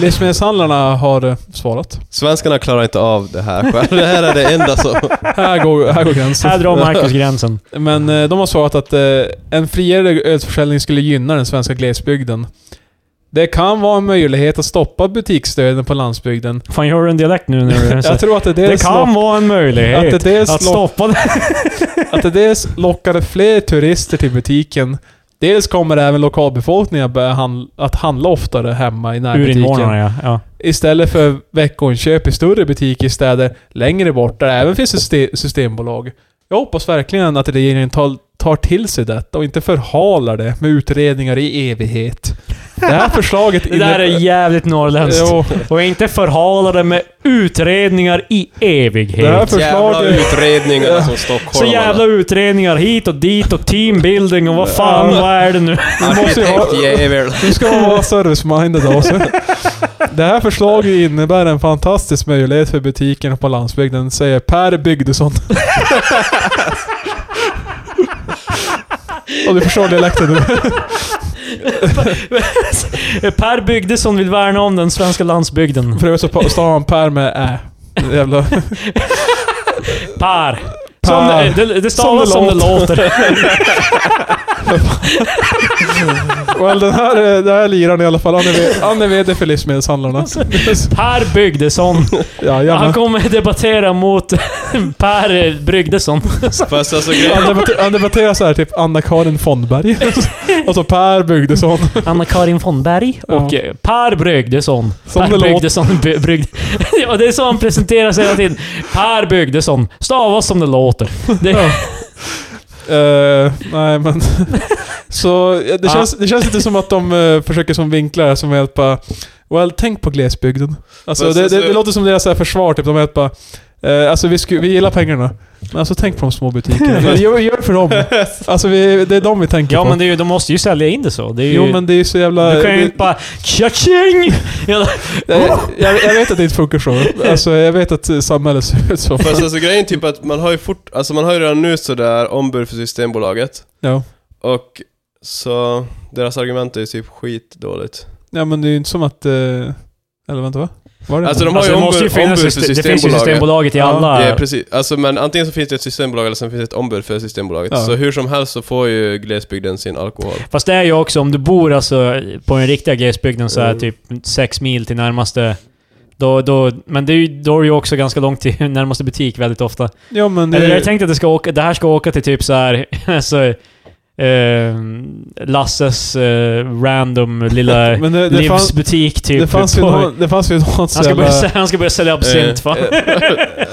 A: livsmedelshandlarna har eh, svarat.
B: *laughs* Svenskarna klarar inte av det här själv. Det här är det
A: *laughs*
B: enda som...
A: Här går, här går gränsen.
C: Här drar
A: *laughs*
C: Marcus gränsen.
A: Men eh, de har svarat att eh, en friare ölförsäljning skulle gynna den svenska glesbygden. Det kan vara en möjlighet att stoppa butiksdöden på landsbygden.
C: Fan, gör du en dialekt nu när du...
A: Jag tror att det
C: det
A: dels,
C: kan
A: lock-
C: vara en
A: att det
C: möjlighet
A: dels
C: att
A: lock-
C: stoppa det.
A: att det dels lockade fler turister till butiken, dels kommer även lokalbefolkningen att börja handla, att handla oftare hemma i
C: Urinvånarna
A: närbutiken.
C: ja. ja.
A: Istället för veckoinköp i större butiker i städer längre bort, där även finns syste- systembolag. Jag hoppas verkligen att regeringen tar, tar till sig detta och inte förhalar det med utredningar i evighet. Det
C: *laughs*
A: här förslaget
C: Det där är jävligt norrländskt.
A: Jo,
C: Och inte förhala det med utredningar i
A: det här
C: evighet.
B: Jävla
A: förslaget...
B: utredningarna som stockholmarna...
C: Så jävla utredningar hit och dit och teambuilding och vad fan,
A: Ja.
C: vad är det nu?
A: Vi måste ju ha,
B: Arkitektjävel.
A: Du ska vara service-minded också. Det här förslaget innebär en fantastisk möjlighet för butikerna på landsbygden, säger Per Bygdesson. Och du förstår dialekten nu.
C: Per Bygdesson vill värna om den svenska landsbygden.
A: För övrigt så pa- stavar man Per med ä. Jävla...
C: Per. Som det, det, det stavas som det låter.
A: Well, den här, eh, den här liraren i alla fall, han är, v- han är VD för Livsmedelshandlarna.
C: Per Bygdesson.
A: Ja,
C: Han
A: gärna.
C: kommer debattera mot *laughs* Per eh, Brygdesson.
B: Fast alltså
A: Han
B: grejen...
A: debatter- Han debatterar såhär, typ Anna-Karin Fondberg. *laughs* Och så Per Bygdesson.
C: Anna-Karin Fonberg och
A: Ja.
C: eh, Per Brygdesson.
A: Som
C: per
A: det låter.
C: *laughs* Brygdesson. By- Brygd... ja, det är så han presenterar sig hela tiden. Per Brygdesson. Stavas som det låter. Det...
A: Eh, nej men... så eh,
C: Ah.
A: det, känns, det känns lite som att de eh, försöker som vinklar här som är helt bara... Well, tänk på glesbygden. Alltså,
B: Fast
A: det, det,
B: alltså-
C: eh.
A: det låter som deras så här försvar, typ. De är helt bara... eh, alltså vi, sku, vi gillar pengarna. Men alltså tänk på de små butikerna.
C: *laughs*
A: Eller, gör, gör det för dem. Alltså vi, det är dem vi tänker
C: Ja,
A: på.
C: men det är ju, de måste ju sälja in det så. Det är ju...
A: jo men det är ju så jävla...
C: Du kan ju
A: det-
C: inte bara tja-tjing! Hela-
A: jag, jag, jag vet att det inte funkar så. Alltså jag vet att eh, samhället ser ut så.
B: Fast alltså grejen är typ att man har ju fort... Alltså man har ju redan nu sådär ombud för Systembolaget.
A: Ja.
B: Och så... Deras argument är ju typ skitdåligt.
A: ja men det är ju inte som att... eh, Eller vänta va? Var det
B: Alltså, de har
C: Alltså,
B: ju
C: det
B: ombud-
C: måste ju finnas
B: ombud för
C: syste- Det finns ju
B: Systembolaget.
C: Systembolaget i
A: Ja,
C: alla...
B: Ja, precis. Alltså, men antingen så finns det ett systembolag eller så finns det ett ombud för Systembolaget.
A: Ja.
B: Så hur som helst så får ju glesbygden sin alkohol.
C: Fast det är ju också, om du bor alltså på den riktiga glesbygden så är
B: Mm.
C: typ sex mil till närmaste... Då, då, men det är ju, då är det ju också ganska långt till *laughs* närmaste butik väldigt ofta.
A: Ja men det
C: Eller jag tänkte att det, ska åka, det här ska åka till typ så här, *laughs* alltså, eh, Lasses eh, random lilla
A: *laughs* men det, det, fanns,
C: livsbutik typ.
A: det fanns ju
C: på-
A: någon, det fanns ju något
C: *laughs* han, ska börja,
A: ställe,
C: sä- han ska börja
B: Eh,
C: sälja absint fan.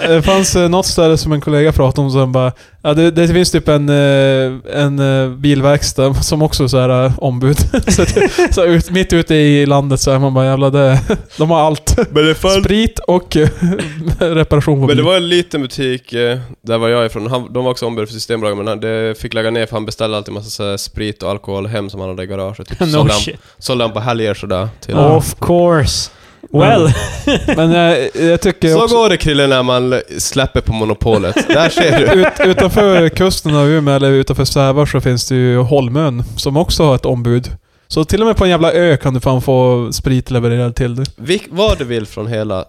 A: det fanns eh, något ställe som en kollega pratade om som bara, ja det, det finns typ en, eh, en eh, bilverkstad som också är så här eh, ombud. *laughs* så att- så ut, mitt ute i landet så är man bara jävlar det, de har allt.
B: *laughs* Men det, fanns,
A: Sprit och eh, *laughs* reparation på
B: men det
A: bil.
B: var en liten butik, eh, där var jag ifrån. Han, de var också ombud för Systembolaget men han, det fick lägga ner för han beställde alltid massa så här sprit och alkohol hem som han hade i garaget.
A: *laughs*
B: Typ.
C: *laughs* no
B: sålde, han,
C: shit.
B: sålde han på helger sådär. Till.
A: Ja.
C: Of course. Well.
A: Men eh, jag tycker
B: Så
A: också,
B: går det Krille när man l- släpper på monopolet.
A: *laughs*
B: Där ser du.
A: ut, utanför kusten av Umeå, eller utanför Sävar, så finns det ju Holmön som också har ett ombud. Så till och med på en jävla ö kan du fan få sprit levererad till dig.
B: Vilk, vad du vill från hela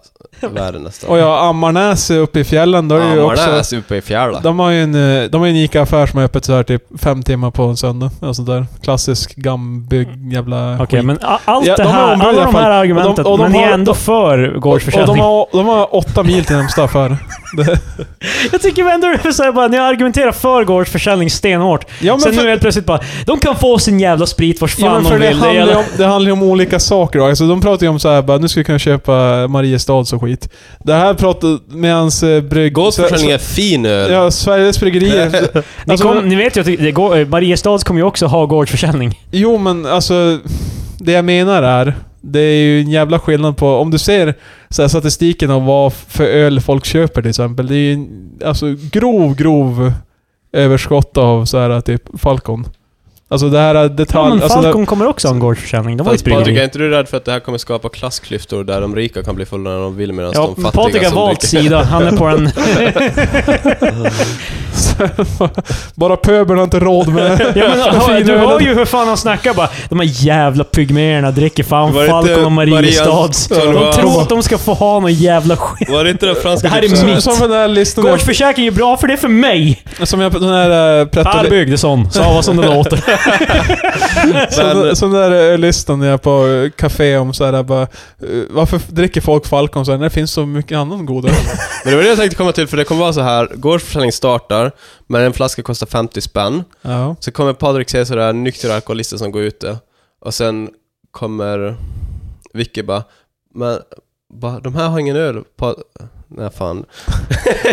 B: världen nästan.
A: Och ja, Ammarnäs uppe i fjällen, då är det ju också...
B: Ammarnäs uppe i fjärla.
A: De har ju en, eh, de har ju en ICA-affär som är öppet så här typ fem timmar på en söndag. Eller sånt där. Klassisk gambygg jävla
C: Okej,
A: skit.
C: men a- allt
A: Ja,
C: det
A: de har
C: här,
A: ombud i
C: alla
A: alla
C: de här
A: fall.
C: argumenten,
A: Och de- och de
C: men ni är
A: har-
C: ändå för
A: och de
C: gårdsförsäljning.
A: har, de har åtta mil till närmsta affär.
C: *laughs* Jag tycker ändå det är så här bara, ni argumenterar för gårdsförsäljning stenhårt.
A: Ja,
C: Sen
A: för-
C: nu helt plötsligt bara, de kan få sin jävla sprit vars
A: Ja,
C: fan
A: men för
C: de
A: det
C: vill. Det
A: handlar, ju
C: gäller-
A: om, det handlar ju om olika saker. då. Alltså, de pratar ju om så här, bara, nu ska vi kunna köpa Mariestads och skit. Det här pratar medans eh, brygg...
B: Gårdsförsäljning är fin öl.
A: Ja, Sveriges
B: *laughs*
A: bryggerier.
C: ni,
A: alltså,
C: kom, ni vet ju att det- det går, eh, Mariestads kommer ju också ha gårdsförsäljning.
A: Jo, men alltså... Det jag menar är... Det är ju en jävla skillnad på... Om du ser så här, statistiken om vad för öl folk köper till exempel. Det är ju en, alltså grov, grov överskott av så här typ Falcon. Alltså det här är
C: Ja,
A: detalj...
C: men
A: alltså,
C: Falcon kommer också ha en gårdsförsäljning. De har ju ett
B: Fast Patrik, är
C: bryggeri.
B: inte du rädd för att det här kommer skapa klassklyftor där de rika kan bli fulla när de vill medan
C: Ja,
B: de fattiga
C: Patrik har
B: som
C: valt
B: dricker-
C: sida. Han är på den...
A: *laughs* Bara pöbeln har inte råd med... *laughs* Typ
C: ja, men, ha- du
A: Finölen.
C: hör ju hur fan han snackar bara. De här jävla pygméerna dricker fan
B: Var det inte
C: Falcon och Mariestads.
B: Marias-
C: De
B: Marias-
C: tror att de ska få ha någon jävla
B: *laughs*
C: skit.
B: Var det inte den franska
C: Det här är
B: tipsen?
C: mitt.
A: Som den där listan jag,
C: Gårdsförsäkring är bra för det är för mig!
A: som jag den där eh,
C: Per
A: pretto,
C: Bygdesson, sa vad som det *laughs* låter.
A: som, som den där eh, listan jag är på eh, café om så här bara, eh, varför dricker folk Falcon så här, när det finns så mycket annan god öl?
B: Men det var det jag tänkte komma till, för det kommer vara så här. Gårdsförsäljning startar, men en flaska kostar 50 spänn.
A: Ja.
B: Så kommer Patrik säga sådär nyktra alkoholister som går ute. Och sen kommer Vicky bara, men bara, de här har ingen öl. Pa Nej fan.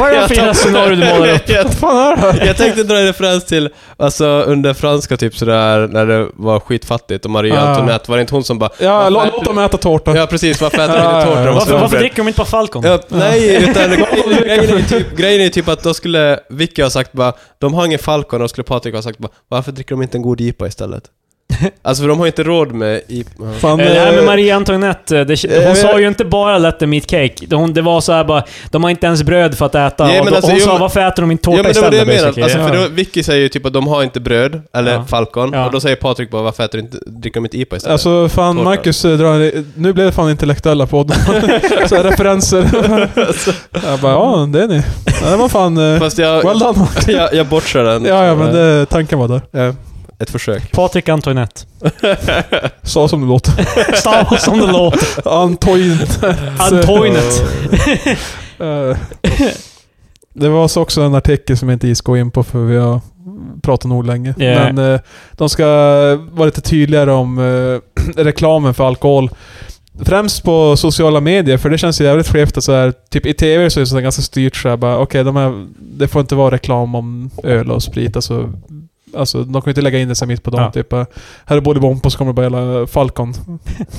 C: Vad är det
B: Jag
C: fina
B: tappade-
C: scenario du målar upp?
B: *laughs* Jag
A: Vad fan är det här?
B: Jag tänkte dra en referens till, alltså under franska typ sådär, när det var skitfattigt och Marie
A: Ah.
B: Antoinette, var det inte hon som bara
A: Ja, lå, låt dem äta tårta.
B: Ja precis, varför äter de
A: Ja, ja,
B: inte
A: ja.
B: tårta? De måste
C: Varför,
B: vara
C: varför
B: bredd."
C: dricker de inte bara Falcon?
B: Ja, nej, utan grejen är ju typ, grejen är ju typ att då skulle Vicky ha sagt bara, de har ingen Falcon, och då skulle Patrik ha sagt bara, varför dricker de inte en god IPA istället? Alltså för de har ju inte råd med IPA.
A: Fan,
C: Eh, Det här med
A: eh,
C: Marie Antoinette, eh, det, hon
B: eh,
C: sa ju inte bara let them eat cake. Det- Hon, det var så här bara, de har inte ens bröd för att äta.
B: Nej,
C: och
B: men
C: då,
B: alltså,
C: hon
B: jo,
C: sa,
B: men-
C: varför äter de inte tårta
B: Ja men det var
C: istället?
B: det jag menade,
C: basically?
B: alltså,
A: ja.
B: för då, Vicky säger ju typ att de har inte bröd, eller
C: Ja.
B: Falcon,
C: Ja.
B: och då säger Patrik bara, varför äter de inte, dricker de inte IPA istället?
A: Alltså fan
B: Tårta.
A: Marcus eh, drar, nu blev det fan intellektuella podden. så här, referenser. jag bara, ja det är ni. Ja, det var fan... eh,
B: Fast
A: *laughs*
B: jag,
A: Well done.
B: jag, jag bortser den.
A: Ja, ja men det, eh, tanken var där.
B: Ja. Ett
C: *laughs*
B: försök.
C: Patrik Antoinette.
A: Så som det låter.
C: Stavas som det låter.
A: Antoinette.
C: Antoinette.
A: Eh, *laughs* Det var så också en artikel som jag inte gick gå in på för vi har pratat nog länge.
C: Ja.
A: Men eh, de ska vara lite tydligare om eh, *clears throat* reklamen för alkohol. Främst på sociala medier, för det känns ju jävligt skevt att så här, typ i TV så är det så här ganska styrt så här, bara okej, de här, det får inte vara reklam om öl och sprit. Alltså, alltså de kan ju inte lägga in det så här mitt på dagen.
C: Ja.
A: Typ, eh, här är Bolibompa och så kommer det bara hela
C: *laughs*
A: Falcon.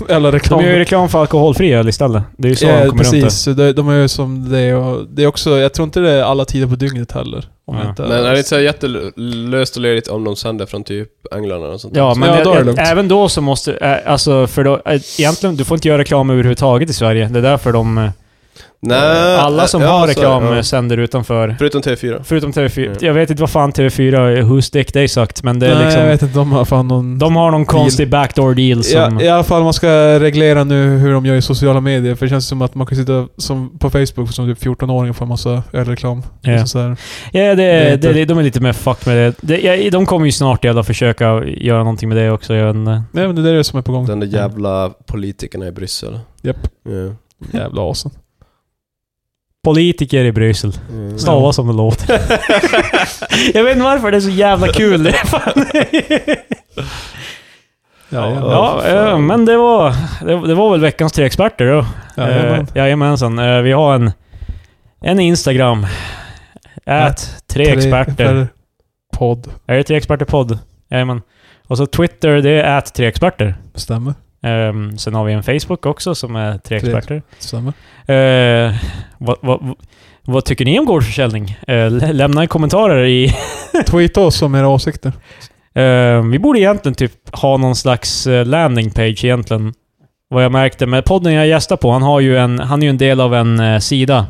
A: Eller reklam.
C: De gör ju reklam för alkoholfri öl istället. Det är ju så
A: Ja,
C: de kommer runt
A: precis. De, de är ju som det och det är också, jag tror inte det är alla tider på dygnet heller. Om
C: Ja.
A: inte,
B: Men är det inte så här jättelöst och löjligt om de sänder från typ England eller något sånt?
C: det. Ja, men
A: Ja,
C: jag-
A: då är det
C: jag-
A: lugnt.
C: även då så måste... eh, Alltså, för då... eh, Egentligen, du får inte göra reklam överhuvudtaget i Sverige. Det är därför de... eh,
B: Nej,
C: alla som
B: ja,
C: har
B: så-
C: reklam
B: ja.
C: eh, sänder utanför.
B: Förutom TV4.
C: Förutom TV4.
B: Mm.
C: Jag vet inte vad fan TV4, Who's eh, Dick They Sucked, men det är
A: Nej,
C: liksom...
A: jag vet inte. De har fan någon...
C: De har någon konstig backdoor deal som...
A: ja, I alla fall, man ska reglera nu hur de gör i sociala medier. För det känns som att man kan sitta som på Facebook som typ 14-åring och få en massa ölreklam.
C: Ja.
A: Liksom så här.
C: Ja,
A: är
C: det,
A: inte-
C: det, det, de är lite mer fuck med det. det ja, de kommer ju snart i alla fall försöka göra någonting med det också. Jag vet inte.
A: Nej men det där är det som är på gång.
B: Den där jävla politikerna i Bryssel.
A: Japp.
B: Ja.
A: Mm. Jävla asen.
C: Politiker i Bryssel.
B: Ja.
C: Stava som det låter. *laughs* jag vet inte varför det är så jävla kul. Det är fan.
A: Ja, ja.
C: ja, eh, men det var, det, det var väl veckans tre experter då.
A: Ja,
C: Eh,
A: jajamän.
C: Jajamensan. Eh, Vi har en, en Instagram. Ät tre experter.
A: per Podd.
C: Är det tre experter podd? Jajamän. Och så Twitter, det är ät tre experter.
A: Stämmer.
C: Ehm, sen har vi en Facebook också som är tre
A: Tre.
C: experter.
A: Stämmer. *laughs*
C: Eh, vad, vad, vad tycker ni om gårdsförsäljning? Eh, lä- lämna kommentarer i... *laughs*
A: Tweeta oss om era åsikter.
C: Eh, vi borde egentligen typ ha någon slags eh, landing page egentligen. Vad jag märkte. Men podden jag gästar på, han, har ju en, han är ju en del av en eh, sida.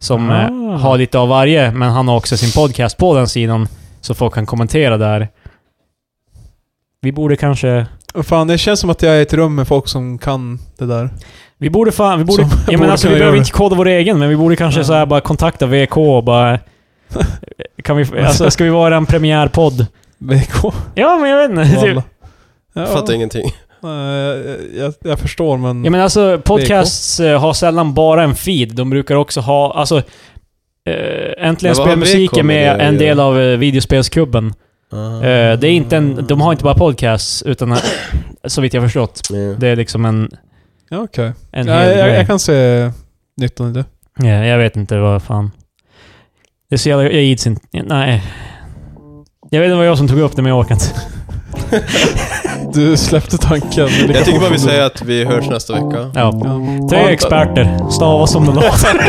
C: Som eh,
A: Ah.
C: har lite av varje, men han har också sin podcast på den sidan. Så folk kan kommentera där. Vi borde kanske...
A: Fan, det känns som att jag är i ett rum med folk som kan det där. *laughs*
C: Vi borde fan... Vi borde,
A: Som
C: jag
A: borde
C: menar, alltså,
A: kunna
C: vi behöver
A: göra
C: inte koda vår egen, men vi borde kanske
A: Ja.
C: så här bara kontakta VK
A: *laughs*
C: och bara... Kan vi, alltså, ska vi vara en premiärpodd?
A: VK.
C: Ja, men jag vet inte. Typ.
A: Alla. *laughs* Ja.
B: Jag fattar ingenting.
A: Nej, jag, jag förstår men...
C: Ja, men alltså, podcasts eh, har sällan bara en feed. De brukar också ha... Alltså, äh, äntligen
B: Men vad har
C: spelmusik
B: VK
C: är
B: med
C: med
B: det
C: en
B: att göra?
C: del av eh, videospelskubben.
A: Mm.
C: Eh, det är inte en, de har inte bara podcasts, utan eh, så vitt jag förstått.
B: Ja.
C: Det är liksom en,
A: Ja, okej.
C: en
A: Ja,
C: hel
A: jag,
C: grej.
A: jag kan se nyttan i det.
C: Ja, jag vet inte vad fan. Det är så jävla... Jag gills inte. Nej. Jag vet inte vad jag som tog upp det, men jag orkar inte.
A: Du släppte tanken.
B: Jag tycker bara vi säger att vi hörs nästa vecka.
C: Ja.
A: Ja.
C: Tre
A: *laughs*
C: experter. Stava som det låter.